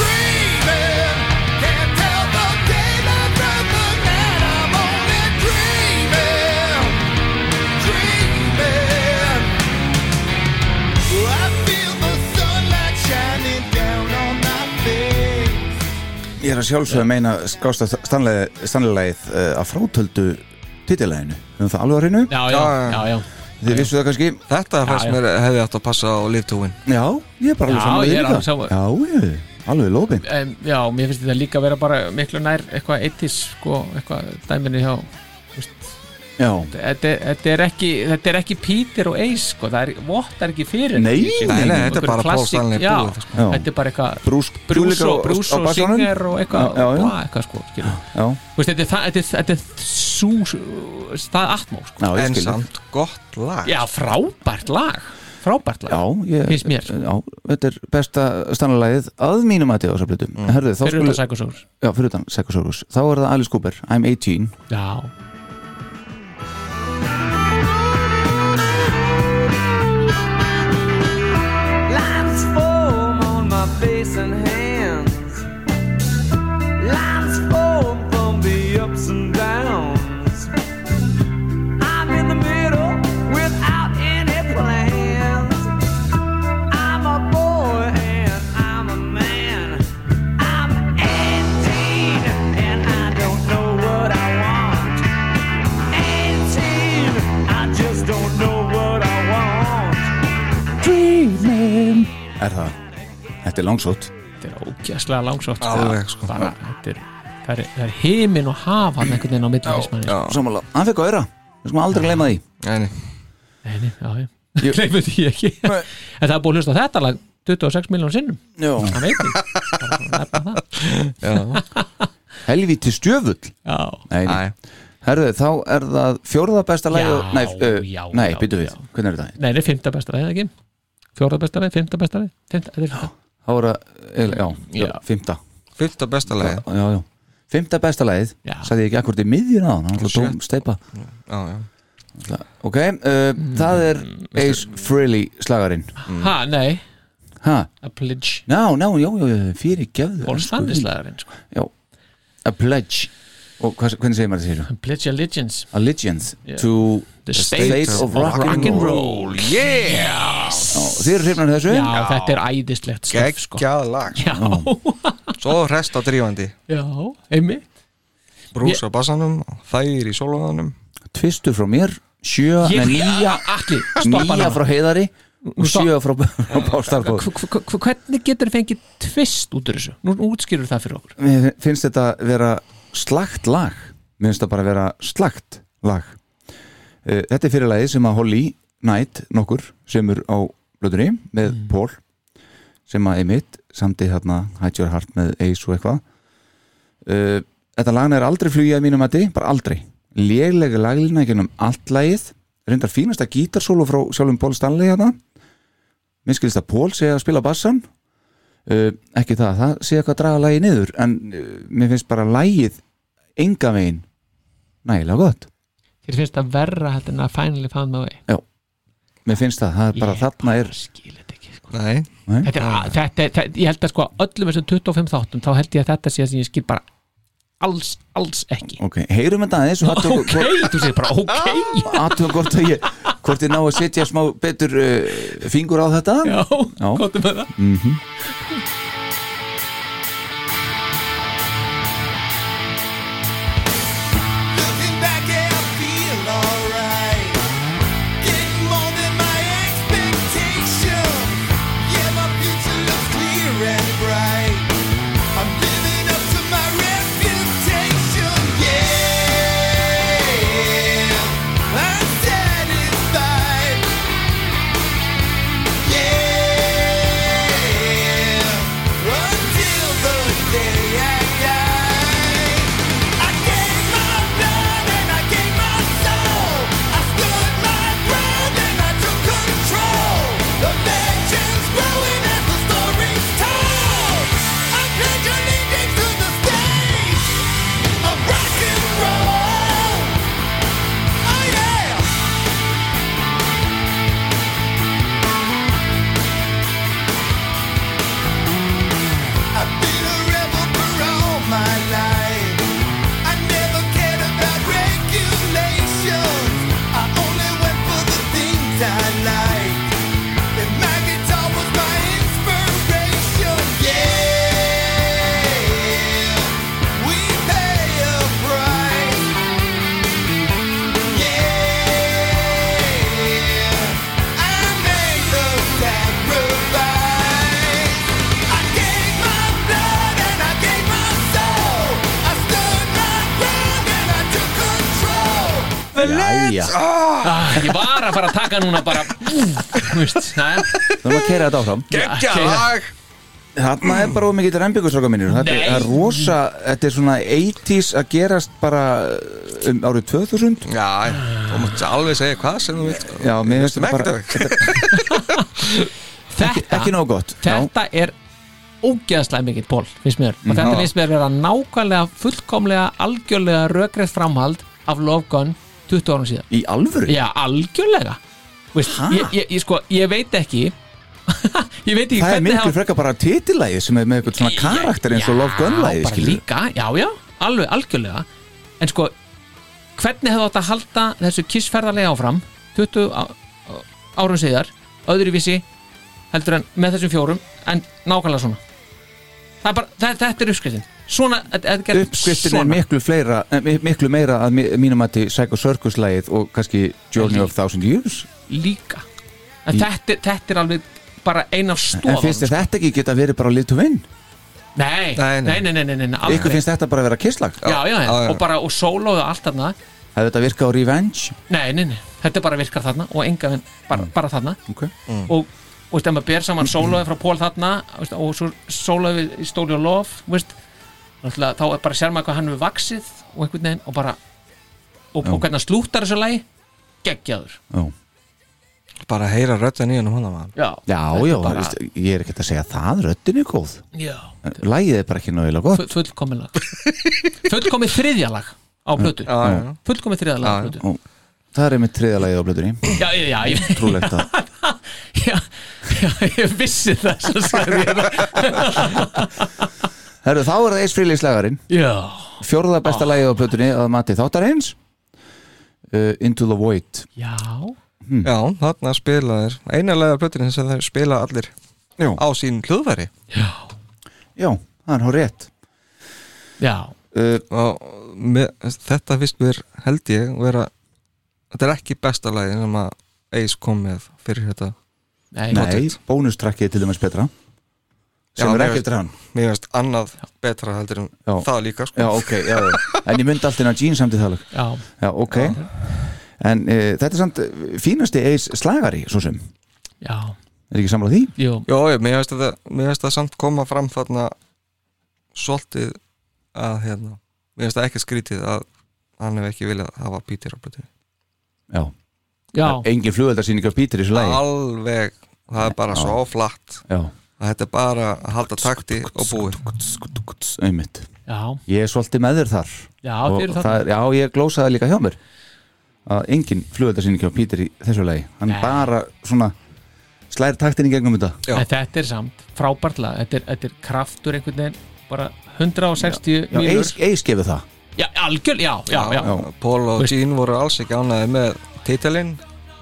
[SPEAKER 1] dreaming. Can't tell the daylight from the night. I'm only dreaming. Dreaming, I feel the sunlight shining down on my face.
[SPEAKER 2] Ég er að sjálfsögða meina skásta stanlegið uh, að frátöldu titilæginu, um það alveg að hreinu
[SPEAKER 3] já, já,
[SPEAKER 4] Já, já.
[SPEAKER 3] já, já,
[SPEAKER 2] þið vissu það kannski,
[SPEAKER 4] þetta
[SPEAKER 3] já.
[SPEAKER 4] fannst mér hefði átt að passa á Live to Win
[SPEAKER 2] já, ég er bara alveg
[SPEAKER 3] Já,
[SPEAKER 2] saman
[SPEAKER 3] ég er alveg sammála.
[SPEAKER 2] Já, ég, alveg lófin
[SPEAKER 3] Em, já, mér finnst þetta líka vera bara miklu nær eitthvað eittis, sko, eitthvað dæminu hjá
[SPEAKER 2] Já,
[SPEAKER 3] þetta er- þetta er ekki, þetta er ekki Peter og Ace, sko, það er, vott er ekki fyrir
[SPEAKER 2] Nei,
[SPEAKER 3] þessu,
[SPEAKER 2] nei,
[SPEAKER 3] sko,
[SPEAKER 4] nei, þetta er bara
[SPEAKER 3] einhver
[SPEAKER 4] Paul Stanley
[SPEAKER 3] klassik- já,
[SPEAKER 4] búið, sko.
[SPEAKER 2] Já.
[SPEAKER 3] þetta er bara eitthvað
[SPEAKER 2] brús,
[SPEAKER 3] brús og, brús og singer og eitthvað,
[SPEAKER 2] Já, já, já.
[SPEAKER 3] bla, eitthvað sko, skilur.
[SPEAKER 2] Já,
[SPEAKER 3] Þú veist, þetta er það, þetta er, þetta er sú, það atmó, sko.
[SPEAKER 2] já, ég
[SPEAKER 4] en
[SPEAKER 2] skil það.
[SPEAKER 4] samt gott lag
[SPEAKER 3] Já, frábært lag, frábært lag.
[SPEAKER 2] Já, ég,
[SPEAKER 3] Finnst mér.
[SPEAKER 2] já, þetta er besta stanlegið að mínum að þið á þessar blötu mm. Herðu, þá
[SPEAKER 3] Fyrir
[SPEAKER 2] skulum,
[SPEAKER 3] utan Psychosaurus.
[SPEAKER 2] já, fyrir utan Sekosaurus Þá er það Alice Cooper, I'm 18
[SPEAKER 3] Já,
[SPEAKER 1] Lines form on my face and hands. Lines form from the ups and downs. I'm in the middle without any plans. I'm a boy and I'm a man. I'm 18 and I don't know what I want. 18, I just don't know what I want.
[SPEAKER 2] Er það, þetta er langsótt
[SPEAKER 3] þetta er ógæslega langsótt. sko.
[SPEAKER 4] Alveg, sko.
[SPEAKER 3] Bara, þetta er, það er, það er heimin og haf hann einhvern veginn á milli fyrst manni.
[SPEAKER 4] já,
[SPEAKER 2] Samanlega, hann fekk að öra, við skulum aldrei gleyma því
[SPEAKER 4] nei, nei.
[SPEAKER 3] Nei, nei, já, já. Gleifur því ekki.
[SPEAKER 2] Nei.
[SPEAKER 3] en það er búið að hlusta á þetta lag 26 miljónum sinnum,
[SPEAKER 2] Já
[SPEAKER 3] það veit ég. Bara nefna það.
[SPEAKER 2] Helvíti stjöfull
[SPEAKER 3] Já.
[SPEAKER 2] Nei, nei.
[SPEAKER 4] Æ.
[SPEAKER 2] Herðu, þá er það fjórða besta lægi
[SPEAKER 3] Já,
[SPEAKER 2] Nei, uh,
[SPEAKER 3] já,
[SPEAKER 2] nei
[SPEAKER 3] já,
[SPEAKER 2] býtu við,
[SPEAKER 3] já.
[SPEAKER 2] hvernig er þetta?
[SPEAKER 3] Nei, þetta er fymta besta leið, ekki? Fjórða besta leið, fymta besta leið, fymta, þetta er fymta.
[SPEAKER 2] Þá er það, eiginlega, já, já.
[SPEAKER 3] Já.
[SPEAKER 2] fymta
[SPEAKER 4] fyrta besta lagi
[SPEAKER 2] já, já, já. Fymta besta lægið,
[SPEAKER 3] Já.
[SPEAKER 2] sagði ég ekki akkur til miðjun á hann, hann ætla að
[SPEAKER 4] Sjö.
[SPEAKER 2] steipa
[SPEAKER 4] já, já.
[SPEAKER 2] Ok, uh, það er
[SPEAKER 3] Mm,
[SPEAKER 2] Ace Frehley slagarinn
[SPEAKER 3] Ha, nei,
[SPEAKER 2] Ha,
[SPEAKER 3] a pledge,
[SPEAKER 2] ná, ná, já, já, já, fyrir gefðu
[SPEAKER 3] Paul
[SPEAKER 2] elsku
[SPEAKER 3] Stanley
[SPEAKER 2] vin.
[SPEAKER 3] slagurinn, sko.
[SPEAKER 2] Já, a pledge Og hvað, hvernig segir maður þetta?
[SPEAKER 3] Pledge Allegiance
[SPEAKER 2] Allegiance
[SPEAKER 3] Yeah.
[SPEAKER 2] to
[SPEAKER 3] The state, of rock, and roll
[SPEAKER 4] yeah
[SPEAKER 2] Já, Þið eru hrifnar þessu?
[SPEAKER 3] já, þetta er æðislegt stöf sko.
[SPEAKER 4] geggjað lag
[SPEAKER 3] Já,
[SPEAKER 4] svo rest á drífandi
[SPEAKER 3] já, einmitt
[SPEAKER 4] brús á bassanum, þær í sólóðanum
[SPEAKER 2] Tvistur frá mér, sjö,
[SPEAKER 3] Ég-
[SPEAKER 2] nei, nýja
[SPEAKER 3] Alli, stoppa
[SPEAKER 2] nýja
[SPEAKER 3] hana
[SPEAKER 2] frá heiðari og
[SPEAKER 3] Stopp.
[SPEAKER 2] sjö frá, frá bástarfóð
[SPEAKER 3] Hv- hv- hv- Hvernig getur fengið tvist út úr þessu? Nú útskýrur það fyrir okkur
[SPEAKER 2] mér finnst þetta vera slagt lag mér finnst þetta bara vera slagt lag Eh, þetta er fyrirlagi sem að Holly Knight nokkur semur á blöðunni með Paul sem að Emmitt samti þarna Hide Your Heart með Ace og eitthvað Eh, þetta lagna er aldrei flugið að mínum að þið, bara aldrei lélega laglina gennum allt lagið reyndar fínasta gítarsólu frá sjálfum Paul Stanley hérna minnskilist að Paul sé að spila bassan uh, ekki það, það sé eitthvað að draga lagi niður en uh, mér finnst bara lagið enga veginn nægilega gott
[SPEAKER 3] Þér finnst það verra heldur en að finally found my way
[SPEAKER 2] mér finnst það, það er bara þarna er
[SPEAKER 3] skil þetta ekki sko.
[SPEAKER 4] Nei,
[SPEAKER 2] nei,
[SPEAKER 3] þetta er, að- þetta, er- þetta, ég held að sko öllum þessum 25 þáttum þá held ég að þetta sé að ég skil bara alls, alls ekki
[SPEAKER 2] ok, heyrum þetta aðeins og athugum
[SPEAKER 3] ok, þú segir bara ok
[SPEAKER 2] hvort- athugum hvort að ég hvort ég ná að setja smá betur uh, fingur á þetta
[SPEAKER 3] já,
[SPEAKER 2] Já.
[SPEAKER 3] gott með það
[SPEAKER 1] Looking back, yeah, I feel alright. Getting more than my expectation. Yeah, my future looks clear and bright. I'm living up to my reputation. Yeah, I'm satisfied. Yeah, until the day I die. I gave my blood and I gave my soul. I stood my ground and I took control. The legend's growing as the story's told. I pledge allegiance to the stage of rock and roll. Oh yeah. I've been a rebel for all my life. I never cared about regulations. I only went for the things I liked. And my guitar was my inspiration. Yeah, we pay a price. Yeah, I made the sacrifice. I gave my blood and I gave my soul. I stood my ground and I took control.
[SPEAKER 2] jæja,
[SPEAKER 3] ah, ég var að fara að taka núna bara þú veist, það er
[SPEAKER 2] þannig að kæra þetta áfram
[SPEAKER 3] Gekkja lag.
[SPEAKER 2] þarna er bara of mikið rembyggursraka minnir þetta er-
[SPEAKER 3] Nei.
[SPEAKER 2] það er rosa, þetta er svona 80s að gerast bara um árið 2000
[SPEAKER 4] já, þú mátt alveg segja hvað sem þú vilt sko.
[SPEAKER 2] já, mér finnst
[SPEAKER 4] Veistu
[SPEAKER 2] þetta
[SPEAKER 4] ekki
[SPEAKER 2] bara
[SPEAKER 4] þetta?
[SPEAKER 3] þetta,
[SPEAKER 2] ekki nóg gott já,
[SPEAKER 3] þetta er ógeðslega mikill ból finnst mér, og þetta
[SPEAKER 2] Já.
[SPEAKER 3] finnst mér vera nákvæmlega fullkomlega, algjörlega rökreð framhald af Love Gun 20 árum síðan
[SPEAKER 2] í alvöru
[SPEAKER 3] Já, algjörlega Þú veist,
[SPEAKER 2] Ha?
[SPEAKER 3] ég, ég, ég, sko, ég veit ekki Ég veit ekki
[SPEAKER 2] það er
[SPEAKER 3] hvernig
[SPEAKER 2] miklu frekar bara titillægið sem er með eitthvað svona karakter eins og Love Gun
[SPEAKER 3] Já,
[SPEAKER 2] lægið
[SPEAKER 3] bara líka, já, já, alveg, algjörlega En sko, hvernig hefði átt að halda þessu kissferðarlega áfram 20 á- á- árum síðar öðruvísi heldur en með þessum fjórum en nákvæmlega svona Það er bara, þetta, þetta er uppskriftin Svona, þetta þetta er gert
[SPEAKER 2] uppskriftin er
[SPEAKER 3] svona.
[SPEAKER 2] miklu, fleira, eh, mi- miklu meira að mi- mínum að til Psycho Circus lægið og kannski Journey of Thousand Years
[SPEAKER 3] líka en þetta, er- þetta er alveg bara ein af
[SPEAKER 2] en
[SPEAKER 3] stofan
[SPEAKER 2] finnst þér þetta ekki geta verið bara lit to win
[SPEAKER 3] nei, nei, nei,
[SPEAKER 4] Nei, nei.
[SPEAKER 3] nei, nei, nei, nei aldrei.
[SPEAKER 2] ykkur finnst þetta bara að vera kisslag
[SPEAKER 3] já, já, já,
[SPEAKER 4] já, já.
[SPEAKER 3] og bara, og sólóðu allt þarna
[SPEAKER 2] hefði þetta virkað á Revenge
[SPEAKER 3] nei, nei, nei, þetta bara virkar þarna og enga, veginn bara, bara þarna
[SPEAKER 2] okay.
[SPEAKER 3] og, og veist, ef maður ber saman sólóðu frá Pól þarna veist, og svo sólóðu við í Stóri og Lof veist, náttúrulega, þá er bara sér maður hvað hann við vaksið og einhvern veginn og bara, og, og hvernig hann slúttar þessu lagi geggjaður,
[SPEAKER 2] já,
[SPEAKER 4] Bara heyra röddin í hennu hana maður
[SPEAKER 3] já,
[SPEAKER 2] já,
[SPEAKER 3] þetta er
[SPEAKER 2] já
[SPEAKER 3] bara,
[SPEAKER 2] veist, ég er ekkert að segja það, röddin er góð
[SPEAKER 3] já
[SPEAKER 2] lægið er bara ekki náðilega gott
[SPEAKER 3] fullkomið lag fullkomið þriðja lag á plötu
[SPEAKER 4] Já, já, já
[SPEAKER 3] fullkomið þriðja lag á
[SPEAKER 4] Já, já.
[SPEAKER 3] plötu
[SPEAKER 2] og það er einmitt þriða lægið á blöðunni
[SPEAKER 3] já, já, já, ég,
[SPEAKER 2] trúlegt að
[SPEAKER 3] já, já, ég vissi það svo sagði ég það
[SPEAKER 2] Herru, þá er það eins frílíkslægarinn
[SPEAKER 3] já,
[SPEAKER 2] fjórða besta ah. lægið á blöðunni að mati þáttarins uh, Into the Void
[SPEAKER 3] já
[SPEAKER 4] Já, þarna spila þeir Einarlega plötin sem þeir spila allir
[SPEAKER 2] já,
[SPEAKER 4] á sín hljóðfæri
[SPEAKER 2] já það er hún rétt
[SPEAKER 3] já,
[SPEAKER 2] uh,
[SPEAKER 4] og með, þetta fyrst mér held ég vera, þetta er ekki besta lagi sem að Ace kom með fyrir þetta
[SPEAKER 3] nei,
[SPEAKER 2] Nei, bónustrakkið er til dæmis betra sem
[SPEAKER 4] Já,
[SPEAKER 2] er
[SPEAKER 4] mér
[SPEAKER 2] ekki
[SPEAKER 4] veist-
[SPEAKER 2] eftir hann
[SPEAKER 4] mér veist annað betra heldur en
[SPEAKER 2] Já.
[SPEAKER 4] það líka sko.
[SPEAKER 2] Já, ok, já, já. en ég myndi allt inn á Gene samt í það lag.
[SPEAKER 3] já,
[SPEAKER 2] Já, ok En e, þetta er samt eh, fínasti eis slagari, svo sem
[SPEAKER 3] já
[SPEAKER 2] Er ekki samlað því?
[SPEAKER 3] jú,
[SPEAKER 4] Jó, ég, mér veist að það mér veist að samt koma fram þarna svolítið að hérna, mér veist að ekki skrítið að hann hef ekki viljað hafa Peter á blötu
[SPEAKER 2] Já,
[SPEAKER 3] já
[SPEAKER 2] engin flugöldarsýning á Pítur í þessu lagi
[SPEAKER 4] alveg, það er bara
[SPEAKER 2] Já.
[SPEAKER 4] svo flatt
[SPEAKER 2] Já,
[SPEAKER 4] að þetta er bara að halda takti og búið
[SPEAKER 2] einmitt
[SPEAKER 3] já,
[SPEAKER 2] ég er svolítið með þér þar
[SPEAKER 3] já,
[SPEAKER 2] Og
[SPEAKER 3] þeir eru þarna
[SPEAKER 2] það, já, ég glósaði líka hjá mér að engin flugeldarsýningi á Pítur í þessu lagi hann
[SPEAKER 3] Nei.
[SPEAKER 2] bara svona slæri taktin í gegnum þetta
[SPEAKER 4] Já.
[SPEAKER 3] en þetta er samt frábært lag þetta er, þetta er kraftur einhvern veginn bara 160
[SPEAKER 2] já,
[SPEAKER 3] mínur
[SPEAKER 2] eis, eis gefið það
[SPEAKER 3] já, algjör, já, já, já, já.
[SPEAKER 4] Paul og
[SPEAKER 3] Veist-
[SPEAKER 4] Gene voru alls ekki ánæði með titilinn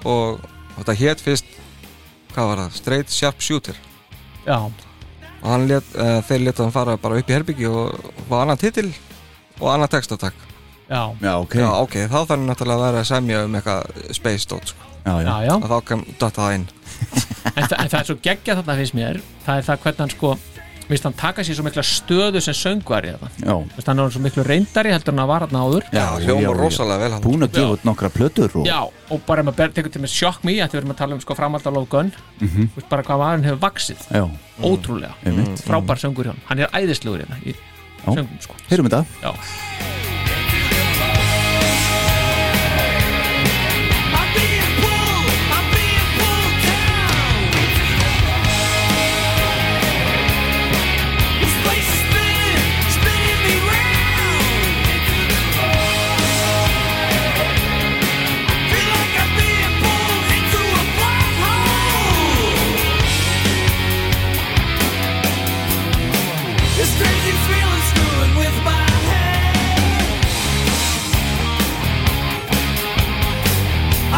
[SPEAKER 4] og, og þetta hétt fyrst hvað var það, Straight Sharp Shooter og hann let, uh, þeir leta hann fara bara upp í herbyggi og og var annan titil og annan textatak
[SPEAKER 3] já,
[SPEAKER 2] já, ok,
[SPEAKER 4] Já,
[SPEAKER 2] já,
[SPEAKER 4] ok, þá þarf náttúrulega að vera að semja um eitthvað space dot, sko.
[SPEAKER 2] já,
[SPEAKER 3] já, já.
[SPEAKER 4] að þá kem data það inn
[SPEAKER 3] en, þa en það er svo geggja þarna finnst mér það er það hvernig hann sko minnst hann taka sér svo mikla stöðu sem söngvari þarna.
[SPEAKER 2] já,
[SPEAKER 3] Þú veist, hann er orðinn svo miklu reyndari heldur en hann var hann áður
[SPEAKER 2] já,
[SPEAKER 4] hljóma rosalega vel hann
[SPEAKER 2] búin að gefa út nokkra plötur og,
[SPEAKER 3] já, og bara ef maður ber- tekur til með sjokk mý þetta verðum að tala um sko framhald á lókun mm
[SPEAKER 2] Mhm.
[SPEAKER 3] -hmm. bara hvað maðurinn hefur vaksið,
[SPEAKER 2] já,
[SPEAKER 3] Mm. ótrúlega
[SPEAKER 2] einmitt
[SPEAKER 3] frábær söngur hjá hann, hann er æðislegur hérna í söngum sko
[SPEAKER 2] heyrum þetta
[SPEAKER 3] já.
[SPEAKER 1] I'm being pulled, I'm being pulled down. This place is spinning, spinning me round. Feel like I'm being pulled into a black hole. This crazy feeling's screwing with my head.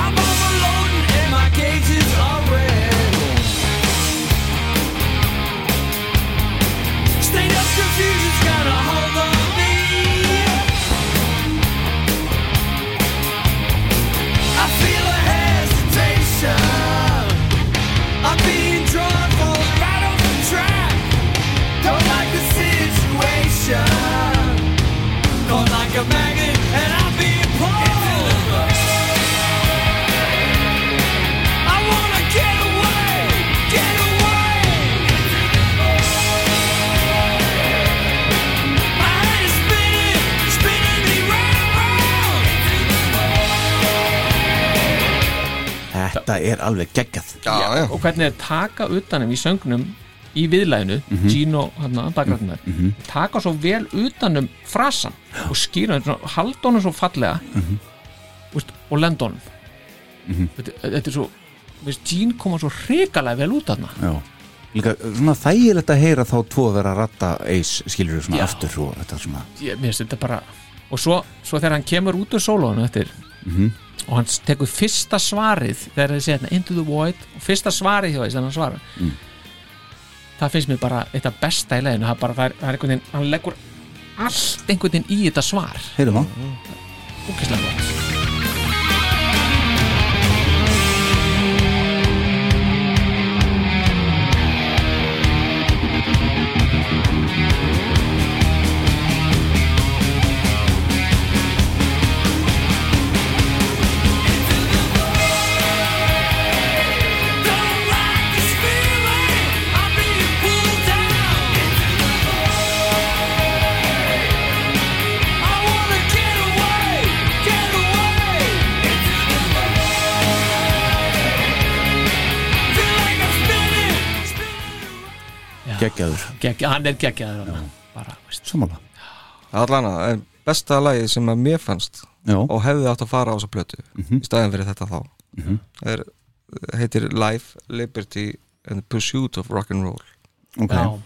[SPEAKER 1] I'm overloading and my gauges are red. State of confusion's got a hold on me. I feel a hesitation. I'm being drawn falling right off the track. Don't like the situation. Going like a magnet and I'm being pulled. I wanna get away, get away. My head is spinning, spinning me round.
[SPEAKER 2] þetta er alveg geggjað
[SPEAKER 4] Já, já,
[SPEAKER 3] og hvernig er taka utanum í söngnum í viðlæðinu, Gino hérna, bakgrætnar, taka svo vel utanum frasan og skýra hann, svona, halda honum svo fallega veist, og lenda honum þetta, þetta er svo veist, Gino koma svo hrikalega vel út þarna
[SPEAKER 2] já. líka eh, svona þægilegt að heyra þá tvo vera að ratta eis skilur við svona
[SPEAKER 3] Já.
[SPEAKER 2] aftur og þetta er svona
[SPEAKER 3] ég, mér finnst þetta bara og svo, svo þegar hann kemur út úr sólónu eftir
[SPEAKER 2] Mhm.
[SPEAKER 3] og hann tekur fyrsta svarið þegar þið segja hérna into the void og fyrsta svarið hjá þess að hann svara
[SPEAKER 2] Mm.
[SPEAKER 3] það finnst mér bara eitthvað besta í leginu það, er bara, það, er, það er einhvern veginn, hann leggur allt einhvern veginn í þetta svar
[SPEAKER 2] heyrum það
[SPEAKER 3] úkislega gott
[SPEAKER 1] Don't like this feeling. I'm being pulled down. I wanna get away, get away. Feel like I'm spinning, spinning.
[SPEAKER 2] geggjaður
[SPEAKER 3] Gegg, hann er geggjaður þarna. bara, veist,
[SPEAKER 2] samála
[SPEAKER 4] allan að það er besta lagið sem að mér fannst
[SPEAKER 2] já
[SPEAKER 4] og hefði átt að fara á þessa plötu
[SPEAKER 2] Mhm.
[SPEAKER 4] í staðin fyrir þetta þá er, heitir Life, Liberty and the Pursuit of Rock'n'Roll
[SPEAKER 2] ok
[SPEAKER 3] já,
[SPEAKER 4] og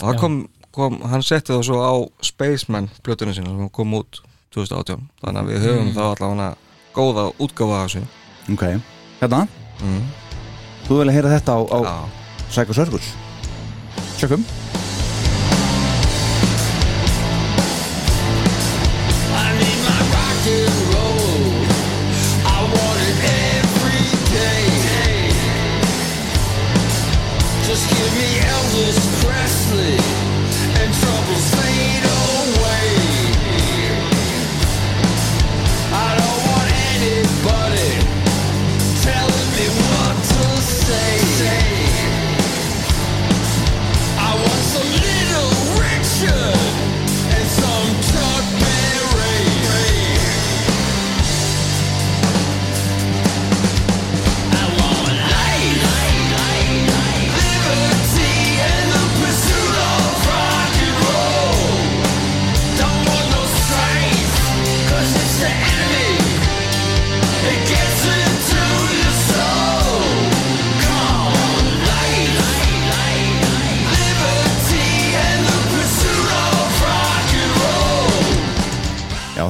[SPEAKER 4] það
[SPEAKER 3] Já.
[SPEAKER 4] kom, kom, hann setti það svo á Spaceman plötunum sinna sem kom út 2018, þannig að við höfum
[SPEAKER 2] Mm.
[SPEAKER 4] þá allavega góða útgáfa af þessu
[SPEAKER 2] ok hérna þú vilja heyra þetta á, á
[SPEAKER 4] Já,
[SPEAKER 2] Psycho Circus sjökkum
[SPEAKER 1] I need my rock and roll. I want it every day. Just give me Elvis Presley and troubles fade away. I don't want anybody telling me what to say. I want some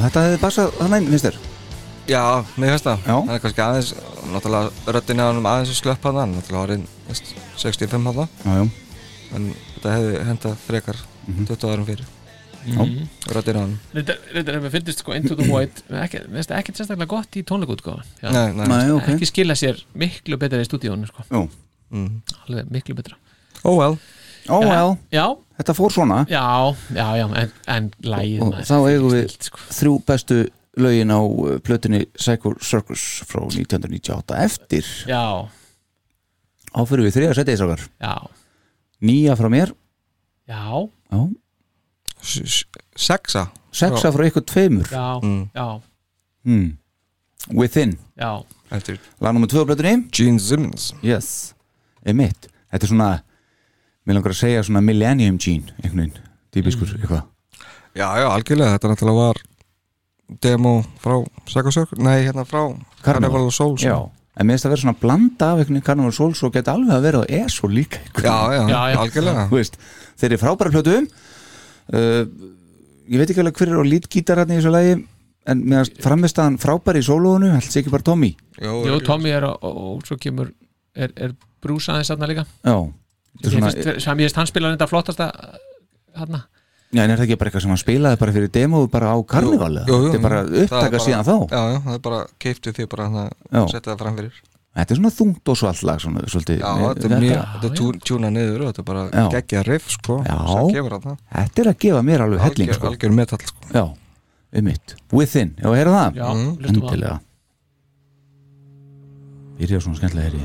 [SPEAKER 2] þetta hefði passað þannig, finnst þér?
[SPEAKER 4] Já, mér finnst það
[SPEAKER 2] Já.
[SPEAKER 4] Hann er kannski aðeins, náttúrulega röddinni á hann aðeins að slöppa hann Náttúrulega orðin þú veist, 65 hann
[SPEAKER 2] Já, já,
[SPEAKER 4] En þetta hefði hendað frekar
[SPEAKER 2] Mhm.
[SPEAKER 4] 20 árum Mhm. fyrir Röddinni á hann
[SPEAKER 3] Reyndar hefur fyndist sko Into the Void ekki, mér finnst það ekkert sérstaklega gott í tónleikutgáðan
[SPEAKER 4] Nei, nei,
[SPEAKER 2] Nei, ok
[SPEAKER 3] ekki skila sér miklu betra í stúdíónu sko.
[SPEAKER 2] Jú.
[SPEAKER 4] Mm.
[SPEAKER 3] alveg miklu betra
[SPEAKER 4] Oh well
[SPEAKER 2] Ó, well,
[SPEAKER 3] já,
[SPEAKER 2] þetta fór svona
[SPEAKER 3] já, já, já en, en lægið
[SPEAKER 2] Og
[SPEAKER 3] maður,
[SPEAKER 2] þá eigum við-
[SPEAKER 3] snilt, sko.
[SPEAKER 2] Þrjú bestu lögin á uh, plötunni Psycho Circus frá 1998 Eftir
[SPEAKER 3] já,
[SPEAKER 2] áfyrir við þriða setið þessakar
[SPEAKER 3] já,
[SPEAKER 2] Nýja frá mér
[SPEAKER 3] já
[SPEAKER 2] já.
[SPEAKER 4] S- s- Sexa
[SPEAKER 2] Sexa frá ykkur tveimur
[SPEAKER 3] já,
[SPEAKER 4] Mm.
[SPEAKER 3] já,
[SPEAKER 2] hmm. Within
[SPEAKER 3] já
[SPEAKER 4] Eftir
[SPEAKER 2] Lag nummer tvö á plötunni
[SPEAKER 4] Gene Simmons
[SPEAKER 2] Yes Emitt Þetta er svona Mér langar að segja svona Millennium Gene Einhvern veginn Típiskur
[SPEAKER 4] Mm.
[SPEAKER 2] eitthvað
[SPEAKER 4] Já, já, algjörlega, þetta náttúrulega var Demo frá Psycho Circus Nei, hérna frá Carnival of Souls
[SPEAKER 2] Já En mér finnst að vera svona blanda af einhvern veginn Carnival Soul Svo geta alveg að vera á ESO líka einhvern
[SPEAKER 4] já, já,
[SPEAKER 3] Já, já.
[SPEAKER 4] algjörlega
[SPEAKER 2] Þú veist Þeir eru frábæra plötu uh, Ég veit ekki alveg hver er á lítgítararni í þessu lagi En mér finnst framvistaðan frábæri í sólóinu Allt sé ekki bara Tommy
[SPEAKER 3] Jó, Tommy er og, og, og svo kemur er, er Bruce aðeins aðna líka
[SPEAKER 2] Já Þetta er
[SPEAKER 3] Mér
[SPEAKER 2] svona,
[SPEAKER 3] finnst- sem ég veist hann spilar þetta flottasta eh, hann
[SPEAKER 2] já, en er það ekki bara eitthvað sem hann spilaði bara fyrir demo bara á karnival
[SPEAKER 4] Jú, jú,
[SPEAKER 2] Þetta er bara
[SPEAKER 4] jú. Það er
[SPEAKER 2] upptaka
[SPEAKER 4] bara-
[SPEAKER 2] síðan þá
[SPEAKER 4] Já, já, það er bara keiftu því bara hann
[SPEAKER 2] Já.
[SPEAKER 4] að setja það fram fyrir
[SPEAKER 2] Þetta er svona þungt og svalt lag svona, svolítið,
[SPEAKER 4] Já, þetta er mjög, þetta
[SPEAKER 3] já.
[SPEAKER 4] er tún- tjúnað niður og þetta er bara
[SPEAKER 2] Já.
[SPEAKER 4] geggja riff sko,
[SPEAKER 2] Já.
[SPEAKER 4] sem kemur að það
[SPEAKER 2] Þetta er að gefa mér alveg helling sko.
[SPEAKER 4] algjör metall sko
[SPEAKER 2] Já, um mitt Within, já, heyrðu það?
[SPEAKER 3] já,
[SPEAKER 4] Mm,
[SPEAKER 3] hlustum á það.
[SPEAKER 2] Endilega Byrja svona skemmtilega heyri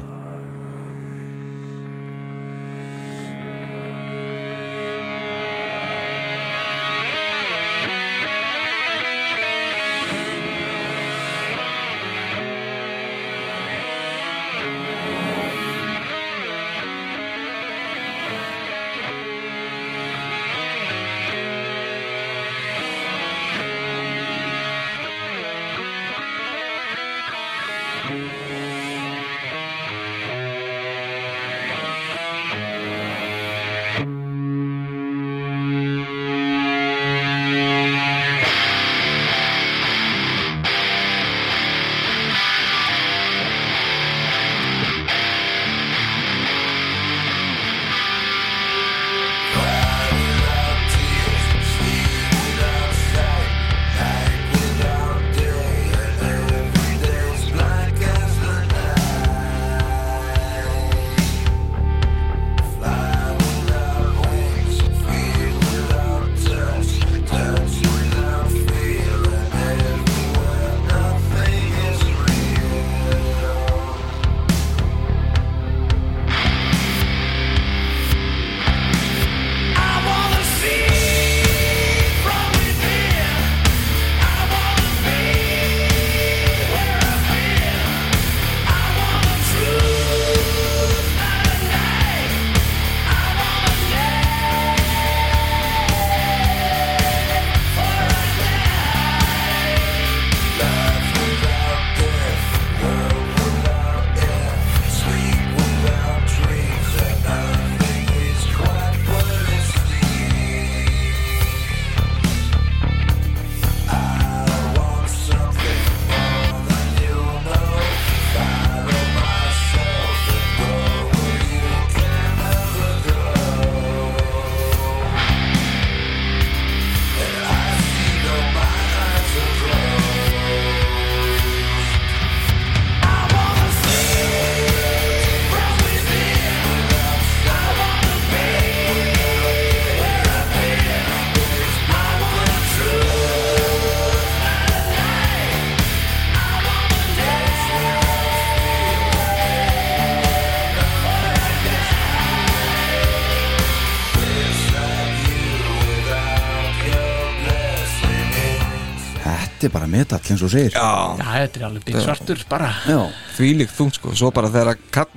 [SPEAKER 2] Þetta er bara metal eins og þú segir
[SPEAKER 4] Já,
[SPEAKER 3] já, þetta er alveg bygg svartur bara
[SPEAKER 2] Já,
[SPEAKER 4] þvílík þungt sko, svo bara þegar að kap,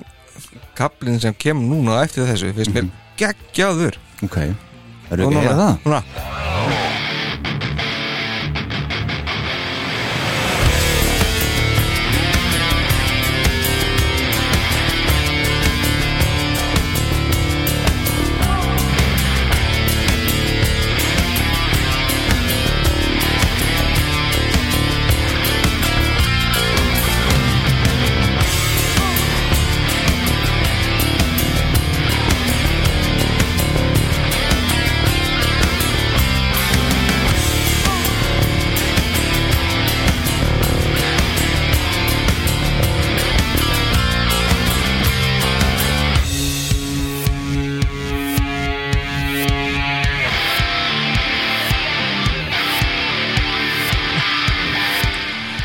[SPEAKER 4] kaplinn sem kemur núna á eftir þessu, finnst mér geggjaður
[SPEAKER 2] ok Erum við ekki að heyra Mhm. það?
[SPEAKER 4] Núna,
[SPEAKER 6] Thank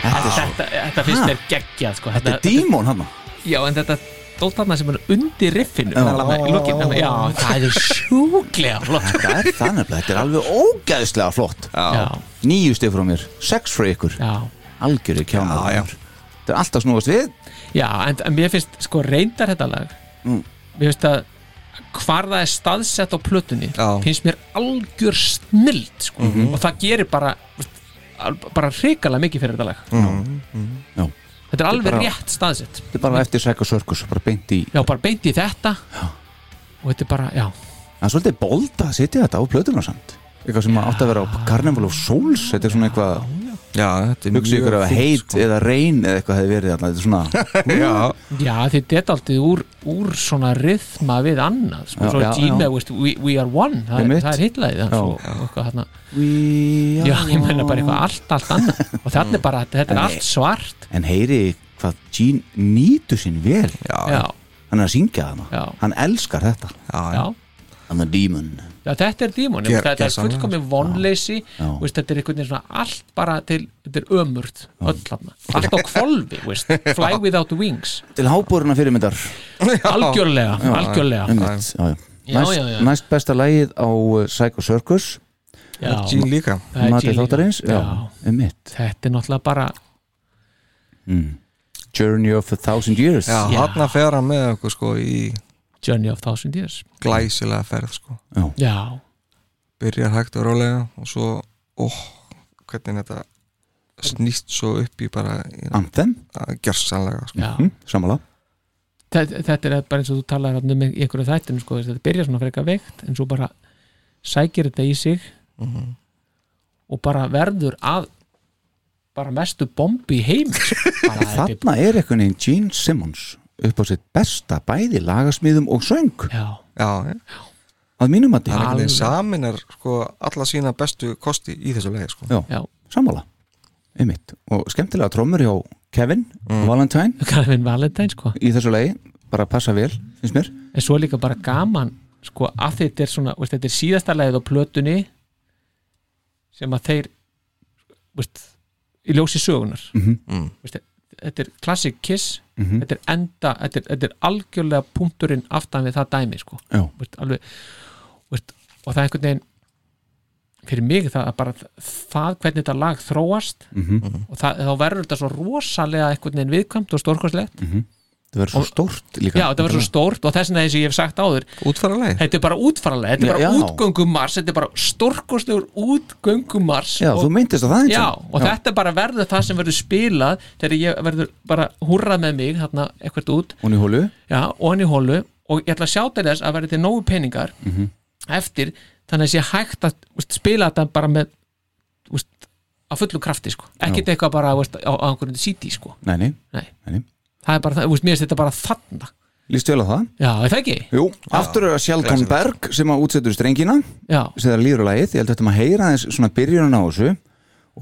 [SPEAKER 3] þetta finnst mér geggjað sko.
[SPEAKER 2] Þetta er dímon hann
[SPEAKER 3] já, en þetta dótt þarna sem er undir riffinu
[SPEAKER 2] Já.
[SPEAKER 3] þarna í lokin, þarna, já, það er sjúklega flott sko.
[SPEAKER 2] Þetta er það nefnilega, þetta er alveg ógæðslega flott
[SPEAKER 3] já,
[SPEAKER 2] Níu stig frá mér, sex frá ykkur
[SPEAKER 3] já,
[SPEAKER 2] Algjörði kjánaður
[SPEAKER 4] Já, já.
[SPEAKER 2] Þetta er alltaf snúast við
[SPEAKER 3] já en, en mér finnst sko reyndar þetta lag
[SPEAKER 2] Mm.
[SPEAKER 3] mér finnst að hvar það er staðsett á plötunni
[SPEAKER 4] Já.
[SPEAKER 3] finnst mér algjör snild sko.
[SPEAKER 2] Mhm.
[SPEAKER 3] og það gerir bara bara hrikalega mikið fyrir þetta lag
[SPEAKER 2] Mhm. Já.
[SPEAKER 3] þetta er alveg
[SPEAKER 2] bara-
[SPEAKER 3] rétt staðsett
[SPEAKER 2] Þetta er bara eftir Psycho Circus, bara beint í
[SPEAKER 3] já, bara beint í þetta já. og þetta er bara, já,
[SPEAKER 2] Það er svolítið bold að setja þetta á plötuna samt Eitthvað sem átti að vera á Carnival of Souls Þetta er svona eitthvað,
[SPEAKER 4] Já, þetta er
[SPEAKER 2] hugsa ykkur að
[SPEAKER 4] fínt,
[SPEAKER 2] heit
[SPEAKER 4] sko.
[SPEAKER 2] eða reyn eða eitthvað hefði verið þarna, Þetta er svona
[SPEAKER 4] Já,
[SPEAKER 3] já þetta er aldrei úr, úr svona rithma við annað sko,
[SPEAKER 2] Já,
[SPEAKER 3] já, svo
[SPEAKER 2] já,
[SPEAKER 3] er Gina,
[SPEAKER 2] já.
[SPEAKER 3] veist, we, we are one það,
[SPEAKER 2] Einmitt.
[SPEAKER 3] er- það er hitlaðið hans
[SPEAKER 2] Já.
[SPEAKER 3] og, og eitthvað þarna
[SPEAKER 2] We
[SPEAKER 3] já,
[SPEAKER 2] are
[SPEAKER 3] ég meina bara
[SPEAKER 2] one.
[SPEAKER 3] eitthvað allt, allt annað og þarna er bara, þetta er
[SPEAKER 2] Nei.
[SPEAKER 3] allt svart
[SPEAKER 2] En heyri hvað Gene nýtur sín vel
[SPEAKER 4] já, já,
[SPEAKER 3] já,
[SPEAKER 2] Hann er að syngja þarna
[SPEAKER 3] Já.
[SPEAKER 2] Hann elskar þetta
[SPEAKER 4] já,
[SPEAKER 3] já
[SPEAKER 2] Hann er demon
[SPEAKER 3] Já, þetta er dímon,
[SPEAKER 4] Ger-
[SPEAKER 3] þetta er
[SPEAKER 4] gersamlega.
[SPEAKER 3] fullkomið vonleysi
[SPEAKER 2] Já.
[SPEAKER 3] þú veist, þetta er einhvern veginn svona allt bara til, þetta er ömurð öll þarna, allt á kvolfi þú veist, fly without wings,
[SPEAKER 2] Til hábúruna fyrirmyndar
[SPEAKER 3] algjörlega algjörlega,
[SPEAKER 2] Einmitt, Um já, já.
[SPEAKER 3] Já,
[SPEAKER 2] Næst,
[SPEAKER 3] já, já.
[SPEAKER 2] næst besta lagið á uh, Psycho Circus
[SPEAKER 3] já,
[SPEAKER 4] Gene líka
[SPEAKER 3] það er
[SPEAKER 2] Mati
[SPEAKER 3] Gene.
[SPEAKER 2] þáttarins já, um
[SPEAKER 3] Já.
[SPEAKER 2] einmitt.
[SPEAKER 3] þetta er náttúrulega bara
[SPEAKER 2] Mm. Journey of a Thousand Years
[SPEAKER 4] Já,
[SPEAKER 3] Já.
[SPEAKER 4] hann að færa með okkur sko í
[SPEAKER 3] Journey of Thousand Years
[SPEAKER 4] glæsilega ferð sko
[SPEAKER 3] já,
[SPEAKER 4] Byrjar hægt og rólega og svo, óh, hvernig þetta snýst svo upp í bara í-
[SPEAKER 2] Anthem, Hm,
[SPEAKER 4] að gjörsanlega sko.
[SPEAKER 3] já
[SPEAKER 2] samanlega
[SPEAKER 3] þetta, þetta er bara eins og þú talar þarna um í einhverju þættinu sko, þú veist, þetta byrjar svona frekar veikt en svo bara sækir þetta í sig og bara verður að bara mestu bombi í heim bara,
[SPEAKER 2] Þarna er einhvern veginn Gene Simmons upp á sitt besta bæði lagasmíðum og söng
[SPEAKER 3] já,
[SPEAKER 4] Já, já.
[SPEAKER 2] að mínum að
[SPEAKER 4] hann
[SPEAKER 2] því,
[SPEAKER 4] einhvern veginn saminar sko, alla sína bestu kosti í þessu lagi sko.
[SPEAKER 2] Já.
[SPEAKER 3] já,
[SPEAKER 2] samanlega einmitt, og skemmtilega trommur hjá Kevin
[SPEAKER 3] Mm.
[SPEAKER 2] Valentine
[SPEAKER 3] Calvin Valentine sko
[SPEAKER 2] í þessu lagi, bara passa vel finnst mér,
[SPEAKER 3] en svo er líka bara gaman sko að þetta er svona, veist, þetta er síðasta lagið á plötunni sem að þeir veist, í ljósi sögunar
[SPEAKER 4] Mm.
[SPEAKER 3] veist, þetta er classic kiss þetta er enda, þetta er, þetta er algjörlega punkturinn aftan við það dæmi sko.
[SPEAKER 2] Já.
[SPEAKER 3] veist, alveg, veist, og það er einhvern veginn fyrir mig það að bara það hvernig þetta lag þróast -hmm. og það, þá verður þetta svo rosalega einhvern veginn viðkvæmt og stórkostlegt
[SPEAKER 2] það verður svo stórt líka
[SPEAKER 3] já þetta verður svo stórt og þess vegna eins og ég hef sagt áður
[SPEAKER 4] útfæra lagi
[SPEAKER 3] þetta er bara útfaralega, þetta
[SPEAKER 2] Já,
[SPEAKER 3] er bara
[SPEAKER 2] já.
[SPEAKER 3] útgöngumars þetta er bara stórkostlegur útgöngumars
[SPEAKER 2] Já,
[SPEAKER 3] og
[SPEAKER 2] þú myndist að það eins
[SPEAKER 3] Já, og þetta bara verður það sem verður spilað þegar ég verður bara húrrað með mig þarna ekkert út,
[SPEAKER 2] hún í hólu,
[SPEAKER 3] já, og hann í hólu og ég ætla að sjá til þess að verður til nógu peningar
[SPEAKER 2] Mhm.
[SPEAKER 3] eftir, þannig að sé hægt að úst, spila þetta bara með úst, á fullu krafti, sko ekkert eitthvað bara úst, á, á einhverjum CD, sko
[SPEAKER 2] nei, nei,
[SPEAKER 3] Nei.
[SPEAKER 2] nei, nei.
[SPEAKER 3] það er bara, það, úst, mér finnst þetta bara þarna
[SPEAKER 2] líst vel á það
[SPEAKER 3] Já, er það ekki?
[SPEAKER 2] Jú, aftur er að Sjalkan Berg sem að útsettur strengina
[SPEAKER 3] Já,
[SPEAKER 2] sem það líður á lagið, ég held að þetta maður heyra aðeins svona byrjun á þessu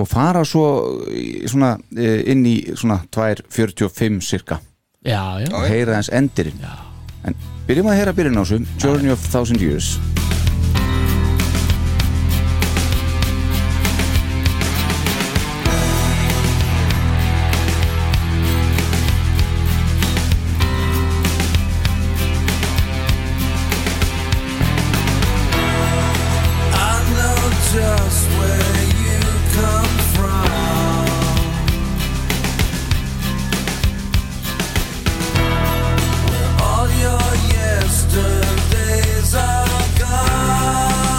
[SPEAKER 2] og fara svo í- svona eh, inn í svona 2.45 cirka
[SPEAKER 3] já, já,
[SPEAKER 2] og heyra aðeins endirinn en byrjum að heyra byrjun á þessu Journey of Thousand Years
[SPEAKER 1] I know just where you come from. Where all your yesterdays are gone.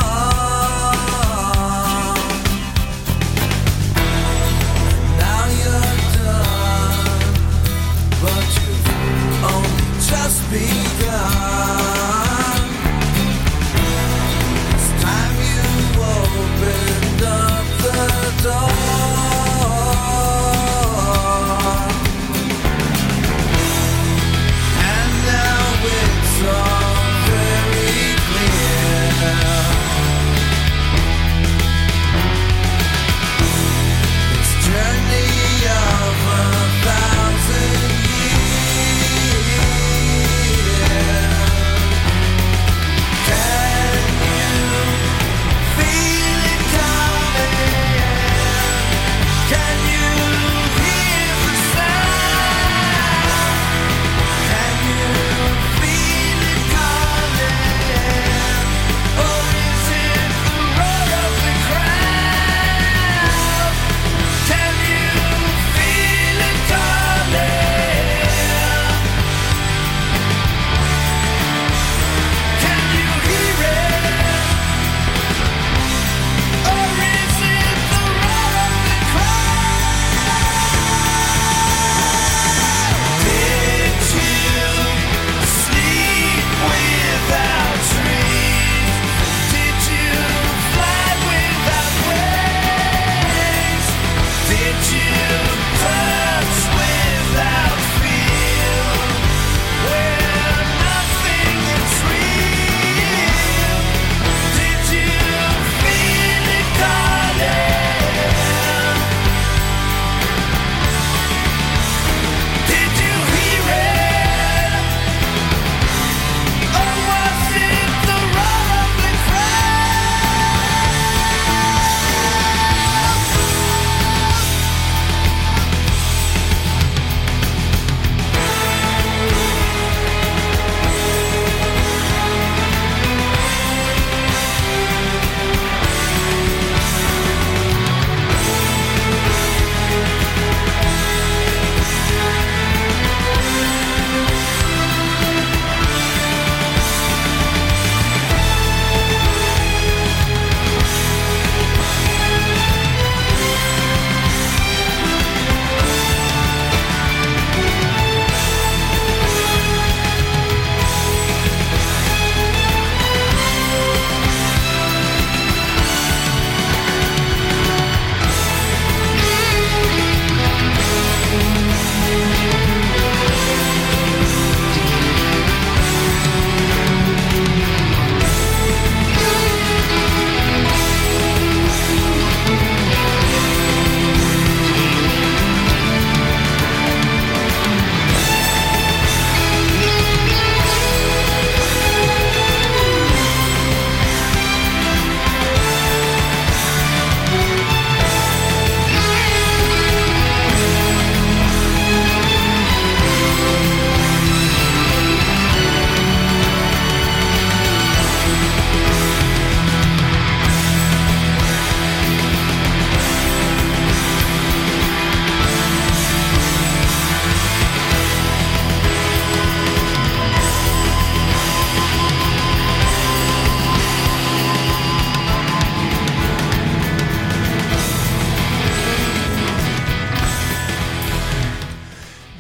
[SPEAKER 1] Oh,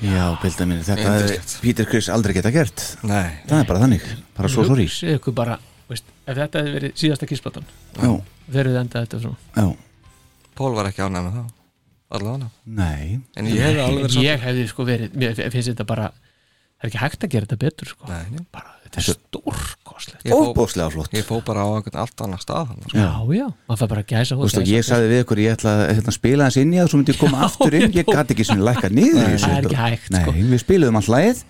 [SPEAKER 2] Já, bilda mínu, þetta hefði
[SPEAKER 4] Yndislegt.
[SPEAKER 2] Peter Criss aldrei geta gert
[SPEAKER 4] Nei,
[SPEAKER 2] Það er bara þannig, bara svo sorry
[SPEAKER 3] Hugsið ykkur bara, veist, ef þetta hefði verið síðasta kísplatan
[SPEAKER 2] Já,
[SPEAKER 3] þegar við endað þetta svona
[SPEAKER 2] já,
[SPEAKER 4] Pól var ekki ánæg með það Alla hana
[SPEAKER 2] nei
[SPEAKER 4] En ég hefði alveg verið
[SPEAKER 3] Ég hefði sko verið, mér finnst þetta bara það er ekki hægt að gera þetta betur sko
[SPEAKER 4] Nei, nei.
[SPEAKER 3] bara, þetta er stórkostlegt
[SPEAKER 4] Ég fó-
[SPEAKER 2] Óbóðslega flott
[SPEAKER 4] Ég fó bara á einhvern allt annar stað hann, sko.
[SPEAKER 3] Já, já, maður fær bara að gæsa
[SPEAKER 2] Þú veist að ég sagði við ykkur, ég ætla að hérna, spila hans inn í það Svo myndi ég koma aftur inn, ég gæti ekki sinni lækka niður í þessu.
[SPEAKER 3] það er ekki hægt,
[SPEAKER 2] Nei,
[SPEAKER 3] sko.
[SPEAKER 2] við spiluðum alltaf lagið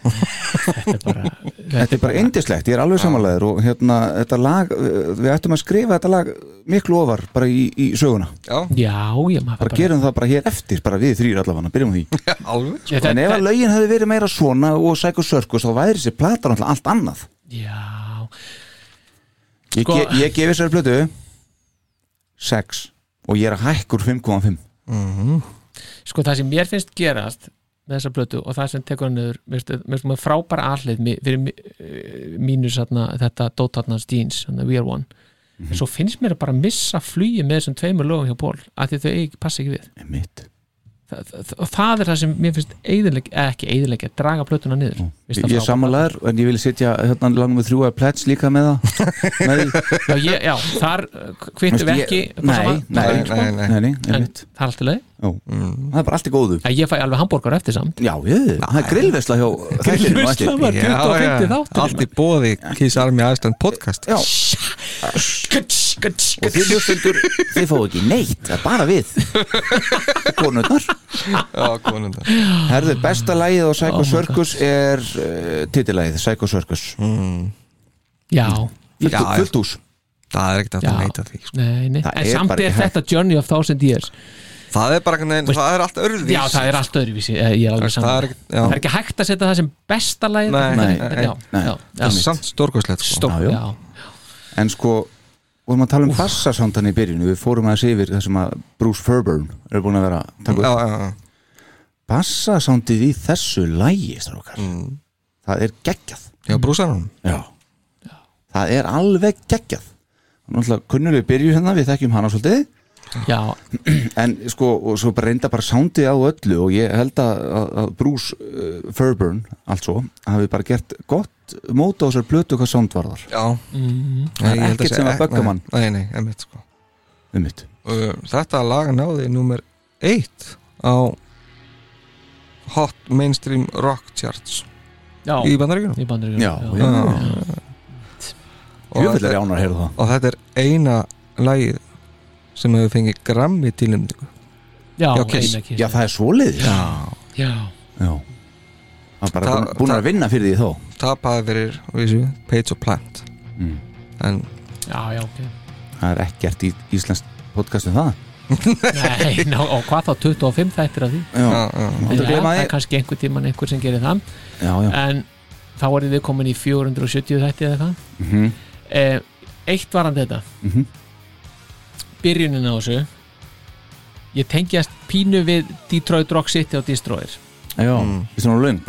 [SPEAKER 3] Þetta er bara,
[SPEAKER 2] Þetta er bara indislegt, ég er alveg samanlegaður og hérna, þetta lag, uh, við ættum að skrifa þetta lag miklu ofar bara í, í söguna
[SPEAKER 4] Já,
[SPEAKER 3] Já, já, maður fær
[SPEAKER 2] bara gerum það bara hér eftir, bara við þrýr allavega, byrjum á því
[SPEAKER 4] alveg sko.
[SPEAKER 3] Ég,
[SPEAKER 2] En
[SPEAKER 3] þetta-
[SPEAKER 2] ef að lögin hefði verið meira svona og Psycho Circus, þá væri þessi plata náttúrulega allt annað
[SPEAKER 3] Já,
[SPEAKER 2] Ég,
[SPEAKER 3] Sko-
[SPEAKER 2] ge, ég gefi þessari plötu 6 og ég er að hækkur 5,5
[SPEAKER 3] sko það sem mér finnst gerast með þessa blötu og það sem tekur hann niður mér finnst- mér finnst frábæra aðlið fyrir mi- eh, mínu satna, þetta Dótarnas Jeans, þannig að We Are One
[SPEAKER 2] Mhm.
[SPEAKER 3] en svo finnst mér að bara missa flugi með þessum tveimur lögum hjá Pól að því þau ekki, passa ekki við
[SPEAKER 2] Einmitt.
[SPEAKER 3] Þa, það, og það er það sem mér finnst eiðileg, ekki eiðileg að draga blötuna niður Mér finnst
[SPEAKER 2] Mm. Ég
[SPEAKER 3] það
[SPEAKER 2] er
[SPEAKER 3] frábært.
[SPEAKER 2] samanlegaður, en ég vil sitja hérna langum við þrjú að plets líka með það með því.
[SPEAKER 3] já, ég, já, þar eh,
[SPEAKER 2] Þú
[SPEAKER 3] kvittum við
[SPEAKER 2] veist,
[SPEAKER 3] ekki
[SPEAKER 2] ég-
[SPEAKER 3] upp á sama-
[SPEAKER 2] Nei, nei,
[SPEAKER 4] Nei, nei,
[SPEAKER 2] nei,
[SPEAKER 4] nei.
[SPEAKER 2] nei,
[SPEAKER 3] en
[SPEAKER 2] einmitt
[SPEAKER 3] það er alltaf leið
[SPEAKER 2] Jó. Það er bara allt í góðu
[SPEAKER 3] að ég fæ alveg hambúrgar eftir samt
[SPEAKER 2] Já, ég, það er grillvesla hjá þættinum á eftir.
[SPEAKER 3] Grillveisla var- 25
[SPEAKER 4] Já, já,
[SPEAKER 3] þátturinn.
[SPEAKER 4] Allt í bóði Kiss Army Iceland podcast
[SPEAKER 2] Já.
[SPEAKER 3] Guts, guts,
[SPEAKER 2] Og þið hlustundur, þið fáu ekki neitt, það er bara við Konurnar
[SPEAKER 4] já konundar
[SPEAKER 2] Herðu, besta lagið á Psycho Circus er uh, titilagið, Psycho Circus
[SPEAKER 3] já,
[SPEAKER 2] Fullt-
[SPEAKER 4] Já, já.
[SPEAKER 2] Fullt hús
[SPEAKER 4] Það er ekkert hægt
[SPEAKER 3] já
[SPEAKER 4] að neita því sko.
[SPEAKER 3] nei, nei.
[SPEAKER 2] Það
[SPEAKER 3] en
[SPEAKER 2] er
[SPEAKER 3] samt
[SPEAKER 2] bara
[SPEAKER 3] er
[SPEAKER 2] ekki hægt.
[SPEAKER 3] þetta Journey of Thousand Years
[SPEAKER 4] Það er bara einhvern veginn,
[SPEAKER 3] Veist-
[SPEAKER 4] það er allt örðvís
[SPEAKER 3] Já, það er allt öðruvísi eh, ég er alveg
[SPEAKER 4] Það er
[SPEAKER 3] saman
[SPEAKER 4] ekkert- já.
[SPEAKER 3] Það er ekki hægt að setja það sem besta lagið
[SPEAKER 4] Nei,
[SPEAKER 3] þetta er-
[SPEAKER 2] nei,
[SPEAKER 3] þetta- já,
[SPEAKER 2] nei,
[SPEAKER 3] já,
[SPEAKER 4] Það er
[SPEAKER 3] já.
[SPEAKER 4] samt stórkoslegt sko.
[SPEAKER 3] Stór,
[SPEAKER 2] Já, já.
[SPEAKER 3] já.
[SPEAKER 2] En sko, vorum að tala um bassasándan í byrjunu Við fórum aðeins yfir það sem að Bruce Fairburn er búin að vera að taka upp.
[SPEAKER 4] Já, já, já
[SPEAKER 2] Bassasándið í þessu lagi, strákar Það er geggjað
[SPEAKER 4] Já, brúsanum
[SPEAKER 2] Mm. Já. Það er alveg geggjað Náttúrulega kunnuleg byrju hérna, við þekkjum hana svolítið
[SPEAKER 3] já,
[SPEAKER 2] en sko, og svo bara reynda bara sándið á öllu og ég held að, að, að Bruce uh, Fairburn, altså hafi bara gert gott mót á þessar plötu hvað sánd varðar,
[SPEAKER 4] Já
[SPEAKER 3] Mhm.
[SPEAKER 2] Það er ekkert sem að bögga mann.
[SPEAKER 4] e- Nei, nei, emitt sko
[SPEAKER 2] um mitt
[SPEAKER 4] Uh, Þetta lag náði nummer 1 á Hot Mainstream Rock Charts
[SPEAKER 3] já
[SPEAKER 4] í bandaríkunum
[SPEAKER 3] Í bandur
[SPEAKER 2] Já, já. Hjöfullar
[SPEAKER 4] og,
[SPEAKER 2] jánar heyrðu það
[SPEAKER 4] og þetta er eina lagið sem hefur fengið grammi tilnæmningu
[SPEAKER 3] já,
[SPEAKER 4] Já, Kiss.
[SPEAKER 3] eina Kiss.
[SPEAKER 2] Já, það er svoleiðis Já,
[SPEAKER 3] já,
[SPEAKER 2] það er bara
[SPEAKER 4] Það-
[SPEAKER 2] búin, búin að vinna fyrir því þó
[SPEAKER 4] tapaði fyrir vísu, Page of Plant
[SPEAKER 2] Mm.
[SPEAKER 4] en
[SPEAKER 3] já, já, ok
[SPEAKER 2] Það er ekkert í íslenskt podcast um það
[SPEAKER 3] Nei, ná, og hvað þá 25 þættir af því
[SPEAKER 2] Já,
[SPEAKER 4] já, já,
[SPEAKER 2] Máttu
[SPEAKER 3] Já,
[SPEAKER 2] gleyma
[SPEAKER 3] það
[SPEAKER 2] því?
[SPEAKER 3] er kannski einhver tíman einhver sem gerir það
[SPEAKER 2] já, já.
[SPEAKER 3] en þá voru við komin í 470 þætti eða eitthvað
[SPEAKER 2] Mhm.
[SPEAKER 3] eh, eitt var hann þetta
[SPEAKER 2] Mhm.
[SPEAKER 3] byrjunin á þessu ég tengjast pínu við Detroit Rock City og Destroyer
[SPEAKER 2] Já,
[SPEAKER 4] Mm.
[SPEAKER 2] við erum löng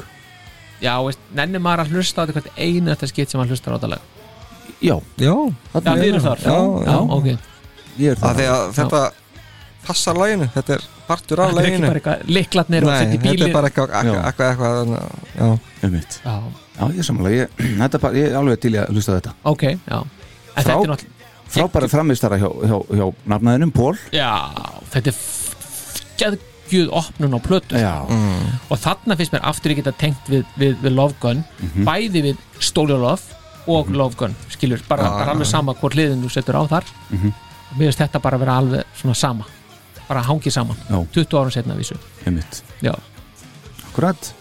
[SPEAKER 3] já, veist, nenni maður að hlusta á þetta hvert einasta skitt sem maður hlustar á þetta lag
[SPEAKER 2] Já,
[SPEAKER 4] já,
[SPEAKER 3] já,
[SPEAKER 2] þarna
[SPEAKER 3] þið eru þar,
[SPEAKER 4] já,
[SPEAKER 3] já, ok
[SPEAKER 2] ég er
[SPEAKER 4] Af
[SPEAKER 2] það
[SPEAKER 4] því að þetta passar laginu, þetta er partur
[SPEAKER 3] það
[SPEAKER 4] af
[SPEAKER 3] er ekki
[SPEAKER 4] laginu
[SPEAKER 3] bara eitthvað liklatnir og
[SPEAKER 4] Nei,
[SPEAKER 3] setja í
[SPEAKER 4] þetta er
[SPEAKER 3] bílin
[SPEAKER 4] bara eitthvað
[SPEAKER 2] Já.
[SPEAKER 4] eitthvað- eitthvað, eitthvað þarna, já,
[SPEAKER 2] um mitt
[SPEAKER 3] já,
[SPEAKER 2] Já, ég er samanlega, ég, þetta er bara, ég er alveg til í að hlusta á þetta
[SPEAKER 3] ok, já en þetta er náttúrulega,
[SPEAKER 2] Frábæra framistara hjá, hjá, hjá nafnaðinum, Pól
[SPEAKER 3] já, þetta er geðgjöð opnun á plötu
[SPEAKER 2] Já,
[SPEAKER 3] og þarna finnst mér aftur ég geta tengt við, við, við Love Gun bæði við Stole Your Love og Love Gun, skilur, bara,
[SPEAKER 4] Já,
[SPEAKER 3] bara
[SPEAKER 4] já,
[SPEAKER 3] alveg sama hvort liðin þú setur á þar og mér finnst þetta bara að vera alveg svona sama bara hangi saman,
[SPEAKER 2] Já.
[SPEAKER 3] 20 árum setna vísu,
[SPEAKER 2] um mitt
[SPEAKER 3] já
[SPEAKER 2] Akkurat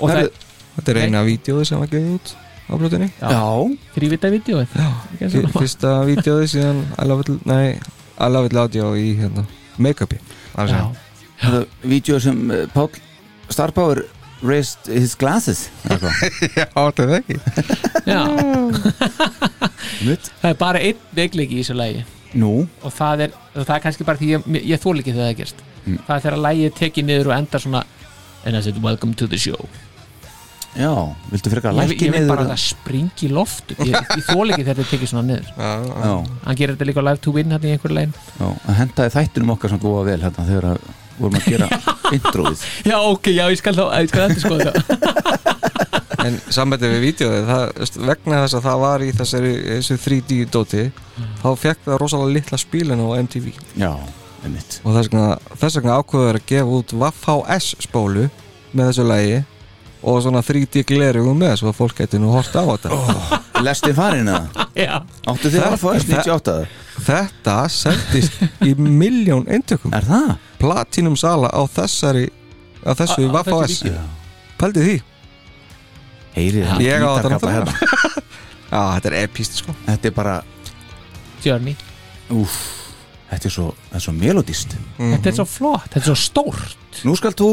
[SPEAKER 3] og það er
[SPEAKER 2] Herðu,
[SPEAKER 4] þetta er eina vídeoði sem var gefið út á blötunni
[SPEAKER 3] já,
[SPEAKER 2] Já,
[SPEAKER 3] þrývita vídeo
[SPEAKER 4] Fyr- fyrsta vídeoði síðan I Love It, nei, I Love It Audio í hérna, make-upi það er að
[SPEAKER 3] já,
[SPEAKER 4] segja.
[SPEAKER 2] það er vídeo sem uh, Pál Starpower raised his glasses eða eitthvað.
[SPEAKER 4] Já, þetta er ekki
[SPEAKER 3] já,
[SPEAKER 2] Einmitt.
[SPEAKER 3] það er bara einn veikleiki í þessu lægi
[SPEAKER 2] Nú,
[SPEAKER 3] og það er, og það er kannski bara því ég, ég- ég þól ekki þegar það gerst
[SPEAKER 2] Mm.
[SPEAKER 3] það er þegar lægið er tekið niður og endar svona and I said welcome to the show
[SPEAKER 2] já, viltu frekar
[SPEAKER 3] ég,
[SPEAKER 2] lækki
[SPEAKER 3] ég vil
[SPEAKER 2] niður
[SPEAKER 3] bara að það springi í loft upp. ég, ég þól ekki þegar þetta tekið svona niður
[SPEAKER 4] Já, já,
[SPEAKER 2] Já,
[SPEAKER 3] hann gerir þetta líka á live to win hann í einhverju legin
[SPEAKER 2] já, að hendaði þættinum okkar sem góða vel hérna þegar að vorum að gera introið
[SPEAKER 3] Já, ok, já, ég skal þá, ég skal þetta sko þetta
[SPEAKER 4] en sambandi við vídeoði það, veist, vegna þess að það var í þessari, þessu 3D dóti þá fekk það rosalega litla spílin á MTV
[SPEAKER 2] Já, einmitt
[SPEAKER 4] og þess vegna, þess vegna ákveður að gefa út VHS spólu með þessu lægi og svona 3D glerugum með svo að fólk geti nú hort á þetta
[SPEAKER 2] Lesti farin eða?
[SPEAKER 3] Já,
[SPEAKER 2] Áttu þið
[SPEAKER 4] Það-
[SPEAKER 2] að fá S98?
[SPEAKER 4] þetta sendist í miljón eintökum
[SPEAKER 2] Er það?
[SPEAKER 4] platinum sala á þessari
[SPEAKER 3] Á-
[SPEAKER 4] á þessu
[SPEAKER 3] á þessu
[SPEAKER 4] VHS
[SPEAKER 3] vídeói.
[SPEAKER 4] pældi því,
[SPEAKER 2] Heyrið
[SPEAKER 3] Já.
[SPEAKER 2] hann
[SPEAKER 4] Ég á þetta
[SPEAKER 2] gítarkafla
[SPEAKER 4] náttúrulega.
[SPEAKER 2] hérna.
[SPEAKER 4] já þetta er epist sko
[SPEAKER 2] Þetta er bara,
[SPEAKER 3] Journey
[SPEAKER 2] úf Þetta er svo, þetta er svo melodist
[SPEAKER 4] Mhm.
[SPEAKER 3] Þetta er svo flott, þetta er svo stórt
[SPEAKER 2] Nú skal þú,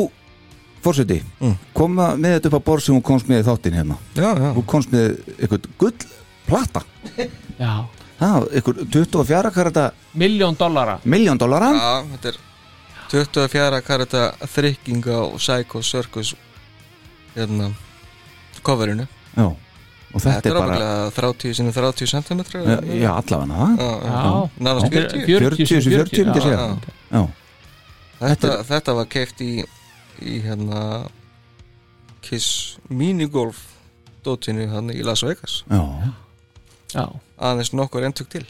[SPEAKER 2] fórseti
[SPEAKER 4] Mm.
[SPEAKER 2] Koma með þetta upp á borð sem hún komst með í þáttin hérna
[SPEAKER 4] já, já.
[SPEAKER 2] Þú komst með eitthvað gull plata
[SPEAKER 3] Já,
[SPEAKER 2] Það, eitthvað 24 karata
[SPEAKER 3] miljón dollara
[SPEAKER 2] miljón dólaran
[SPEAKER 4] já, þetta er 24 karata þrykking á Psycho Circus hérna coverinu,
[SPEAKER 2] Já, og þetta,
[SPEAKER 4] þetta er
[SPEAKER 2] bara
[SPEAKER 4] ábygglega 30 sinni 30 cm
[SPEAKER 2] Já, allavega það
[SPEAKER 3] Já,
[SPEAKER 4] nánast
[SPEAKER 3] þetta er
[SPEAKER 4] 40
[SPEAKER 3] 40
[SPEAKER 2] 40 sem 40 myndi ég
[SPEAKER 3] já.
[SPEAKER 2] segja
[SPEAKER 4] já.
[SPEAKER 2] Já,
[SPEAKER 4] þetta, þetta var keift í, í hérna Kiss minigolf dótinu hann í Las Vegas
[SPEAKER 2] já
[SPEAKER 3] já,
[SPEAKER 4] aðeins nokkur enntök til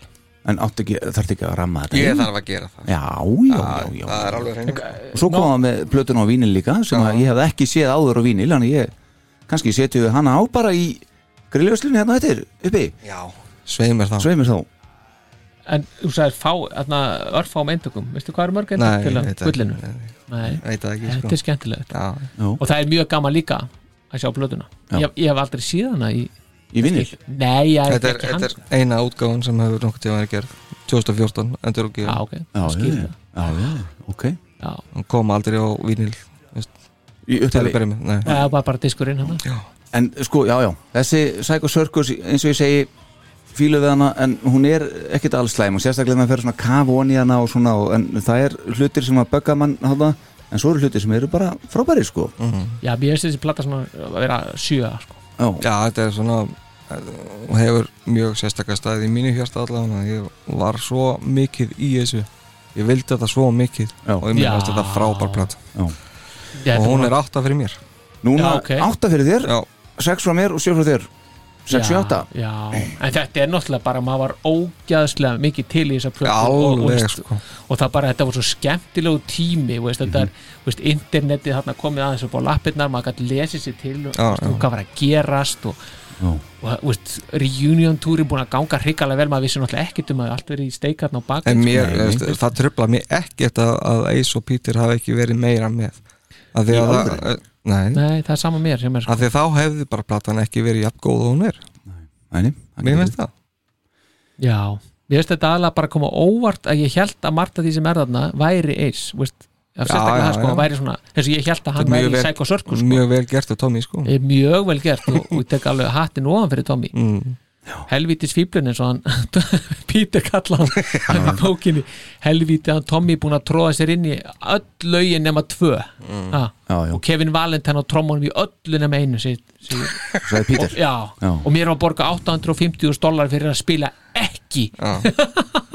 [SPEAKER 2] En áttu ekki, þarf ekki að ramma þetta
[SPEAKER 4] ég
[SPEAKER 2] inn?
[SPEAKER 4] þarf að gera það
[SPEAKER 2] Já, já, já, já
[SPEAKER 4] það er alveg hreinu
[SPEAKER 2] Og svo koma með plötun á vínil líka sem að ég hef ekki séð áður á vínil Þannig ég, kannski setju hana á bara í grilljöfslunni hérna eftir, uppi
[SPEAKER 4] já, sveið mér þá
[SPEAKER 2] Sveimir þá
[SPEAKER 3] En þú sagðir fá, þarna, örfá meintökum Veistu hvað er mörg eintök hérna til að gullinu?
[SPEAKER 4] Nei, ég veit það ekki.
[SPEAKER 3] Nei,
[SPEAKER 4] Ég veit það ekki
[SPEAKER 3] þetta
[SPEAKER 4] sko.
[SPEAKER 3] er skemmtilegt
[SPEAKER 4] já,
[SPEAKER 3] Og það er mjög gaman líka að sjá blöðuna
[SPEAKER 2] Já.
[SPEAKER 3] ég, ég hef aldrei síð hana í
[SPEAKER 2] Í vínil
[SPEAKER 3] Nei, ég hef
[SPEAKER 4] þetta, er,
[SPEAKER 3] ekki hann
[SPEAKER 4] þetta er eina útgáðan sem hefur nokkuð tíma verið gerð 2014 endur og
[SPEAKER 3] Já,
[SPEAKER 4] gefur
[SPEAKER 3] ok, skýr
[SPEAKER 2] já,
[SPEAKER 3] það
[SPEAKER 2] já, já, ok
[SPEAKER 3] Já,
[SPEAKER 4] hann kom aldrei á vínil
[SPEAKER 2] Í
[SPEAKER 4] til að
[SPEAKER 2] upphafi.
[SPEAKER 4] byrja með Nei.
[SPEAKER 3] það var bara diskurinn hérna. hann
[SPEAKER 4] já,
[SPEAKER 2] En sko, já, já, þessi Psycho Circus eins og ég segi fílu við hana en hún er ekkit alls slæm og sérstaklega maður fer svona kaf onni hana og svona og, en það er hlutir sem að bögga mann hana, en svo eru hlutir sem eru bara frábæri sko
[SPEAKER 3] Já, mér finnst þessi platta svona að vera sjö sko.
[SPEAKER 2] já,
[SPEAKER 4] já, þetta er svona og hefur mjög sérstakka staðið í mínu hjarta allavega ég var svo mikið í þessu ég vildi þetta svo mikið
[SPEAKER 2] Já.
[SPEAKER 4] og ég mér
[SPEAKER 3] Já.
[SPEAKER 4] veist þetta frábær plat
[SPEAKER 2] já.
[SPEAKER 3] Já,
[SPEAKER 4] og
[SPEAKER 3] þetta
[SPEAKER 4] hún
[SPEAKER 3] var-
[SPEAKER 4] er átta fyrir mér
[SPEAKER 2] Núna
[SPEAKER 3] Já, ok.
[SPEAKER 2] átta fyrir þér,
[SPEAKER 4] já,
[SPEAKER 2] sex frá mér og sjö frá þér sex og
[SPEAKER 3] Já,
[SPEAKER 2] átta
[SPEAKER 3] já, en þetta er náttúrulega bara maður var ógæðslega mikið til í þessa plötu og, og,
[SPEAKER 4] alveg
[SPEAKER 3] veist,
[SPEAKER 4] sko
[SPEAKER 3] og það bara, þetta var svo skemmtilegu tími þú veist,
[SPEAKER 4] Mhm.
[SPEAKER 3] þetta er, veist, internetið þarna komið aðeins upp á lappirnar, maður gæti lesið sér til og
[SPEAKER 4] Já,
[SPEAKER 3] veist,
[SPEAKER 4] já.
[SPEAKER 3] og hvað var að gerast og,
[SPEAKER 2] Já.
[SPEAKER 3] og veist, reunion túrin búin að ganga hrikalega vel, maður vissi náttúrulega ekkert um að allt verið í steikarn á sko. baki
[SPEAKER 4] en mér,
[SPEAKER 2] Nei, nei.
[SPEAKER 4] veist, það tröfla mér ekkert að, að Ace og Peter hafi ekki verið meira með að því
[SPEAKER 2] Í
[SPEAKER 4] að það
[SPEAKER 2] alvöru?
[SPEAKER 4] eh, nei,
[SPEAKER 3] Nei, það er sama mér sem er sko.
[SPEAKER 4] að því þá hefði bara platan ekki verið jafn góð og hún er,
[SPEAKER 2] Æni,
[SPEAKER 4] mér finnst það
[SPEAKER 3] Já, mér finnst þetta aðlega bara að koma óvart að ég held að margt af því sem er þarna væri eis, veist ef
[SPEAKER 4] Já,
[SPEAKER 3] sérstaklega
[SPEAKER 4] já,
[SPEAKER 3] það sko,
[SPEAKER 4] já.
[SPEAKER 3] væri svona eins og ég held að hann
[SPEAKER 4] Mjög
[SPEAKER 3] væri í
[SPEAKER 4] vel-
[SPEAKER 3] Psycho Circus sko.
[SPEAKER 4] mjög vel gert og Tommy sko
[SPEAKER 3] Ég er mjög vel gert og, og ég tek alveg hattin ofan fyrir Tommy
[SPEAKER 4] mm.
[SPEAKER 3] helvítis fíblun eins og hann Peter kalla hann hann í bókinni helvíti hann Tommy búin að tróða sér inn í öll lögin nema tvö
[SPEAKER 4] Mm.
[SPEAKER 3] ha,
[SPEAKER 2] Já, já.
[SPEAKER 3] og Kevin Valentine á trommunum í öllu nema einu sig, sig,
[SPEAKER 2] Sæði
[SPEAKER 3] og,
[SPEAKER 2] Pítur
[SPEAKER 3] já,
[SPEAKER 2] Já.
[SPEAKER 3] og mér var að borga 850.000 dólar fyrir að spila ekki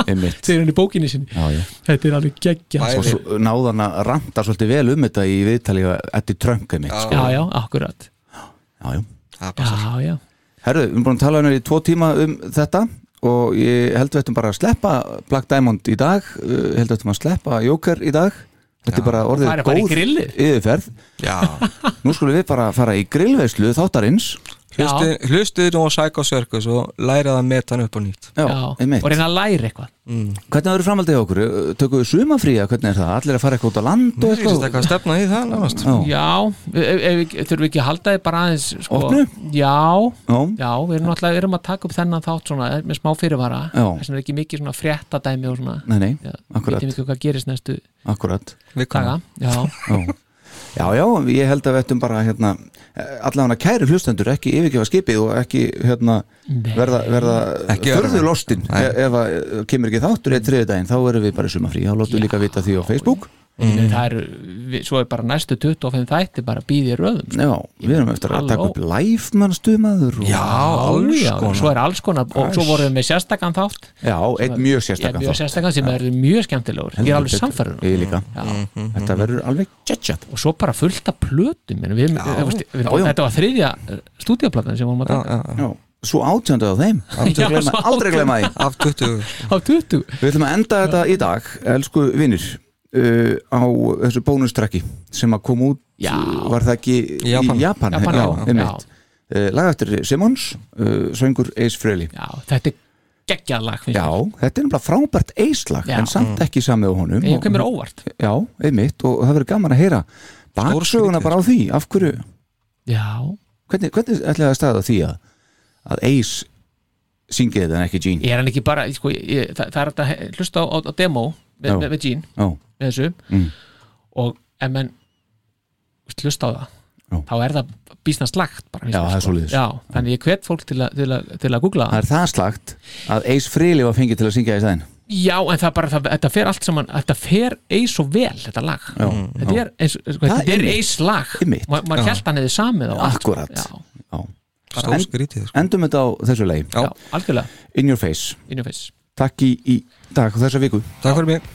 [SPEAKER 2] Einmitt.
[SPEAKER 3] segir hann í bókinni sinni
[SPEAKER 2] Já, já.
[SPEAKER 3] þetta er alveg geggja
[SPEAKER 2] og svo náðan að ranta svolítið vel um þetta í viðtali eftir tröngu mitt sko.
[SPEAKER 3] já, já, akkurat
[SPEAKER 2] já, já.
[SPEAKER 4] það
[SPEAKER 3] já,
[SPEAKER 4] passar
[SPEAKER 3] já,
[SPEAKER 2] Herðu, við erum búin að tala hennar í tvo tíma um þetta og ég held við ættum bara að sleppa Black Diamond í dag, uh, held við ættum að sleppa Joker í dag, þetta er bara orðið
[SPEAKER 3] Fara bara í
[SPEAKER 2] góð
[SPEAKER 3] grillið.
[SPEAKER 2] yfirferð
[SPEAKER 4] já.
[SPEAKER 2] Nú skulum við bara fara í grillveislu þáttarins
[SPEAKER 3] já,
[SPEAKER 4] Hlustuð- hlustuðu nú á Psycho Circus og læraði að meta hann upp á nýtt
[SPEAKER 2] Já,
[SPEAKER 3] já.
[SPEAKER 2] einmitt
[SPEAKER 3] og reyna að læra eitthvað
[SPEAKER 2] Hvernig verður framhaldið hjá okkur? Uh, Tökum við sumafríja, hvernig er það? Allir að fara eitthvað út á land og
[SPEAKER 4] Ég finnst
[SPEAKER 2] eitthvað?
[SPEAKER 4] eitthvað að stefna í það nánast
[SPEAKER 2] Já,
[SPEAKER 3] Já, ef, ef, ef, þurfum við ekki að halda þið bara aðeins sko,
[SPEAKER 2] Opnu?
[SPEAKER 3] Já,
[SPEAKER 2] Já.
[SPEAKER 3] já, við erum náttúrulega við erum að taka upp þennan þátt svona eh, með smá fyrirvara
[SPEAKER 2] Já.
[SPEAKER 3] þess vegna er ekki mikið svona fréttadæmi og svona
[SPEAKER 2] nei, nei,
[SPEAKER 3] Já,
[SPEAKER 2] akkurat,
[SPEAKER 3] vitum ekki hvað gerist næstu
[SPEAKER 2] akkurat
[SPEAKER 3] daga Já,
[SPEAKER 2] Já. Já, já, ég held að við ættum bara hérna, allavega kæri hlustendur ekki yfirgefa skipið og ekki hérna,
[SPEAKER 3] Nei.
[SPEAKER 2] verða, verða E,
[SPEAKER 4] Ekki verða
[SPEAKER 2] förðu
[SPEAKER 4] það.
[SPEAKER 2] lostin
[SPEAKER 4] Nei.
[SPEAKER 2] ef að eh, kemur ekki þáttur eða þriðu daginn, þá erum við bara sumafrí þá lóttum við líka vita því á Facebook
[SPEAKER 3] mm. það eru, við- svo er bara næstu 25 þætti bara býði röðum sko.
[SPEAKER 2] Já, við erum eftir að
[SPEAKER 3] Halló.
[SPEAKER 2] taka upp live mannstu maður og...
[SPEAKER 4] alls
[SPEAKER 3] já,
[SPEAKER 4] konar.
[SPEAKER 3] svo er alls konar og svo vorum við með sérstakann þátt
[SPEAKER 2] Já, einn mjög sérstakann
[SPEAKER 3] Já, mjög sérstakann sem er mjög skemmtilegur ég er alveg samfærður
[SPEAKER 2] Ég líka
[SPEAKER 3] Já. Mhm.
[SPEAKER 2] Þetta verður alveg tjætjat
[SPEAKER 3] og svo bara fullt af plötum en við, já, veist, við,
[SPEAKER 2] já, já.
[SPEAKER 3] þetta var þriðja stúdíaplatan sem vorum að
[SPEAKER 4] já,
[SPEAKER 3] taka
[SPEAKER 4] já, já.
[SPEAKER 2] Svo átjöndu á þeim
[SPEAKER 3] Já,
[SPEAKER 2] Aldrei gleyma,
[SPEAKER 3] svo
[SPEAKER 2] aldrei gleyma því
[SPEAKER 4] af 20
[SPEAKER 3] á 20
[SPEAKER 2] Við ætlum að enda þetta í dag, elsku vinnir uh, á þessu bónustrekki sem að kom út,
[SPEAKER 3] Já.
[SPEAKER 2] var það ekki
[SPEAKER 4] Japan.
[SPEAKER 2] í Japan,
[SPEAKER 3] Japan, já, já.
[SPEAKER 2] einmitt. Uh, lag eftir Simons, uh, söngur Ace Frehley
[SPEAKER 3] já, þetta er geggjað lag finnst
[SPEAKER 2] Já, þetta er nefnilega frábært eislag
[SPEAKER 3] Já.
[SPEAKER 2] en samt ekki samið á honum
[SPEAKER 3] mér. ég kemur óvart
[SPEAKER 2] Já, einmitt og það verður gaman að heyra baksöguna bara á því, af hverju
[SPEAKER 3] já,
[SPEAKER 2] hvernig, hvernig ætlaði að staða því að að Ace syngið þetta en ekki Gene
[SPEAKER 3] ég er hann ekki bara sko, ég, það, það er hægt að he- hlusta á, á, á demo með,
[SPEAKER 2] Já.
[SPEAKER 3] með, með Gene,
[SPEAKER 2] Já,
[SPEAKER 3] með þessu
[SPEAKER 2] Mm.
[SPEAKER 3] og ef menn veist, hlusta á það
[SPEAKER 2] Já.
[SPEAKER 3] þá er það býsna slagt bara, finnst
[SPEAKER 2] Já,
[SPEAKER 3] mér, sko.
[SPEAKER 2] það er svoleiðis.
[SPEAKER 3] já, þannig ég hvet fólk til, a, til, a, til að googla
[SPEAKER 2] það
[SPEAKER 3] það
[SPEAKER 2] er það slagt að Ace Frehley var fengið til að syngja í stæðin
[SPEAKER 3] já, en það er bara, það, þetta fer allt saman þetta fer eis og vel, þetta lag
[SPEAKER 2] Já, Mm-hmm.
[SPEAKER 3] þetta er, eins, sko,
[SPEAKER 2] Það
[SPEAKER 3] þetta
[SPEAKER 2] er
[SPEAKER 3] er
[SPEAKER 2] mitt.
[SPEAKER 3] eis lag
[SPEAKER 2] Einmitt.
[SPEAKER 3] Ma, maður held hann hefði samið á allt, sko.
[SPEAKER 2] Akkúrat.
[SPEAKER 3] já,
[SPEAKER 2] já.
[SPEAKER 4] stór skrítið sko.
[SPEAKER 2] Endum þetta á þessu leið
[SPEAKER 3] já,
[SPEAKER 4] já,
[SPEAKER 3] algjörlega,
[SPEAKER 2] In Your Face
[SPEAKER 3] innum fyrst
[SPEAKER 2] Takk í, í dag og þessa viku
[SPEAKER 4] takk fyrir mig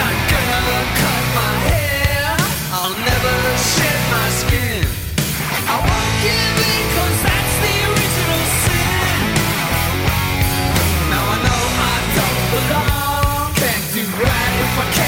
[SPEAKER 1] Not gonna cut my hair. I'll never shed my skin. I won't give in 'cause that's the original sin. Now I know I don't belong. Can't do right if I can't.